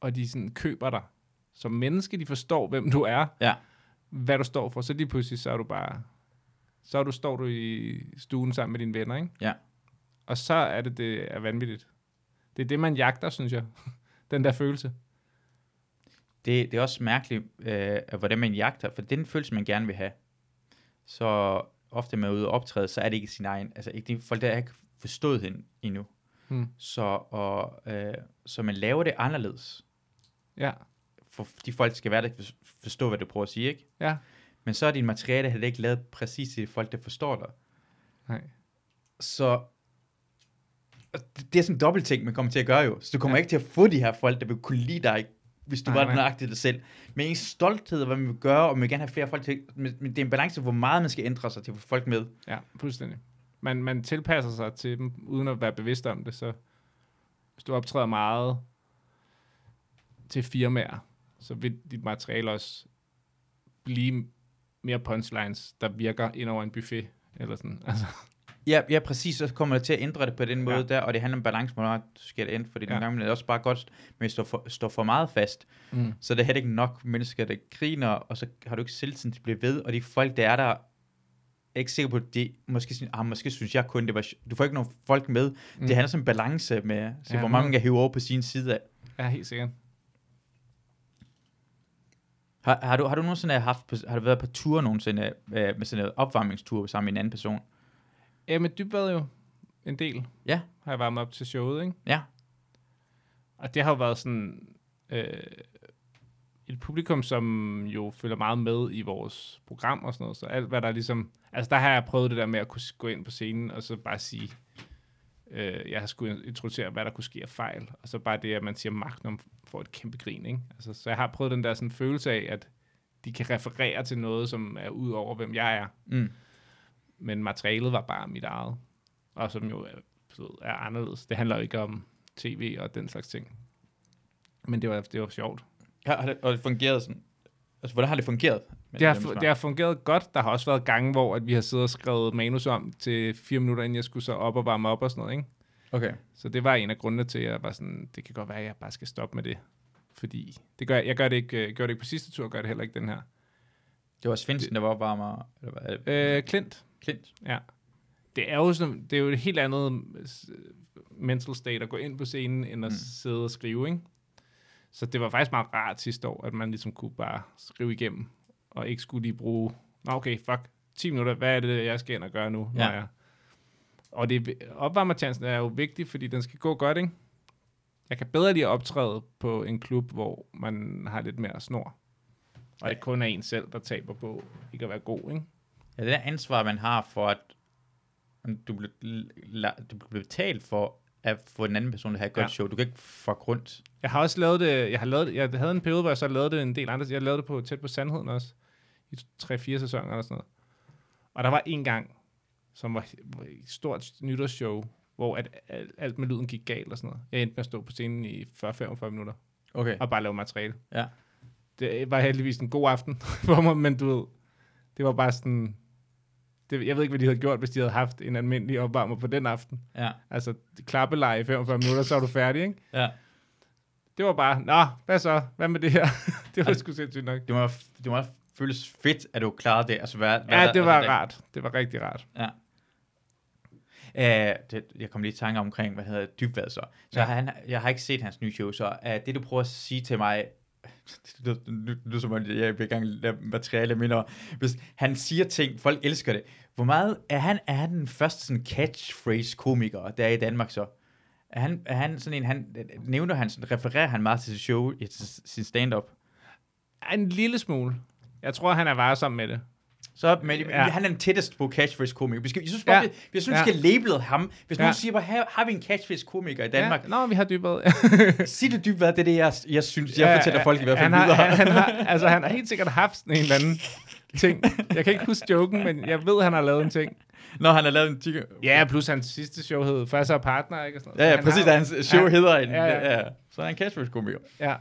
Speaker 2: og de sådan køber dig som menneske, de forstår, hvem du er,
Speaker 1: Ja.
Speaker 2: hvad du står for, så lige pludselig, så er du bare, så er du, står du i stuen sammen med dine venner, ikke?
Speaker 1: Ja.
Speaker 2: Og så er det, det er vanvittigt. Det er det, man jagter, synes jeg. *laughs* Den der følelse.
Speaker 1: Det, det er også mærkeligt, øh, hvordan man jagter, for det er den følelse, man gerne vil have. Så ofte man er ude og optræde, så er det ikke sin egen, altså ikke det, folk der har ikke forstået hende endnu.
Speaker 2: Hmm.
Speaker 1: Så, og, øh, så man laver det anderledes,
Speaker 2: Ja.
Speaker 1: for de folk skal være der, kan forstå, hvad du prøver at sige, ikke?
Speaker 2: Ja.
Speaker 1: Men så er din materiale heller ikke lavet præcis til folk, der forstår dig.
Speaker 2: Nej.
Speaker 1: Så og det det er sådan en dobbelt ting, man kommer til at gøre jo. Så du kommer
Speaker 2: Ja.
Speaker 1: ja. ikke til at få de her folk, der vil kunne lide dig, hvis du
Speaker 2: Nej,
Speaker 1: nej,
Speaker 2: nej.
Speaker 1: var nøjagtig dig selv. Men ens stolthed, og hvad man vil gøre, og man vil gerne have flere folk til. Men men det er en balance, hvor meget man skal ændre sig til at få folk med.
Speaker 2: Ja, fuldstændig. Man, man tilpasser sig til dem, uden at være bevidst om det, så hvis du optræder meget til firmaer, så vil dit materiale også blive mere punchlines, der virker ind over en buffet, eller sådan. Altså,
Speaker 1: Ja, ja præcis, så kommer du til at ændre det på den måde
Speaker 2: Ja.
Speaker 1: ja. der, og det handler om balance, hvor meget du skal ændre, fordi ja.
Speaker 2: Ja.
Speaker 1: nogle gange er det også bare godt, men hvis du for, står for meget fast,
Speaker 2: mm.
Speaker 1: så er det heller ikke nok mennesker, der griner, og så har du ikke selvtillid til at blive ved, og de folk, der er der, er ikke sikker på, at de måske, synes, ah, måske synes jeg kun, det var sj-" Du får ikke nogen folk med. Mm. Det handler som en balance med, så
Speaker 2: Ja,
Speaker 1: ja, mm. hvor meget
Speaker 2: hundrede.
Speaker 1: man kan hive over på sin side af.
Speaker 2: Ja, helt sikkert.
Speaker 1: Har, har, du, har du nogensinde haft, på- har du været på tur nogensinde, øh, med sådan en opvarmningstur sammen med en anden person?
Speaker 2: Ja, men dybbad jo en del.
Speaker 1: Ja.
Speaker 2: Har jeg varmet op til showet, ikke?
Speaker 1: Ja.
Speaker 2: Og det har jo været sådan øh, et publikum, som jo følger meget med i vores program og sådan noget. Så alt, hvad der ligesom... Altså, der har jeg prøvet det der med at kunne s- gå ind på scenen og så bare sige... Øh, jeg har skulle introducere, hvad der kunne ske af fejl. Og så bare det, at man siger magnum får et kæmpe grin, ikke? Altså, så jeg har prøvet den der sådan følelse af, at de kan referere til noget, som er ud over, hvem jeg er
Speaker 1: Mm.
Speaker 2: men materialet var bare mit eget, og som jo er, du ved, er anderledes. Det handler jo ikke om tv og den slags ting. Men det var, det var sjovt.
Speaker 1: Har, har det, og det fungeret sådan? Altså, hvordan har det fungeret? med
Speaker 2: Det har,
Speaker 1: dem, som
Speaker 2: fu- det har fungeret godt. Der har også været gange, hvor at vi har siddet og skrevet manus om til fire minutter, inden jeg skulle så op og varme op og sådan noget. Ikke?
Speaker 1: Okay.
Speaker 2: Så det var en af grundene til, at jeg var sådan, det kan godt være, at jeg bare skal stoppe med det. Fordi det gør, jeg gør det ikke, øh, gør det ikke på sidste tur, gør det heller ikke den her.
Speaker 1: Det var Svendsen, der var opvarmer. Eller hvad? er det?
Speaker 2: Øh, Klint,
Speaker 1: Klint.
Speaker 2: ja. Det er, jo sådan, det er jo et helt andet øh, mental state at gå ind på scenen, end at mm. sidde og skrive, ikke? Så det var faktisk meget rart sidste år, at man ligesom kunne bare skrive igennem, og ikke skulle lige bruge, nå okay, fuck, 10 minutter, hvad er det, jeg skal ind og gøre nu? Ja.
Speaker 1: Ja.
Speaker 2: Når jeg... Og det er vi- opvarmerchancen er jo vigtig, fordi den skal gå godt, ikke? Jeg kan bedre lide at optræde på en klub, hvor man har lidt mere snor. Og det kun er en selv, der taber på ikke at være god, ikke?
Speaker 1: Ja, det der ansvar, man har for, at om du bliver, la- du bliver betalt for at få en anden person til at have et godt
Speaker 2: Ja.
Speaker 1: ja. show. Du kan ikke fuck rundt.
Speaker 2: Jeg har også lavet det, jeg, har lavet, jeg havde en periode, hvor jeg så lavede det en del andre, jeg lavede det på tæt på sandheden også, i 3-4 sæsoner eller sådan noget. Og der var en gang, som var var et stort nytårsshow, hvor at alt, alt med lyden gik galt og sådan noget. Jeg endte med at stå på scenen i 40-45 minutter
Speaker 1: Okay.
Speaker 2: og bare lave materiale.
Speaker 1: Ja.
Speaker 2: Det var heldigvis en god aften *laughs* for mig, men du ved, det var bare sådan, det, jeg ved ikke, hvad de havde gjort, hvis de havde haft en almindelig opvarmer på den aften.
Speaker 1: Ja.
Speaker 2: Altså, klappeleje i 45 minutter, så er du færdig, ikke?
Speaker 1: ja.
Speaker 2: Det var bare, nå, hvad så? Hvad med det her? *laughs* det
Speaker 1: Altså,
Speaker 2: var sgu sindssygt nok.
Speaker 1: Det må, det må også føles fedt, at du klarede det. Altså, hvad, hvad
Speaker 2: Ja,
Speaker 1: der-
Speaker 2: det var
Speaker 1: altså,
Speaker 2: rart. Det var rigtig rart.
Speaker 1: Ja. Uh, det, jeg kom lige i tanke omkring, hvad hedder Dybvad så. Så
Speaker 2: Ja.
Speaker 1: ja. han, jeg har ikke set hans nye show, så uh, det du prøver at sige til mig, *laughs* det lyder- det lyder- det lyder som om, jeg bliver i gang med materiale minder. Hvis han siger ting, folk elsker det. Hvor meget er han, er han den første sådan catchphrase-komiker, der er i Danmark så? Er han, er han sådan en, han nævner han, sådan, refererer han meget til sit show, i sin- sin stand-up?
Speaker 2: En lille smule. Jeg tror, han er varsom med det.
Speaker 1: Så men,
Speaker 2: Ja.
Speaker 1: ja. han er den tættest på catchphrase komiker. Vi skal, jeg synes bare,
Speaker 2: Ja.
Speaker 1: ja. vi, jeg synes,
Speaker 2: Ja.
Speaker 1: vi skal label ham. Hvis
Speaker 2: Ja.
Speaker 1: ja. nogen siger, bare, har, har vi en catchphrase komiker i Danmark?
Speaker 2: Ja, nå, vi har
Speaker 1: *laughs*
Speaker 2: dybet.
Speaker 1: Ja. Sig det dybt, hvad det er, det, jeg, jeg synes. Jeg ja, fortæller folk i hvert fald
Speaker 2: han har,
Speaker 1: videre.
Speaker 2: han, han, har, altså, han har helt sikkert haft sådan en eller anden ting. Jeg kan ikke huske joken, men jeg ved, han har lavet en ting.
Speaker 1: *laughs* Når han har lavet en tykker.
Speaker 2: Ja, plus hans sidste show hed Først og Partner, ikke? Og sådan noget.
Speaker 1: Ja, ja
Speaker 2: Han
Speaker 1: præcis,
Speaker 2: har-
Speaker 1: da hans show
Speaker 2: Ja.
Speaker 1: hedder en.
Speaker 2: Ja,
Speaker 1: Ja,
Speaker 2: ja.
Speaker 1: ja. Ja. Så er han en catchphrase komiker.
Speaker 2: Ja.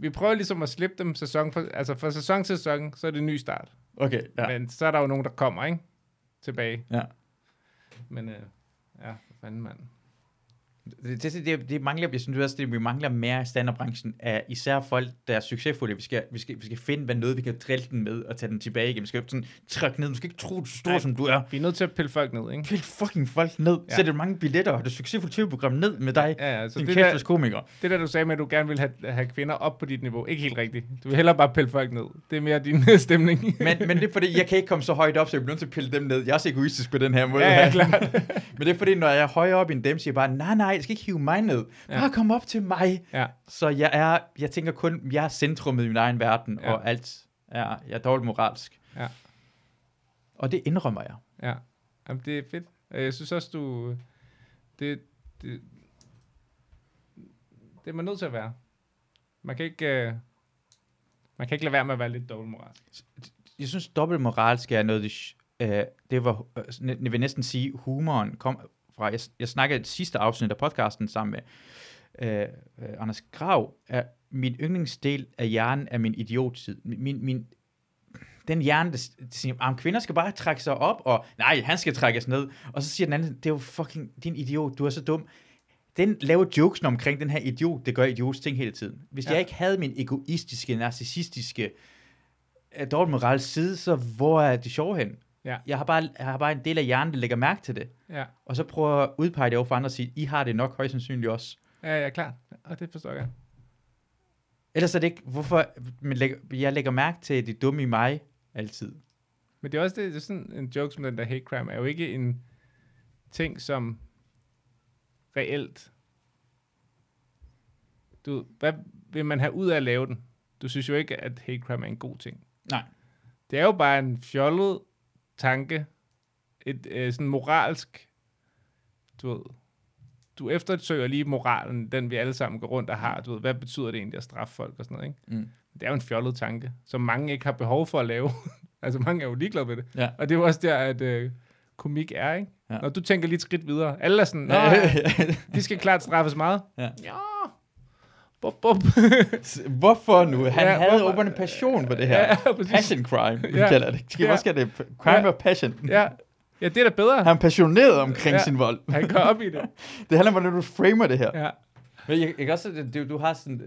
Speaker 2: Vi prøver ligesom at slippe dem sæson for, altså fra sæson til sæson, så er det en ny start.
Speaker 1: Okay, ja.
Speaker 2: Ja. Men så er der jo nogen, der kommer, ikke? Tilbage.
Speaker 1: ja.
Speaker 2: Men øh, ja, for fanden mand.
Speaker 1: Det, det, det, det, mangler, jeg synes også, det, vi mangler mere i standardbranchen af især folk, der er succesfulde. Vi skal, vi skal, vi skal finde hvad noget, vi kan drille den med og tage den tilbage igen. Vi skal jo ikke sådan trække ned. Du skal ikke tro, du er så stor,
Speaker 2: Nej.
Speaker 1: som du er.
Speaker 2: Vi er nødt til at pille folk ned, ikke?
Speaker 1: pille fucking folk ned.
Speaker 2: Ja.
Speaker 1: Ja. Sætte mange billetter og det succesfulde tv-program ned med dig. Ja,
Speaker 2: Ja, ja, så
Speaker 1: din
Speaker 2: det
Speaker 1: kæfters
Speaker 2: der,
Speaker 1: komiker.
Speaker 2: det der, du sagde med, at du gerne vil have, have kvinder op på dit niveau, ikke helt rigtigt. Du vil hellere bare pille folk ned. Det er mere din
Speaker 1: *laughs*
Speaker 2: øh, stemning.
Speaker 1: Men, men det er fordi, jeg kan ikke komme så højt op, så jeg bliver nødt til at pille dem ned. Jeg er også egoistisk på den her måde.
Speaker 2: ja, ja, klart.
Speaker 1: men det er fordi, når jeg er højere op end dem, siger jeg bare, nej, nej, jeg skal ikke hive mig ned. Bare
Speaker 2: Ja.
Speaker 1: kom op til mig.
Speaker 2: Ja.
Speaker 1: Så jeg er, jeg tænker kun, jeg er centrummet i min egen verden,
Speaker 2: Ja.
Speaker 1: ja. og alt er, jeg er dårligt moralsk.
Speaker 2: Ja.
Speaker 1: Og det indrømmer jeg.
Speaker 2: Ja, Jamen, det er fedt. Øh, Jeg synes også, du... Det, det, det er man nødt til at være. Man kan ikke... Øh, man kan ikke lade være med at være lidt dobbeltmoralsk.
Speaker 1: jeg synes, dobbelt moralsk er noget, det, sh- øh, det var, øh, sådan, jeg vil næsten sige, humoren kom fra, jeg, jeg snakkede i det sidste afsnit af podcasten sammen med øh, øh, Anders Grav, er min yndlingsdel af hjernen er min idiottid. Min, min, min den hjerne, der, s- der siger, at kvinder skal bare trække sig op, og nej, han skal trækkes ned. Og så siger den anden, det er jo fucking, din idiot, du er så dum. Den laver jokesen omkring den her idiot, det gør idiots ting hele tiden. Hvis
Speaker 2: Ja.
Speaker 1: ja. jeg ikke havde min egoistiske, narcissistiske, øh, dårlig moral side, så hvor er det sjove hen?
Speaker 2: Ja.
Speaker 1: Jeg, har bare, jeg har bare en del af hjernen, der lægger mærke til det.
Speaker 2: Ja,
Speaker 1: Og så prøver jeg at udpege det over for andre og sige, I har det nok højst sandsynligt også.
Speaker 2: ja, ja, klart. Og det forstår jeg. godt.
Speaker 1: Ellers er det ikke, hvorfor men lægger, jeg lægger mærke til det dumme i mig altid.
Speaker 2: Men det er også det, det er sådan en joke som den der hate crime, er jo ikke en ting, som reelt... Du, hvad vil man have ud af at lave den? Du synes jo ikke, at hate crime er en god ting.
Speaker 1: Nej.
Speaker 2: Det er jo bare en fjollet tanke, et øh, sådan moralsk, du ved, du eftersøger lige moralen, den vi alle sammen går rundt og har, du ved, hvad betyder det egentlig at straffe folk og sådan noget, ikke?
Speaker 1: Mm.
Speaker 2: Det er jo en fjollet tanke, som mange ikke har behov for at lave. *laughs* altså mange er jo ligeglade med det.
Speaker 1: Ja.
Speaker 2: Og det er jo også der, at øh, komik er, ikke? Ja.
Speaker 1: Ja.
Speaker 2: Når du tænker lige et skridt videre, alle er sådan, Nå, de skal klart straffes meget.
Speaker 1: Ja.
Speaker 2: ja. Bop, bop.
Speaker 1: *laughs* hvorfor nu? Han
Speaker 2: Ja,
Speaker 1: ja, havde
Speaker 2: hvorfor?
Speaker 1: åben en passion på det her.
Speaker 2: ja,
Speaker 1: Ja,
Speaker 2: præcis.
Speaker 1: passion crime, vi
Speaker 2: Ja.
Speaker 1: ja. kalder det. Skal
Speaker 2: Ja.
Speaker 1: ja. også kalde det crime
Speaker 2: Ja.
Speaker 1: ja. passion. Ja.
Speaker 2: Ja. ja, det er da bedre.
Speaker 1: Han er passioneret omkring
Speaker 2: Ja.
Speaker 1: ja. sin vold.
Speaker 2: Han går op i det.
Speaker 1: Det handler om, hvordan du framer det her.
Speaker 2: Ja.
Speaker 1: Men jeg, jeg kan også, det, det, du har sådan,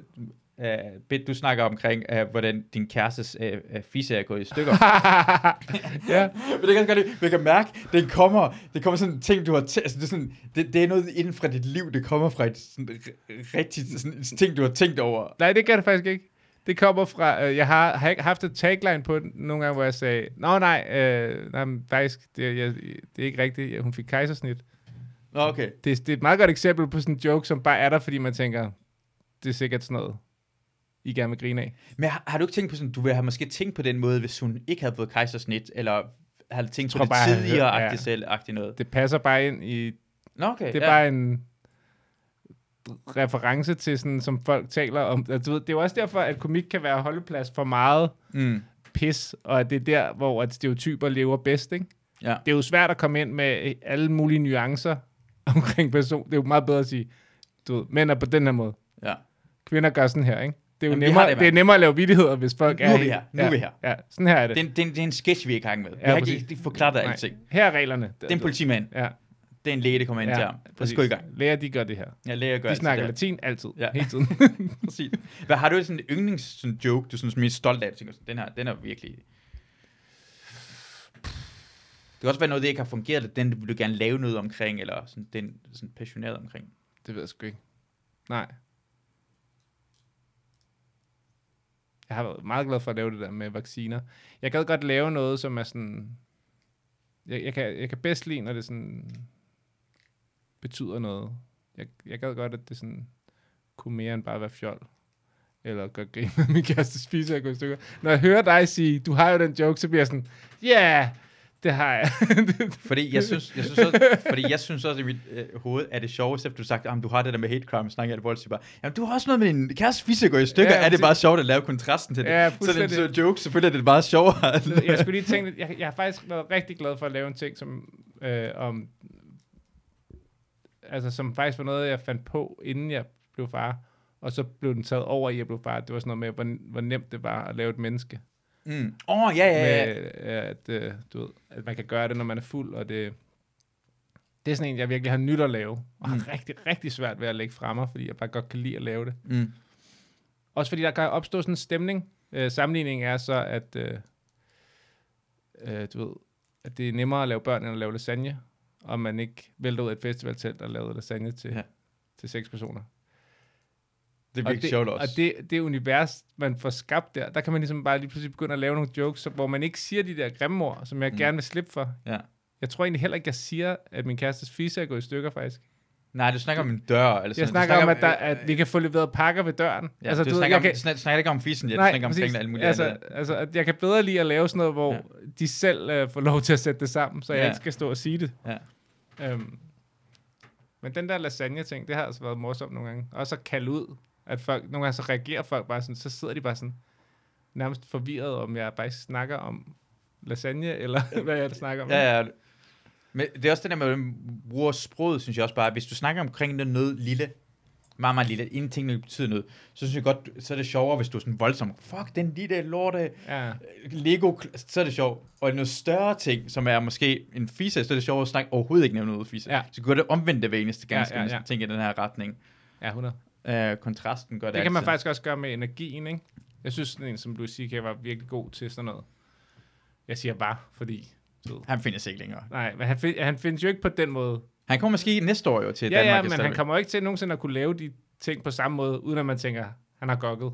Speaker 1: øh, øh, bit, du snakker omkring, øh, hvordan din kærestes øh, øh, fisse er gået i stykker.
Speaker 2: *laughs* ja.
Speaker 1: *laughs* Men det kan jeg godt lide. Jeg kan mærke, det kommer, det kommer sådan en ting, du har tæ- altså, det, er sådan, det, det, er noget inden fra dit liv, det kommer fra et sådan, r- rigtigt sådan, en ting, du har tænkt over.
Speaker 2: Nej, det gør det faktisk ikke. Det kommer fra, øh, jeg har, har ikke haft et tagline på den nogle gange, hvor jeg sagde, nå nej, øh, nej men faktisk, det, jeg, det er ikke rigtigt, hun fik kejsersnit.
Speaker 1: Nå, okay.
Speaker 2: Det, det er et meget godt eksempel på sådan en joke, som bare er der, fordi man tænker, det er sikkert sådan noget, I gerne vil grine af.
Speaker 1: Men har, har, du ikke tænkt på sådan, du ville have måske tænkt på den måde, hvis hun ikke havde fået kejsersnit, eller havde tænkt på
Speaker 2: tror
Speaker 1: det
Speaker 2: bare, jeg havde
Speaker 1: tidligere,
Speaker 2: hørt- ja.
Speaker 1: agtigt selv, agtigt noget.
Speaker 2: Det passer bare ind i,
Speaker 1: Nå, okay.
Speaker 2: det er
Speaker 1: ja.
Speaker 2: bare en reference til sådan, som folk taler om. Altså, du ved, det er jo også derfor, at komik kan være holdeplads for meget
Speaker 1: Mm.
Speaker 2: pis, og at det er der, hvor at stereotyper lever bedst, ikke?
Speaker 1: Ja.
Speaker 2: Det er jo svært at komme ind med alle mulige nuancer *laughs* omkring person. Det er jo meget bedre at sige, du ved, mænd er på den her måde.
Speaker 1: Ja.
Speaker 2: Kvinder gør sådan her, ikke? Det er jo
Speaker 1: Jamen, vi har
Speaker 2: nemmere,
Speaker 1: det,
Speaker 2: det, det er
Speaker 1: mand.
Speaker 2: nemmere at lave vidigheder, hvis folk
Speaker 1: Nu
Speaker 2: er...
Speaker 1: er vi
Speaker 2: i-
Speaker 1: her. Nu
Speaker 2: ja,
Speaker 1: er vi her.
Speaker 2: Ja, sådan her er det.
Speaker 1: Det, er en- det, er en- det er en sketch, vi er i gang med. Ja, jeg har
Speaker 2: præcis.
Speaker 1: ikke, ikke forklaret dig
Speaker 2: Nej.
Speaker 1: alting.
Speaker 2: Her er reglerne. Altså,
Speaker 1: Det er en politimand.
Speaker 2: Ja,
Speaker 1: Det er en læge, der kommer ind ja,
Speaker 2: ja,
Speaker 1: til ham. Lad os gå i gang.
Speaker 2: Læger, de gør det her.
Speaker 1: Ja, læger gør
Speaker 2: De
Speaker 1: altid
Speaker 2: snakker
Speaker 1: det.
Speaker 2: latin altid.
Speaker 1: Ja.
Speaker 2: Hele tiden.
Speaker 1: *laughs* Præcis. Hvad har du sådan en yndlings sådan joke, du synes mest stolt af? Du tænker, sådan, den her, den er virkelig... Det kan også være noget, der ikke har fungeret, eller den vil du gerne lave noget omkring, eller sådan, den er sådan passioneret omkring.
Speaker 2: det ved jeg sgu ikke. Nej. Jeg har været meget glad for at lave det der med vacciner. Jeg gad godt lave noget, som er sådan... Jeg, jeg, kan, jeg kan bedst lide, når det sådan betyder noget. Jeg, jeg gad godt, at det sådan kunne mere end bare være fjol. Eller gøre grin med min kæreste spiser og gå i stykker. Når jeg hører dig sige, du har jo den joke, så bliver jeg sådan, ja, yeah, det har jeg.
Speaker 1: Fordi jeg synes, jeg synes, også, fordi jeg synes også i mit øh, hoved, at det sjoveste, efter du har sagt, at du har det der med hate crime, snakker jeg vold, så bare, jamen du har også noget med din kæreste fisse går i stykker,
Speaker 2: Ja,
Speaker 1: ja, er det
Speaker 2: præcis.
Speaker 1: bare sjovt at lave kontrasten til det?
Speaker 2: Ja,
Speaker 1: så er det
Speaker 2: fuldstændig.
Speaker 1: en så joke, selvfølgelig er det bare sjovere. at-
Speaker 2: jeg skulle lige tænke, lidt. jeg, jeg har faktisk været rigtig glad for at lave en ting, som, øh, om, altså, som faktisk var noget, jeg fandt på, inden jeg blev far. Og så blev den taget over, i at jeg blev far. Det var sådan noget med, hvor, hvor nemt det var at lave et menneske.
Speaker 1: Åh, mm. oh, ja, ja, ja.
Speaker 2: Med, at, øh, du ved, at man kan gøre det, når man er fuld, og det, det er sådan en, jeg virkelig har nyt at lave, og har
Speaker 1: Mm.
Speaker 2: rigtig, rigtig svært ved at lægge fra mig, fordi jeg bare godt kan lide at lave det.
Speaker 1: Mm.
Speaker 2: Også fordi der kan opstå sådan en stemning. Øh, sammenligningen er så, at, øh, øh, du ved, at det er nemmere at lave børn, end at lave lasagne, og man ikke vælter ud af et festivaltelt og laver lasagne til,
Speaker 1: Ja.
Speaker 2: ja. til seks personer.
Speaker 1: Det er
Speaker 2: og det,
Speaker 1: virkelig sjovt også.
Speaker 2: og det, det univers, man får skabt der, der kan man ligesom bare lige pludselig begynde at lave nogle jokes, så- hvor man ikke siger de der grimme ord, som jeg
Speaker 1: Mm.
Speaker 2: mm. gerne vil slippe for.
Speaker 1: Ja.
Speaker 2: Jeg tror egentlig heller ikke, jeg siger, at min kærestes fisse er gået i stykker, faktisk.
Speaker 1: Nej, du snakker om en dør. Eller sådan.
Speaker 2: Jeg
Speaker 1: Du
Speaker 2: snakker, snakker om, at, der, at vi kan få leveret pakker ved døren.
Speaker 1: Ja, altså, du, du snakker,
Speaker 2: jeg
Speaker 1: om,
Speaker 2: kan-
Speaker 1: kan... snakker, snakker ikke om fissen, ja, du snakker om
Speaker 2: præcis.
Speaker 1: tingene og alt muligt altså,
Speaker 2: altså,
Speaker 1: andet.
Speaker 2: altså, at jeg kan bedre lide at lave sådan noget, hvor
Speaker 1: Ja.
Speaker 2: ja. de selv øh, får lov til at sætte det sammen, så jeg
Speaker 1: Ja.
Speaker 2: ja. ikke skal stå og sige det.
Speaker 1: Ja.
Speaker 2: Øhm, men den der lasagne-ting, det har altså været morsomt nogle gange. Også at kalde ud, at folk, nogle gange så reagerer folk bare sådan, så sidder de bare sådan nærmest forvirret, om jeg bare snakker om lasagne, eller *laughs* hvad jeg snakker om.
Speaker 1: Ja, ja. Men det er også det der med, at man bruger sproget, synes jeg også bare. Hvis du snakker omkring noget, noget lille, meget, meget lille, inden tingene betyder noget, så synes jeg godt, så er det sjovere, hvis du er sådan voldsom. Fuck, den lille lorte
Speaker 2: ja.
Speaker 1: Lego, så er det sjovt. Og noget større ting, som er måske en fisse, så er det sjovere at snakke overhovedet ikke nævne noget fisse.
Speaker 2: Ja.
Speaker 1: Så gør det omvendt det hver eneste
Speaker 2: Ja,
Speaker 1: ganske
Speaker 2: ja,
Speaker 1: ja,
Speaker 2: ja.
Speaker 1: ting i den her retning.
Speaker 2: ja 100.
Speaker 1: Øh, kontrasten gør det
Speaker 2: Det kan man
Speaker 1: altid.
Speaker 2: faktisk også gøre med energien, ikke? Jeg synes, sådan en som Louis C.K. var virkelig god til sådan noget. Jeg siger bare, fordi... du ved.
Speaker 1: Han findes ikke længere.
Speaker 2: Nej, men han, find, han findes jo ikke på den måde.
Speaker 1: Han kommer måske næste år jo til
Speaker 2: Ja,
Speaker 1: Danmark.
Speaker 2: ja,
Speaker 1: i
Speaker 2: men
Speaker 1: stedet
Speaker 2: han
Speaker 1: for.
Speaker 2: kommer jo ikke til nogensinde at kunne lave de ting på samme måde, uden at man tænker, han har gokket.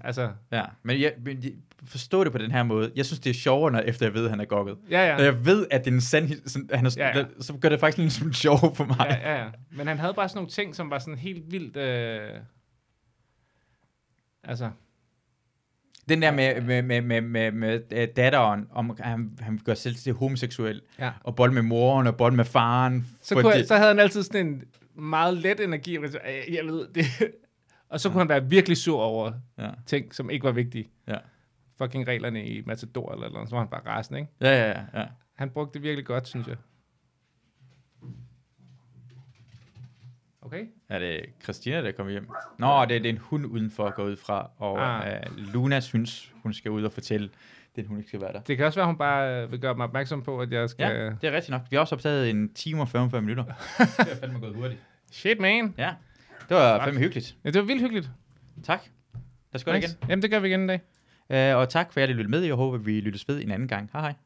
Speaker 2: Altså,
Speaker 1: Ja, men jeg men jeg- forstår det på den her måde. Jeg synes, det er sjovere, når efter jeg ved, at han er gokket.
Speaker 2: ja,
Speaker 1: Ja.
Speaker 2: ja.
Speaker 1: Når jeg ved, at det er en sand his- sådan, at han er,
Speaker 2: Ja,
Speaker 1: ja,
Speaker 2: ja.
Speaker 1: ja. så gør det faktisk lidt som *laughs* sjov for mig. Ja,
Speaker 2: ja, ja, ja. Men han havde bare sådan nogle ting, som var sådan helt vildt... Øh... Altså,
Speaker 1: Den der med, med, med, med, med, med øh, datteren, om at han, han gør selv til homoseksuel,
Speaker 2: Ja.
Speaker 1: og bold med moren, og bold med faren.
Speaker 2: så,
Speaker 1: fordi-
Speaker 2: kunne jeg, så havde han altid sådan en meget let energi. hvor jeg så, "Øh, Jeg ved det. *laughs* Og så kunne han være virkelig sur over
Speaker 1: Ja.
Speaker 2: ting, som ikke var vigtige.
Speaker 1: Ja.
Speaker 2: Fucking reglerne i Matador eller noget, så var han bare rasende, ikke?
Speaker 1: ja, ja, ja, ja.
Speaker 2: Han brugte det virkelig godt, synes jeg. Okay.
Speaker 1: Er det Christina, der kommer hjem? Nå, det, det er en hund udenfor at gå ud fra, og ah.
Speaker 2: Ah.
Speaker 1: øh, Luna synes, hun skal ud og fortælle, den hund ikke skal være der.
Speaker 2: Det kan også være, hun bare øh, vil gøre mig opmærksom på, at jeg skal...
Speaker 1: Ja, det er rigtigt nok. Vi har også optaget en time og 45
Speaker 2: *laughs*
Speaker 1: minutter. det er fandme gået hurtigt.
Speaker 2: Shit, man.
Speaker 1: Ja, det var
Speaker 2: Fuck.
Speaker 1: fandme hyggeligt.
Speaker 2: Ja, det var vildt hyggeligt.
Speaker 1: Tak. Lad os gøre det igen.
Speaker 2: Jamen, det gør vi igen en dag.
Speaker 1: Øh, og tak for jer, der lyttede med. Jeg håber, vi lyttes ved en anden gang. Hej hej.